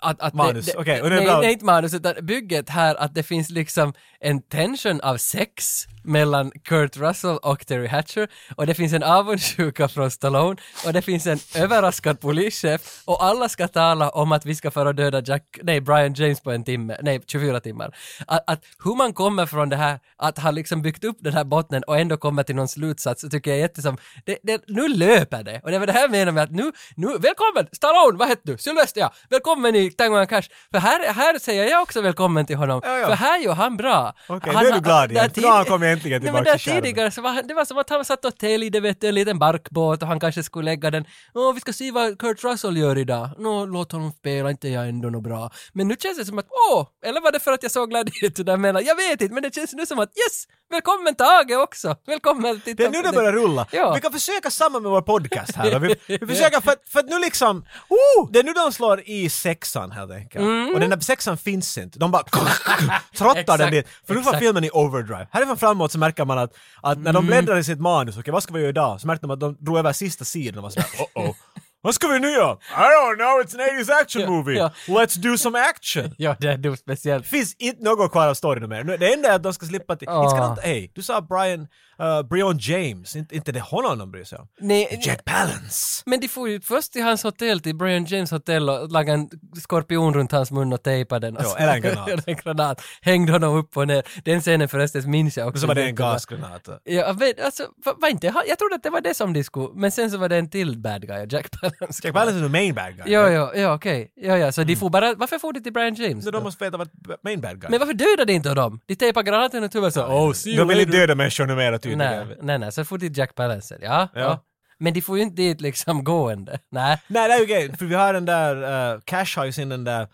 S1: Att, att
S2: Manus,
S1: det- det-
S2: okej, och det är
S1: nej,
S2: bra.
S1: nej, inte manus, utan bygget här att det finns liksom en tension av sex mellan Kurt Russell och Terry Hatcher och det finns en avundsjuka från Stallone och det finns en överraskad polischef och alla ska tala om att vi ska föra döda Jack, nej, Brian James på en timme, nej, 24 timmar. Att, att hur man kommer från det här, att ha liksom byggt upp den här botten och ändå kommer till någon slutsats, så tycker jag är jättesom, det, det, nu löper det. Och det var det här jag menar med att nu, nu, välkommen, Stallone, vad heter du? Sylvester, ja. Välkommen i Tango and Cash. För här, här säger jag också välkommen till honom,
S2: Ja, ja.
S1: för här gör han bra.
S2: Okej,
S1: Han
S2: nu är
S1: har-
S2: du glad igen.
S1: där
S2: För nu har han
S1: tid-
S2: kommit äntligen
S1: Nej,
S2: tillbaka
S1: men där
S2: till skärmen.
S1: tidigare så var, han- det var som att han satt och täljde, vet du, en liten barkbåt och han kanske skulle lägga den. Åh, vi ska se vad Kurt Russell gör idag. Nå, låt honom spela, inte jag ändå något bra. Men nu känns det som att, åh, eller var det för att jag såg Gladiator där mellan? Jag vet inte, men det känns nu som att yes, välkommen Tage också. Välkommen till
S2: Det är nu det börjar rulla.
S1: Ja.
S2: Vi kan försöka samma med vår podcast här. då. Vi, vi försöker för, att- för att nu liksom... Oh, det är nu de slår i sexan helt enkelt. Och den där sexan finns inte. De bara trottar den
S1: Mm. Exakt,
S2: dit. För nu var
S1: exakt. Mm.
S2: filmen i overdrive. Härifrån framåt så märker man att, att när de bläddrar i sitt manus, okej vad ska vi göra idag? Så märkte de att de drog över sista sidan och var sådär oh oh. Vad ska vi nu göra? I don't know, it's an 80s action
S1: Ja,
S2: movie.
S1: ja.
S2: Let's do some action.
S1: Ja, det är nog speciellt.
S2: finns inte något kvar av storyn mer. Nu, Det enda är att de ska slippa till...
S1: Ah.
S2: Inte ska de, ta- hej, du sa Brian... Uh, Brian James. Inte, inte det honom de bryr sig om.
S1: Nej,
S2: Jack Palance!
S1: Men de får ju först till hans hotell, till Brian James hotell och laga en skorpion runt hans mun och tejpa den. Och
S2: Ja,
S1: så-
S2: eller en granat.
S1: eller en granat. Hängde honom upp och ner. Den scenen förresten minns jag också.
S2: Och så var det en
S1: jättebra.
S2: gasgranat.
S1: Ja, men alltså, var, var inte, han- jag trodde att det var det som de skulle, men sen så var det en till bad guy, Jack Palance.
S2: Jack Palance är the main bad guy.
S1: Ja, ja, ja, okej. Ja, ja, så de får bara, varför får de till Brian James?
S2: Så
S1: då?
S2: de måste veta vad main bad guy
S1: Men varför dödade inte dem? De tejpar granaten och huvudet så, oh, see you
S2: De vill
S1: later.
S2: inte döda människor numera tydligen.
S1: Nej, nej, nej, så får de Jack Palance, sen. ja.
S2: Ja.
S1: ja. ja. Men de får ju inte dit liksom gående. Nej.
S2: Nej, det är ju grejen. För vi har den där... eh, Cash har ju sin den där eh,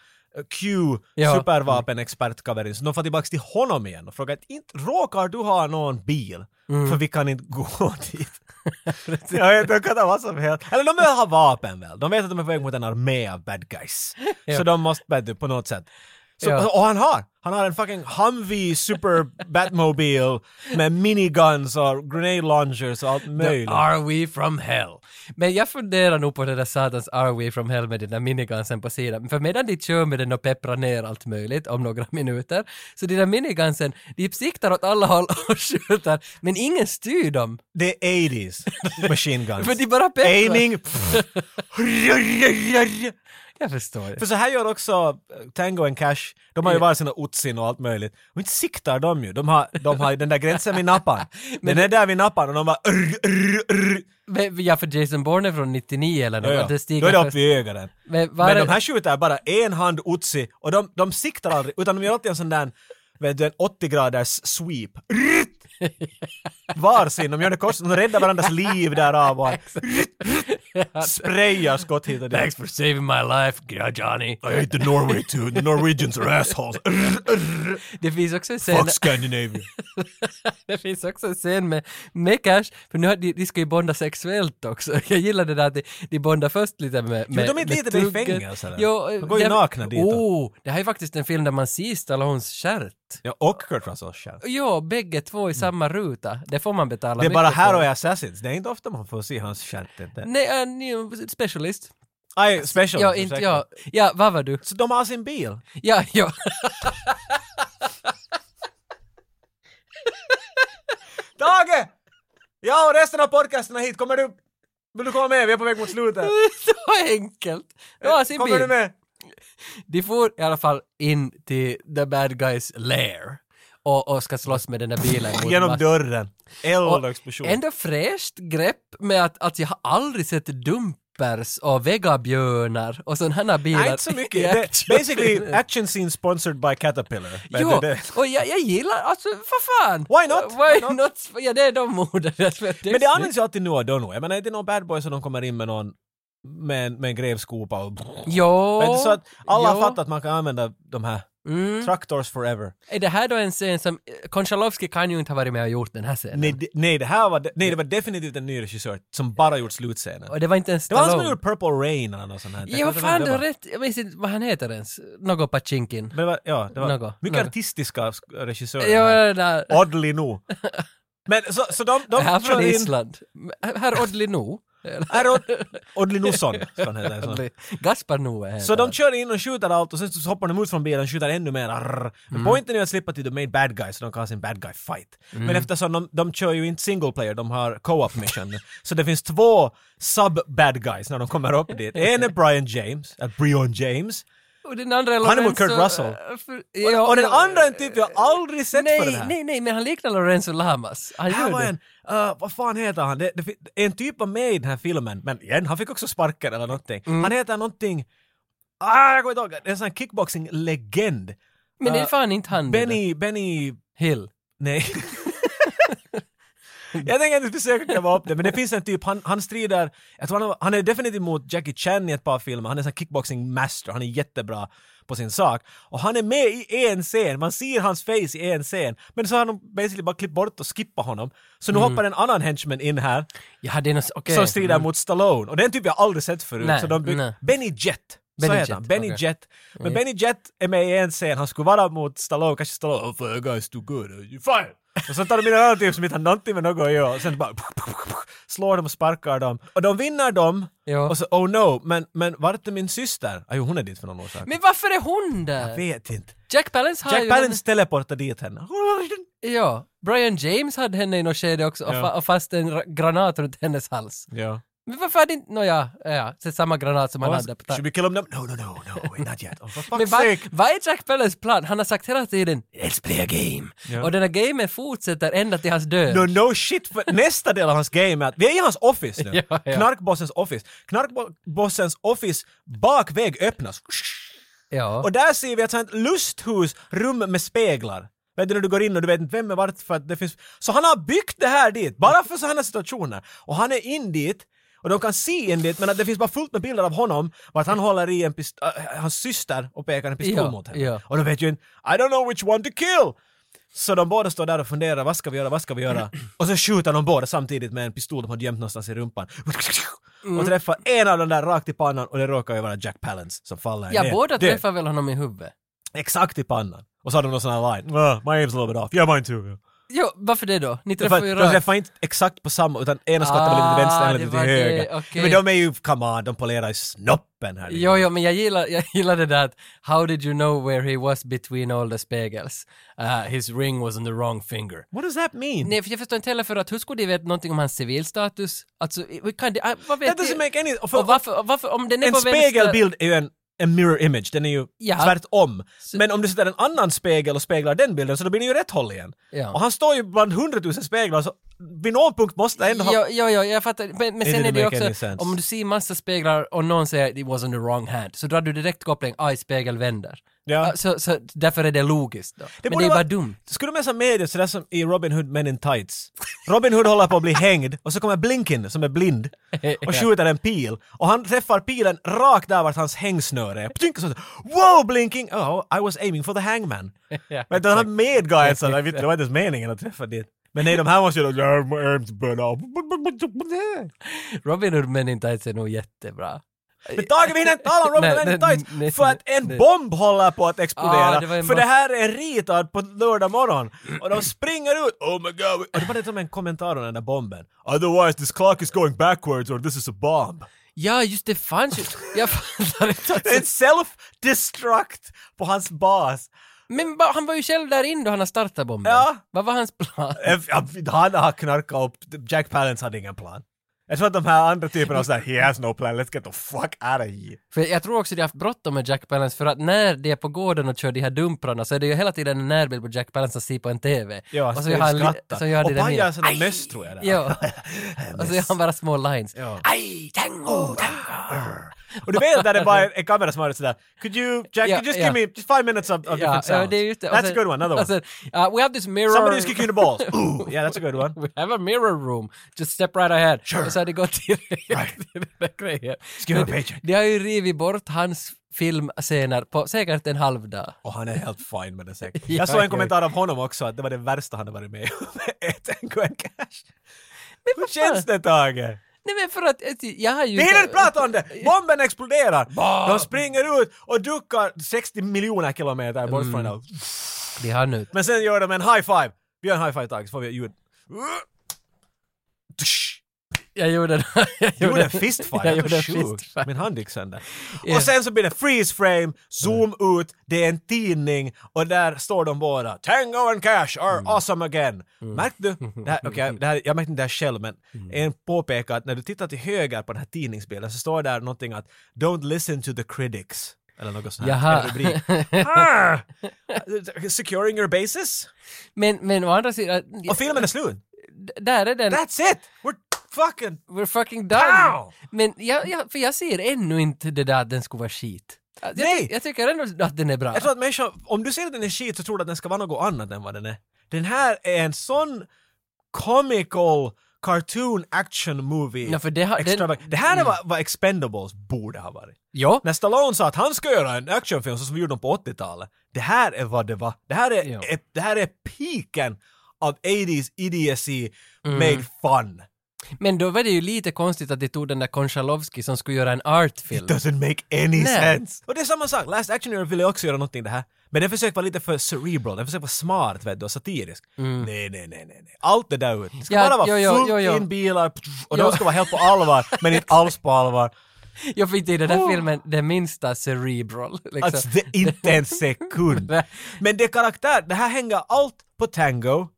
S2: Q,
S1: Ja.
S2: supervapenexpertkaverin, så de får tillbaks till honom igen och frågar att inte råkar du ha någon bil?
S1: Mm.
S2: För vi kan inte gå dit. Jag vet, de kan ha vad som helst. Eller de vill ha vapen väl? De vet att de är på väg mot en armé av bad guys.
S1: Ja.
S2: Så de måste bad på något sätt. Så,
S1: Ja.
S2: Och han har! Han har en fucking Humvee Super Batmobile med miniguns och grenade launchers och allt möjligt.
S1: Are we from hell? Men jag funderar nog på det där satans Are we from hell med den där minigunsen på sidan. För medan de kör med den och pepprar ner allt möjligt om några minuter, så de där minigunsen, de siktar åt alla håll och skjuter, men ingen styr dem.
S2: Det är 80s machine guns.
S1: För de bara pepprar.
S2: Aiming. pff.
S1: Jag förstår. det.
S2: För så här gör också Tango and Cash. De har ju var sina utsin och allt möjligt. Men inte siktar de ju. De har, de har ju den där gränsen vid nappan. Men den är där vid nappan och de bara... Rr, rr, rr.
S1: Men, ja, för Jason Bourne är från 99 eller något.
S2: Ja, ja.
S1: att Det stiger
S2: Då är det upp
S1: först.
S2: vid ögonen.
S1: Men, var
S2: Men
S1: är-
S2: de här skjuter bara en hand utsi och de, de siktar aldrig utan de gör alltid en sån där vet du, en 80 graders sweep. Rrrt! Varsin, de gör det kors, de räddar varandras liv därav och sprayar skott hit och dit.
S1: Thanks for saving my life, Johnny.
S2: I hate the Norway too, the Norwegians are assholes.
S1: Det finns också en scen
S2: Fuck Scandinavia.
S1: det finns också en scen med, med Cash, för nu har de, de ska ju bonda sexuellt också. Jag gillar det där att de, de bondar först lite med, med
S2: de är
S1: med
S2: lite där i
S1: tuggen.
S2: fängelse, eller?
S1: Jo,
S2: De går ju
S1: det-
S2: nakna dit då.
S1: Oh, det här är faktiskt en film där man ser Stallones stjärt.
S2: Ja, och Kurt Russells kärn.
S1: Jo, bägge två i samma ruta. Det får man betala
S2: Mm. Det är
S1: mycket
S2: bara här
S1: för.
S2: och i Assassins, det är inte ofta man får se hans kärn.
S1: Nej, en ny specialist.
S2: Aj, special.
S1: Ja, inte
S2: ursäkta.
S1: jag. Ja, vad var du?
S2: Så de har sin bil.
S1: Ja, ja.
S2: Tage! Ja, och resten av podcasten är hit. Kommer du? Vill du komma med? Vi är på väg mot slutet.
S1: Så enkelt! Ja, sin
S2: Kommer
S1: bil.
S2: du med?
S1: De får i alla fall in till the bad guys lair och, och ska slåss med den där bilen. mot
S2: Genom
S1: mass-
S2: dörren. Eld
S1: Och
S2: och explosion.
S1: Ändå fräscht grepp med att, att jag har aldrig sett dumpers och vegabjörnar och sådana här bilar.
S2: Nej, inte så
S1: i
S2: mycket. Det,
S1: action.
S2: basically, action scene sponsored by Caterpillar. Men
S1: Jo,
S2: det- det-
S1: och jag, jag gillar, alltså vad fan!
S2: Why not?
S1: Why,
S2: Why
S1: not?
S2: not?
S1: Ja, det är de morden. Det är
S2: Men det
S1: snyggt.
S2: används ju alltid nu och då nu. Jag menar, det är någon bad boy som de kommer in med någon med, en- med en grävskopa och...
S1: Jo,
S2: Men det är så att alla
S1: jo.
S2: har fattat att man kan använda de här.
S1: Mm.
S2: Tractors forever.
S1: Är det här då en scen som... Konchalovsky kan ju inte ha varit med och gjort den här scenen.
S2: Nej, det- nej, det här var, de- nej, det var definitivt en ny regissör som bara gjort slutscenen.
S1: Och det var inte ens
S2: Det var han som
S1: Stallone.
S2: gjorde Purple Rain eller något sånt här.
S1: Ja,
S2: Jag
S1: vad
S2: vet inte vem
S1: fan,
S2: det
S1: du har
S2: var.
S1: rätt. Jag minns inte vad han heter ens. Något Pachinkin.
S2: Men det var, ja, det var
S1: Något,
S2: mycket
S1: något.
S2: artistiska sk- regissörer.
S1: Ja,
S2: här.
S1: det där.
S2: Oddly nog. Men så, så de, de
S1: här från
S2: kör in...
S1: Island. Herr Odli No.
S2: Här Od- Oddly Nusson, ska han heta. så.
S1: Gaspar Noe heter
S2: Så de
S1: han.
S2: kör in och skjuter allt och sen så hoppar de ut från bilen och skjuter ännu mer. Arr. Men
S1: Mm.
S2: poängen är att slippa till the main bad guy så de kan ha sin bad guy fight.
S1: Mm.
S2: Men eftersom de, de kör ju inte single player, de har co-op mission. så det finns två sub-bad guys när de kommer upp dit. En är Brian James, eller Brian James.
S1: Och den andra
S2: Han är mot
S1: Lorenzo-
S2: Kurt Russell.
S1: äh, för-
S2: Och,
S1: ja,
S2: och den
S1: ja.
S2: andra är en typ jag aldrig sett
S1: nej,
S2: för den här.
S1: Nej, nej, men han liknar Lorenzo Lamas. Han
S2: Här
S1: gör
S2: var
S1: det.
S2: en, eh, vad fan heter han? Det, det, fi- en typ var med i den här filmen, men igen, han fick också sparken eller någonting. Han heter någonting, ah, jag kommer inte ihåg, det är en sån här kickboxing-legend.
S1: Men det är
S2: eh,
S1: fan inte han. det där.
S2: Benny, Benny,
S1: Hill.
S2: nej. jag tänker inte försöka gräva upp det, men det finns en typ, han, han strider, jag tror han, han är definitivt mot Jackie Chan i ett par filmer, han är en sån här kickboxing-master, han är jättebra på sin sak. Och han är med i en scen, man ser hans face i en scen, men så har de basically bara klippt bort och skippat honom. Så nu hoppar en annan henchman in här,
S1: Ja, det är något... Okej. Mm.
S2: som strider mot Stallone. Och den typ jag aldrig sett förut.
S1: Nej,
S2: så de byg-
S1: nej.
S2: Benny Jet.
S1: Benny
S2: så heter han.
S1: Jet,
S2: Benny
S1: okej. Mm.
S2: Jet. Men
S1: Ja.
S2: Benny Jet är med i en scen, han skulle vara mot Stallone, kanske Stallone oh, for you guys too good, you fire! Och sen tar de in en annan typ som inte har någonting med något att göra, och sen bara slår dem och sparkar dem. Och de vinner dem,
S1: Ja.
S2: och så oh no, men, men vart är min syster? Ah, jo, hon är dit för någon orsak.
S1: Men varför är hon där?
S2: Jag vet inte.
S1: Jack Palance har
S2: Jack
S1: ju...
S2: Palance teleportar dit henne.
S1: Ja. Brian James hade henne i något skede också och,
S2: Ja.
S1: fa- och fast en ra- granat runt hennes hals.
S2: Ja.
S1: Men varför hade inte... Nåja, ja. Så samma granat som han
S2: Och han-
S1: hade. på ta-
S2: Should we kill him now? No, no, no, no, wait, not yet. Oh, for
S1: Men
S2: fuck's
S1: vad,
S2: sake!
S1: vad är Jack Palance plan? Han har sagt hela tiden “Let's play a game” och den här gamen fortsätter ända till hans död.
S2: No, no shit, för nästa del av hans game är att vi är i hans office nu.
S1: Ja, ja.
S2: Knarkbossens office. Knarkbossens office bakväg öppnas.
S1: Ja.
S2: Och där ser vi ett sånt lusthus, rum med speglar. Vet du när du går in och du vet inte vem är vart för att det finns... Så han har byggt det här dit, bara för sådana situationer. Och han är in dit och de kan se in dit men att det finns bara fullt med bilder av honom vart han håller i en pist- äh, hans syster och pekar en pistol
S1: Ja,
S2: mot henne.
S1: ja.
S2: Och de vet ju inte, I don't know which one to kill! Så de båda står där och funderar, vad ska vi göra, vad ska vi göra? Och så skjuter de båda samtidigt med en pistol de har gömt någonstans i rumpan.
S1: Mm.
S2: Och träffar en av dem där rakt i pannan och det råkar ju vara Jack Palance som faller
S1: ja,
S2: ner.
S1: båda
S2: Död.
S1: träffar väl honom i huvudet?
S2: Exakt i pannan. Och så hade de någon sån här line. "Ah, My name's a little bit off. Yeah, mine too.
S1: Jo, varför det då? Ni
S2: Därför
S1: träffar ju
S2: att De
S1: rakt.
S2: träffar inte exakt på samma, utan ena skrattar väl lite till vänster,
S1: Ah,
S2: ena
S1: det
S2: lite till
S1: var det,
S2: höger.
S1: okej.
S2: Men de är ju, come on, de polerar ju snoppen här.
S1: Jo, jo, men jag gillar, jag gillar det där att “How did you know where he was between all the spegels? Uh, his ring was on the wrong finger”.
S2: What does that mean?
S1: Nej, för jag förstår inte heller för att hur skulle de veta någonting om hans civilstatus? Alltså, we can't, I, vad vet
S2: That doesn't
S1: de?
S2: make any... och för-
S1: Och varför, och varför, om den är
S2: en
S1: på vänster...
S2: spegelbild är ju en, en mirror image, den är ju
S1: Ja.
S2: tvärtom. Men om du sätter en annan spegel och speglar den bilden så då blir den ju rätt håll igen.
S1: Ja.
S2: Och han står ju bland hundratusen speglar så vid någon punkt måste ändå ha...
S1: Jo, jo, jo, jag fattar. Men, men
S2: It
S1: sen
S2: didn't
S1: är det ju
S2: make any
S1: också,
S2: sense.
S1: om du ser massa speglar och någon säger “it was on the wrong hand”, så drar du direkt koppling “aj, spegel vänder”.
S2: Ja.
S1: Ah, Så, så därför är det logiskt då. men
S2: borde
S1: det är bara
S2: vara-
S1: dumt.
S2: Skulle de som media sådär som i Robin Hood Men in Tights. Robin Hood håller på att bli hängd och så kommer Blinken som är blind och skjuter en pil och han träffar pilen rakt där vart hans hängsnöre är. Ptynk, och så Wow Blinking! Oh, I was aiming for the hangman. Men den här medguiden så där, vet du, det var inte ens meningen att träffa dit. Men nej, de här måste ju då... "Yeah, my arms burn off."
S1: Robin Hood Men in Tights är nog jättebra.
S2: Men Tage, vi hinner inte tala om Robin
S1: Nej,
S2: Hood Men in
S1: nej, nej,
S2: Tights för att en
S1: nej.
S2: bomb håller på att explodera.
S1: Ah, det var en
S2: för det
S1: massa-
S2: här är en ritad på lördag morgon. Och de springer ut. Oh my god. Och det var det som en kommentar om den där bomben. Otherwise this clock is going backwards or this is a bomb.
S1: Ja, just det fanns ju. Jag fattar inte. att-
S2: En self-destruct på hans bas.
S1: Men ba- han var ju själv där inne då han har startat bomben.
S2: Ja.
S1: Vad var hans plan?
S2: F- Han har knarkat upp. Jack Palance hade ingen plan. Jag tror att de här andra typerna var sådär, he has no plan, let's get the fuck out of here.
S1: För jag tror också de har haft bråttom med Jack Palance för att när de är på gården och kör de här dumprarna så är det ju hela tiden en närbild på Jack Palance som ser på en TV.
S2: Ja,
S1: och
S2: så
S1: så har han li-
S2: skrattar.
S1: så gör
S2: och
S1: de det
S2: pajar
S1: med.
S2: sådana möss tror jag. där.
S1: Ja. och så gör han bara små lines.
S2: Ja.
S1: Aj, tango, tango.
S2: Oh, Och du vet där det bara är en kamera som har det sådär Could you, Jack,
S1: Ja,
S2: could you just
S1: ja.
S2: give me just five minutes of, of
S1: Ja,
S2: different
S1: ja,
S2: sounds?
S1: det är just det. Och
S2: That's a
S1: sen-
S2: good one, another
S1: och
S2: one.
S1: sen, uh, we have this mirror...
S2: Somebody is kicking the balls. Ooh, yeah, that's a good one.
S1: We have a mirror room. Just step right ahead.
S2: Sure.
S1: Och så har det gått till till den där grejen.
S2: Skriv en
S1: Men
S2: paycheck.
S1: De har ju rivit bort hans filmscener på säkert en halv dag.
S2: Och han är helt fine med det säkert.
S1: Ja,
S2: Jag såg
S1: ja.
S2: en kommentar av honom också att det var det värsta han har varit med om. Ett en Gwen Cash. Hur känns det Tage?
S1: Nej men för att ett- jag har ju...
S2: Vi hinner inte prata om det! Bomben exploderar! De springer ut och duckar 60 miljoner kilometer bort från det.
S1: De har nu.
S2: Men sen gör de en high five. Vi gör en high five Tage så får vi ett ljud.
S1: Jag gjorde det. Jag
S2: Jag gjorde en fistfight,
S1: Jag gjorde en
S2: Sjukt.
S1: fistfight.
S2: Min hand gick sönder.
S1: Ja. Mm.
S2: Och sen så blir det freeze frame, zoom ut, det är en tidning och där står de båda. Tango and Cash are
S1: Mm.
S2: awesome again. Märkte du? Det här, okej, det här, jag märkte inte det här själv men
S1: Mm.
S2: en påpekar att när du tittar till höger på den här tidningsbilden så står där någonting att “Don't listen to the critics” eller något sånt här.
S1: Jaha.
S2: en rubrik. Ah! Securing your bases?
S1: Men, men å andra sidan,
S2: Och filmen är slut.
S1: d- där är den.
S2: That's it! We're fucking...
S1: We're fucking done.
S2: Pow!
S1: Men jag, jag, för jag ser ännu inte det där att den skulle vara skit. Jag, ty-
S2: Nej.
S1: jag tycker ändå att den är bra.
S2: Jag tror att människan, om du ser att den är skit så tror du att den ska vara något annat än vad den är. Den här är en sån comical cartoon action movie.
S1: Ja, för det Mm. har-
S2: Extra-
S1: den-
S2: det här är vad, vad Expendables borde ha varit.
S1: Ja.
S2: När Stallone sa att han ska göra en actionfilm så som vi gjorde dem på 80-talet. Det här är vad det var. Det här är,
S1: Ja.
S2: är- det här är peaken av 80s idiocy
S1: Mm.
S2: made fun.
S1: Men då var det ju lite konstigt att de tog den där Konchalovsky som skulle göra en artfilm.
S2: It doesn't make any
S1: Nej.
S2: sense. Och det är samma sak, Last Action Hero ville också göra någonting det här. Men den försökte vara lite för cerebral, den försökte vara smart vet du, och satirisk. Nej, nej, nej, nej, nej. Allt det där ut. Det ska
S1: Mm. Ja,
S2: bara vara
S1: jo, jo,
S2: fullt
S1: jo, jo.
S2: in bilar pff, och
S1: Jo.
S2: de ska vara helt på allvar, men inte alls på allvar.
S1: Jag fick inte i den där filmen det minsta cerebral. Liksom.
S2: Oh! Alltså, det, inte en sekund. men det är karaktär, det här hänger allt på Tango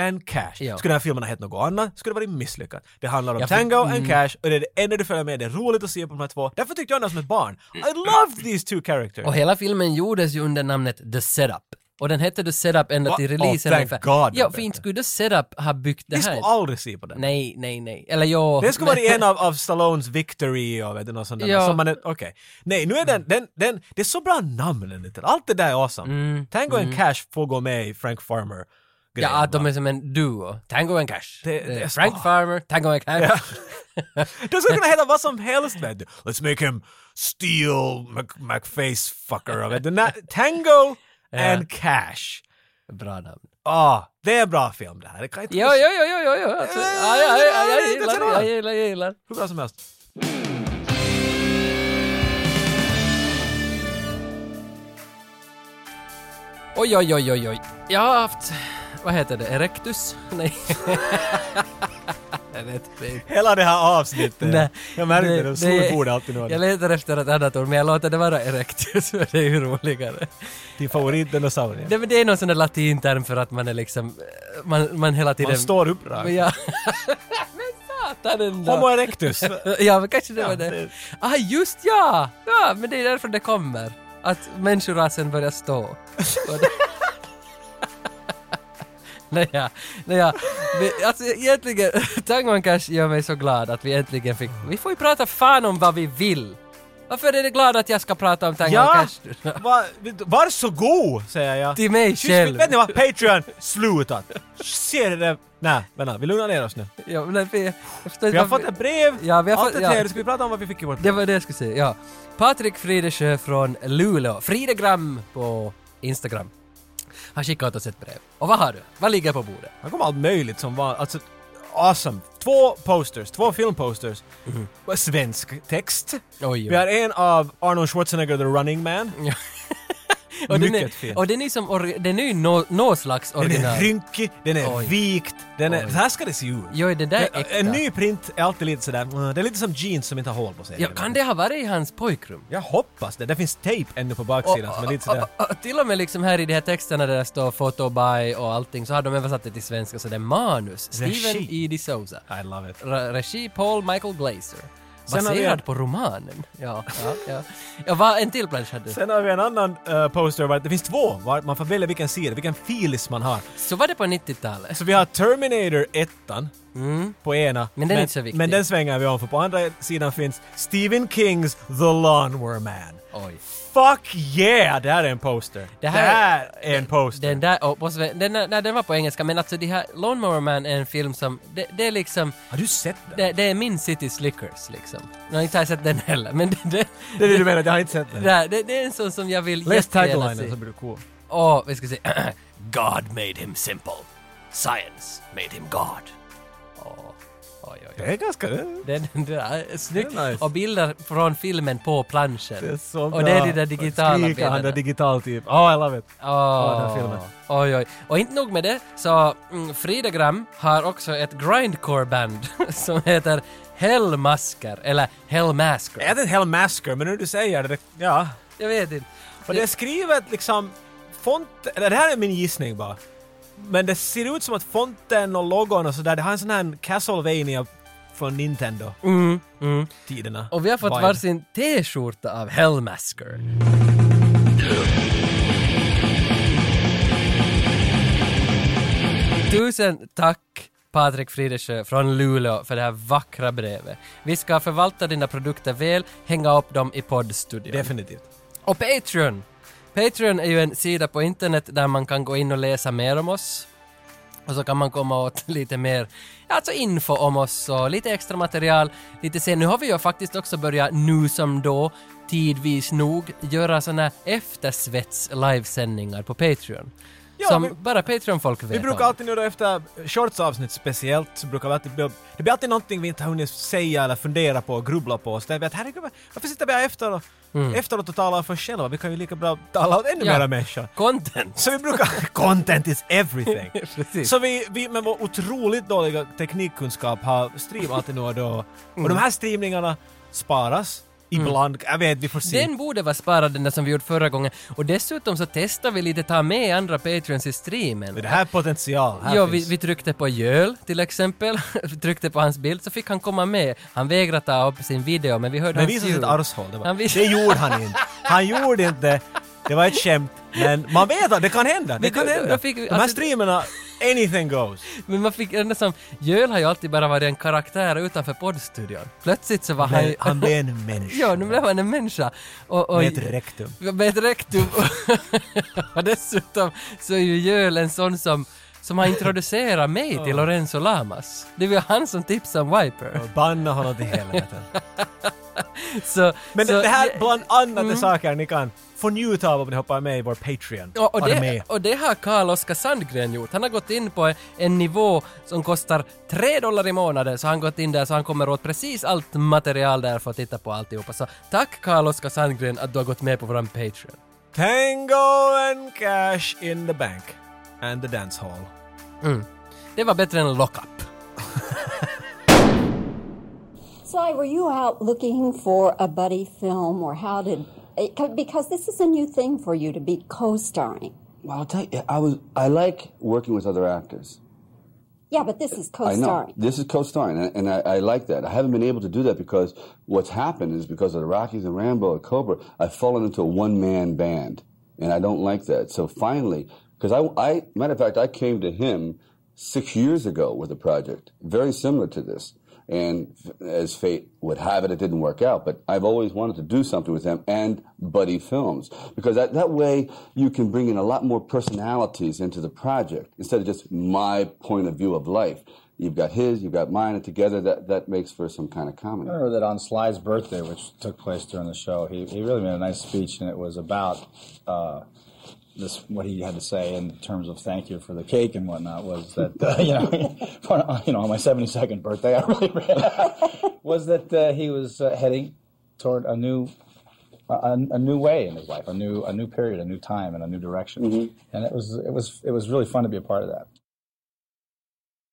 S2: and Cash.
S1: Ja.
S2: Skulle den här filmen ha hett något annat skulle det varit misslyckat. Det handlar om
S1: Ja, för- mm.
S2: Tango and Cash och det är det enda du följer med. Det är roligt att se på de här två. Därför tyckte jag om dem som ett barn. I loved these two characters.
S1: Och hela filmen gjordes ju under namnet The Setup. Och den hette The Setup ända
S2: Va?
S1: till
S2: Åh,
S1: releasen
S2: thank
S1: ungefär.
S2: God,
S1: ja,
S2: Peter.
S1: för inte skulle The Setup ha byggt det
S2: Vi skulle
S1: här.
S2: aldrig se på den.
S1: Nej, nej, nej. Eller jo.
S2: Det skulle
S1: men-
S2: vara en av, av Stallones victory och vet du, något sånt där.
S1: Ja. Mm.
S2: Som man är, okej. Nej, nu är den, den, den, det är så bra namn den heter. Allt det där är awesome. Tango and Cash får gå med i Frank Farmer.
S1: Mm. Ja, att de är som en duo. Tango and Cash.
S2: Det- det är-
S1: Eh, Frank Farmer, Tango and Cash.
S2: De skulle kunna heta vad som helst vet du. Let's make him Steel Mc, McFace fucker. Vet du. Na, tango and Cash.
S1: Bra namn.
S2: Ah, det är en bra film det här. Det kan inte
S1: Jo, jo, jo, jo, jo, jo. Alltså,
S2: Eh,
S1: ja, ja, ja, ja, jag
S2: det är
S1: gillar,
S2: bra.
S1: jag gillar, jag gillar.
S2: hur bra som helst.
S1: Oj, oj, oj, oj, oj. Jag har haft... Vad heter det? Erectus? Nej. jag vet inte.
S2: Hela det här avsnittet.
S1: Nej,
S2: jag märkte
S1: det-
S2: det, de
S1: det-
S2: slog bordet alltid
S1: Jag
S2: nu.
S1: letar efter ett annat ord, men jag låter det vara erectus, för det är ju roligare.
S2: Din favoritdinosaurie.
S1: Det, det är någon sån där latinterm för att man är liksom... eh, Man, man hela tiden...
S2: Man står upprakt.
S1: Men Ja. men satan ändå!
S2: Homo erectus.
S1: Eh, ja, men kanske det
S2: Ja,
S1: var det.
S2: det-
S1: Ah, just ja! Ja, men det är därför det kommer. Att människorasen börjar stå. Och det- Nej, ja. Nej, ja. Vi, alltså egentligen, Tangon Cash gör mig så glad att vi äntligen fick... Vi får ju prata fan om vad vi vill! Varför är det glad att jag ska prata om Tangon
S2: Ja!
S1: Cash?
S2: Va, varsågod, säger jag.
S1: Till mig
S2: Tyst,
S1: själv.
S2: Vet ni vad? Patreon, slutat! Ser ni det? Nej, vänta, vi lugnar ner oss nu.
S1: Ja, men vi, jag förstår
S2: Vi
S1: inte
S2: har
S1: varför-
S2: fått ett brev!
S1: Ja, vi har
S2: Allt
S1: fått-
S2: är
S1: ja.
S2: trevligt, ska vi prata om vad vi fick i vårt
S1: Det var det jag skulle säga, ja. Patrik Fridesjö från Luleå, Fridegram på Instagram. Han skickat oss ett brev. Och vad har du? Vad ligger på bordet?
S2: Han kom allt möjligt som var, alltså, awesome. Två posters, två filmposters.
S1: Mhm.
S2: Och Svensk text.
S1: Oj,
S2: Vi har en av Arnold Schwarzenegger, The Running Man.
S1: och den är,
S2: mycket fin.
S1: Och den är, som ori- den är ju nå- nå slags
S2: Den är
S1: original.
S2: rynkig, den är
S1: Oj.
S2: vikt, den är...
S1: Oj.
S2: Så här ska det se ut.
S1: Jo, det där är
S2: Men,
S1: äkta.
S2: En ny print är alltid lite sådär, mm, det är lite som jeans som inte har hål på sig.
S1: ja, kan det ha varit i hans pojkrum?
S2: Jag hoppas det. Det finns tejp ännu på baksidan som är lite sådär...
S1: och, och, till och med liksom här i de här texterna där det står photo by och allting så har de översatt det till svenska så det är manus. Steven
S2: Regi.
S1: E. D. Souza.
S2: I love it.
S1: Re- Regi Paul Michael Glaser.
S2: Sen har vi
S1: Baserad
S2: en-
S1: på romanen. Ja, ja, ja. ja vad, en till plansch hade du.
S2: Sen har vi en annan eh, poster, var, det finns två, var man får välja vilken sida, vilken filis man har.
S1: Så var det på 90-talet.
S2: Så vi har Terminator 1 på ena.
S1: Mm. Men den är inte så viktig.
S2: Men den svänger vi om för på andra sidan finns Stephen Kings The Lawnmower Man.
S1: Oj.
S2: Fuck yeah! Det här är en poster.
S1: Det
S2: Det
S1: här-
S2: här, är en poster.
S1: Den där, och på, sve- den, nej, den var på engelska, men alltså det här, Lawnmower Man är en film som, det, det är liksom,
S2: har du sett den?
S1: det, det är min City Slickers liksom. Jag har inte har sett den heller, men det, det,
S2: det är det du menar, jag har inte sett den.
S1: det, det, det är en sån som jag vill
S2: Läs
S1: jättegärna
S2: taglinen
S1: se.
S2: så blir du cool.
S1: Åh, vi ska se. God made him simple. Science made him God. Åh, oj, oj, oj.
S2: Det är ganska... Det
S1: Den, den där är snygg.
S2: Det är nice.
S1: Och bilder från filmen på planschen.
S2: är så bra.
S1: Och det är de där digitala
S2: Skriker han där
S1: bilderna.
S2: digitalt typ. Oh, I love it.
S1: Åh,
S2: den här filmen.
S1: Oj, oj. Och inte nog med det, så mm, Fridegram har också ett grindcore-band som heter Hellmasker, eller
S2: Det är
S1: Hellmasker.
S2: en hel masker, men när du säger det, det... Ja.
S1: Jag vet inte.
S2: Och det är skrivet liksom... Font... Eller det här är min gissning bara. Men det ser ut som att fonten och logon och sådär, det har en sån här Castlevania från Nintendo-tiderna.
S1: Mm, mm. Och vi har fått
S2: Vibe.
S1: varsin t-skjorta av Hellmasker. Tusen tack Patrik Fridesjö från Luleå för det här vackra brevet. Vi ska förvalta dina produkter väl, hänga upp dem i poddstudion.
S2: Definitivt.
S1: Och Patreon! Patreon är ju en sida på internet där man kan gå in och läsa mer om oss. Och så kan man komma åt lite mer, ja, alltså info om oss och lite extra material. Lite sen, nu har vi ju faktiskt också börjat nu som då, tidvis nog, göra såna här eftersvets livesändningar på Patreon.
S2: Ja,
S1: som
S2: vi-
S1: bara Patreon-folk vet
S2: Vi brukar
S1: om.
S2: alltid nu då efter shorts avsnitt speciellt så brukar vi alltid... bli- Det blir alltid någonting vi inte har hunnit säga eller fundera på och grubbla på. Så där vi att herregud, varför sitter vi här efteråt, efteråt och talar för oss själva? Vi kan ju lika bra tala åt ännu
S1: Mm. Ja.
S2: mera människor.
S1: Content!
S2: Så vi brukar... Content is everything!
S1: Precis.
S2: Så vi, vi med vår otroligt dåliga teknikkunskap har streamat nu och då.
S1: Mm.
S2: Och de här streamningarna sparas. Ibland, jag vet, vi får se.
S1: Den borde vara sparad den där som vi gjorde förra gången. Och dessutom så testar vi lite, ta med andra Patreons i streamen.
S2: Men det här är potential. Här
S1: Ja, vi,
S2: finns.
S1: vi tryckte på Jöl till exempel, Vi tryckte på hans bild, så fick han komma med. Han vägrade ta upp sin video, men vi hörde
S2: Men
S1: hans
S2: visa sitt
S1: ljud.
S2: arshål. Det, var,
S1: Han vis-
S2: det gjorde han inte. Han gjorde inte det. Det var ett skämt. Men man vet att det kan hända. Det
S1: Men
S2: kan
S1: då- då-
S2: hända.
S1: då fick vi-
S2: De här
S1: alltså-
S2: streamerna, anything goes.
S1: Men man fick ändå som... Jöl har ju alltid bara varit en karaktär utanför poddstudion. Plötsligt så var han
S2: Men
S1: ju...
S2: han blev en människa.
S1: ja, nu blev han en människa. Och, och,
S2: Med ett rektum.
S1: Med ett rektum. och dessutom så är ju Jöl en sån som som har introducerat mig till Lorenzo Lamas. Det var han som tipsade om Wiper.
S2: Banna honom till helvete.
S1: Så,
S2: Men
S1: så, Mm.
S2: det här bland annat är saker ni kan få njuta av om ni hoppar med i vår Patreon.
S1: Ja, och,
S2: Var
S1: det,
S2: med.
S1: och det har Karl-Oskar Sandgren gjort. Han har gått in på en nivå som kostar 3 dollar i månaden, så han gått in där så han kommer åt precis allt material där för att titta på alltihopa. Så tack Karl-Oskar Sandgren att du har gått med på våran Patreon.
S2: Tango and cash in the bank. And the dance hall.
S1: Mm. Det var bättre än lockup.
S12: Sly, were you out looking for a buddy film, or how did it, because this is a new thing for you to be co-starring?
S13: Well, I'll tell you, I was I like working with other actors.
S12: Yeah, but this is
S13: I know
S12: co-starring.
S13: this is co-starring, and, and I, I like that. I haven't been able to do that because what's happened is because of the Rockies and Rambo and Cobra, I've fallen into a one-man band, and I don't like that. So finally, because I, I, matter of fact, I came to him six years ago with a project very similar to this, and f- as fate would have it, it didn't work out. But I've always wanted to do something with them and buddy films because that, that way you can bring in a lot more personalities into the project instead of just my point of view of life. You've got his, you've got mine, and together that, that makes for some kind of comedy.
S14: I remember that on Sly's birthday, which took place during the show, he, he really made a nice speech, and it was about uh, this what he had to say in terms of thank you for the cake and whatnot. Was that uh, you know, for, you know, on my seventy second birthday, I really was that uh, he was uh, heading toward a new. A, a- a new way in his life, a new a new period, a new time, and a new direction, and it was it was it was really fun to be a part of that.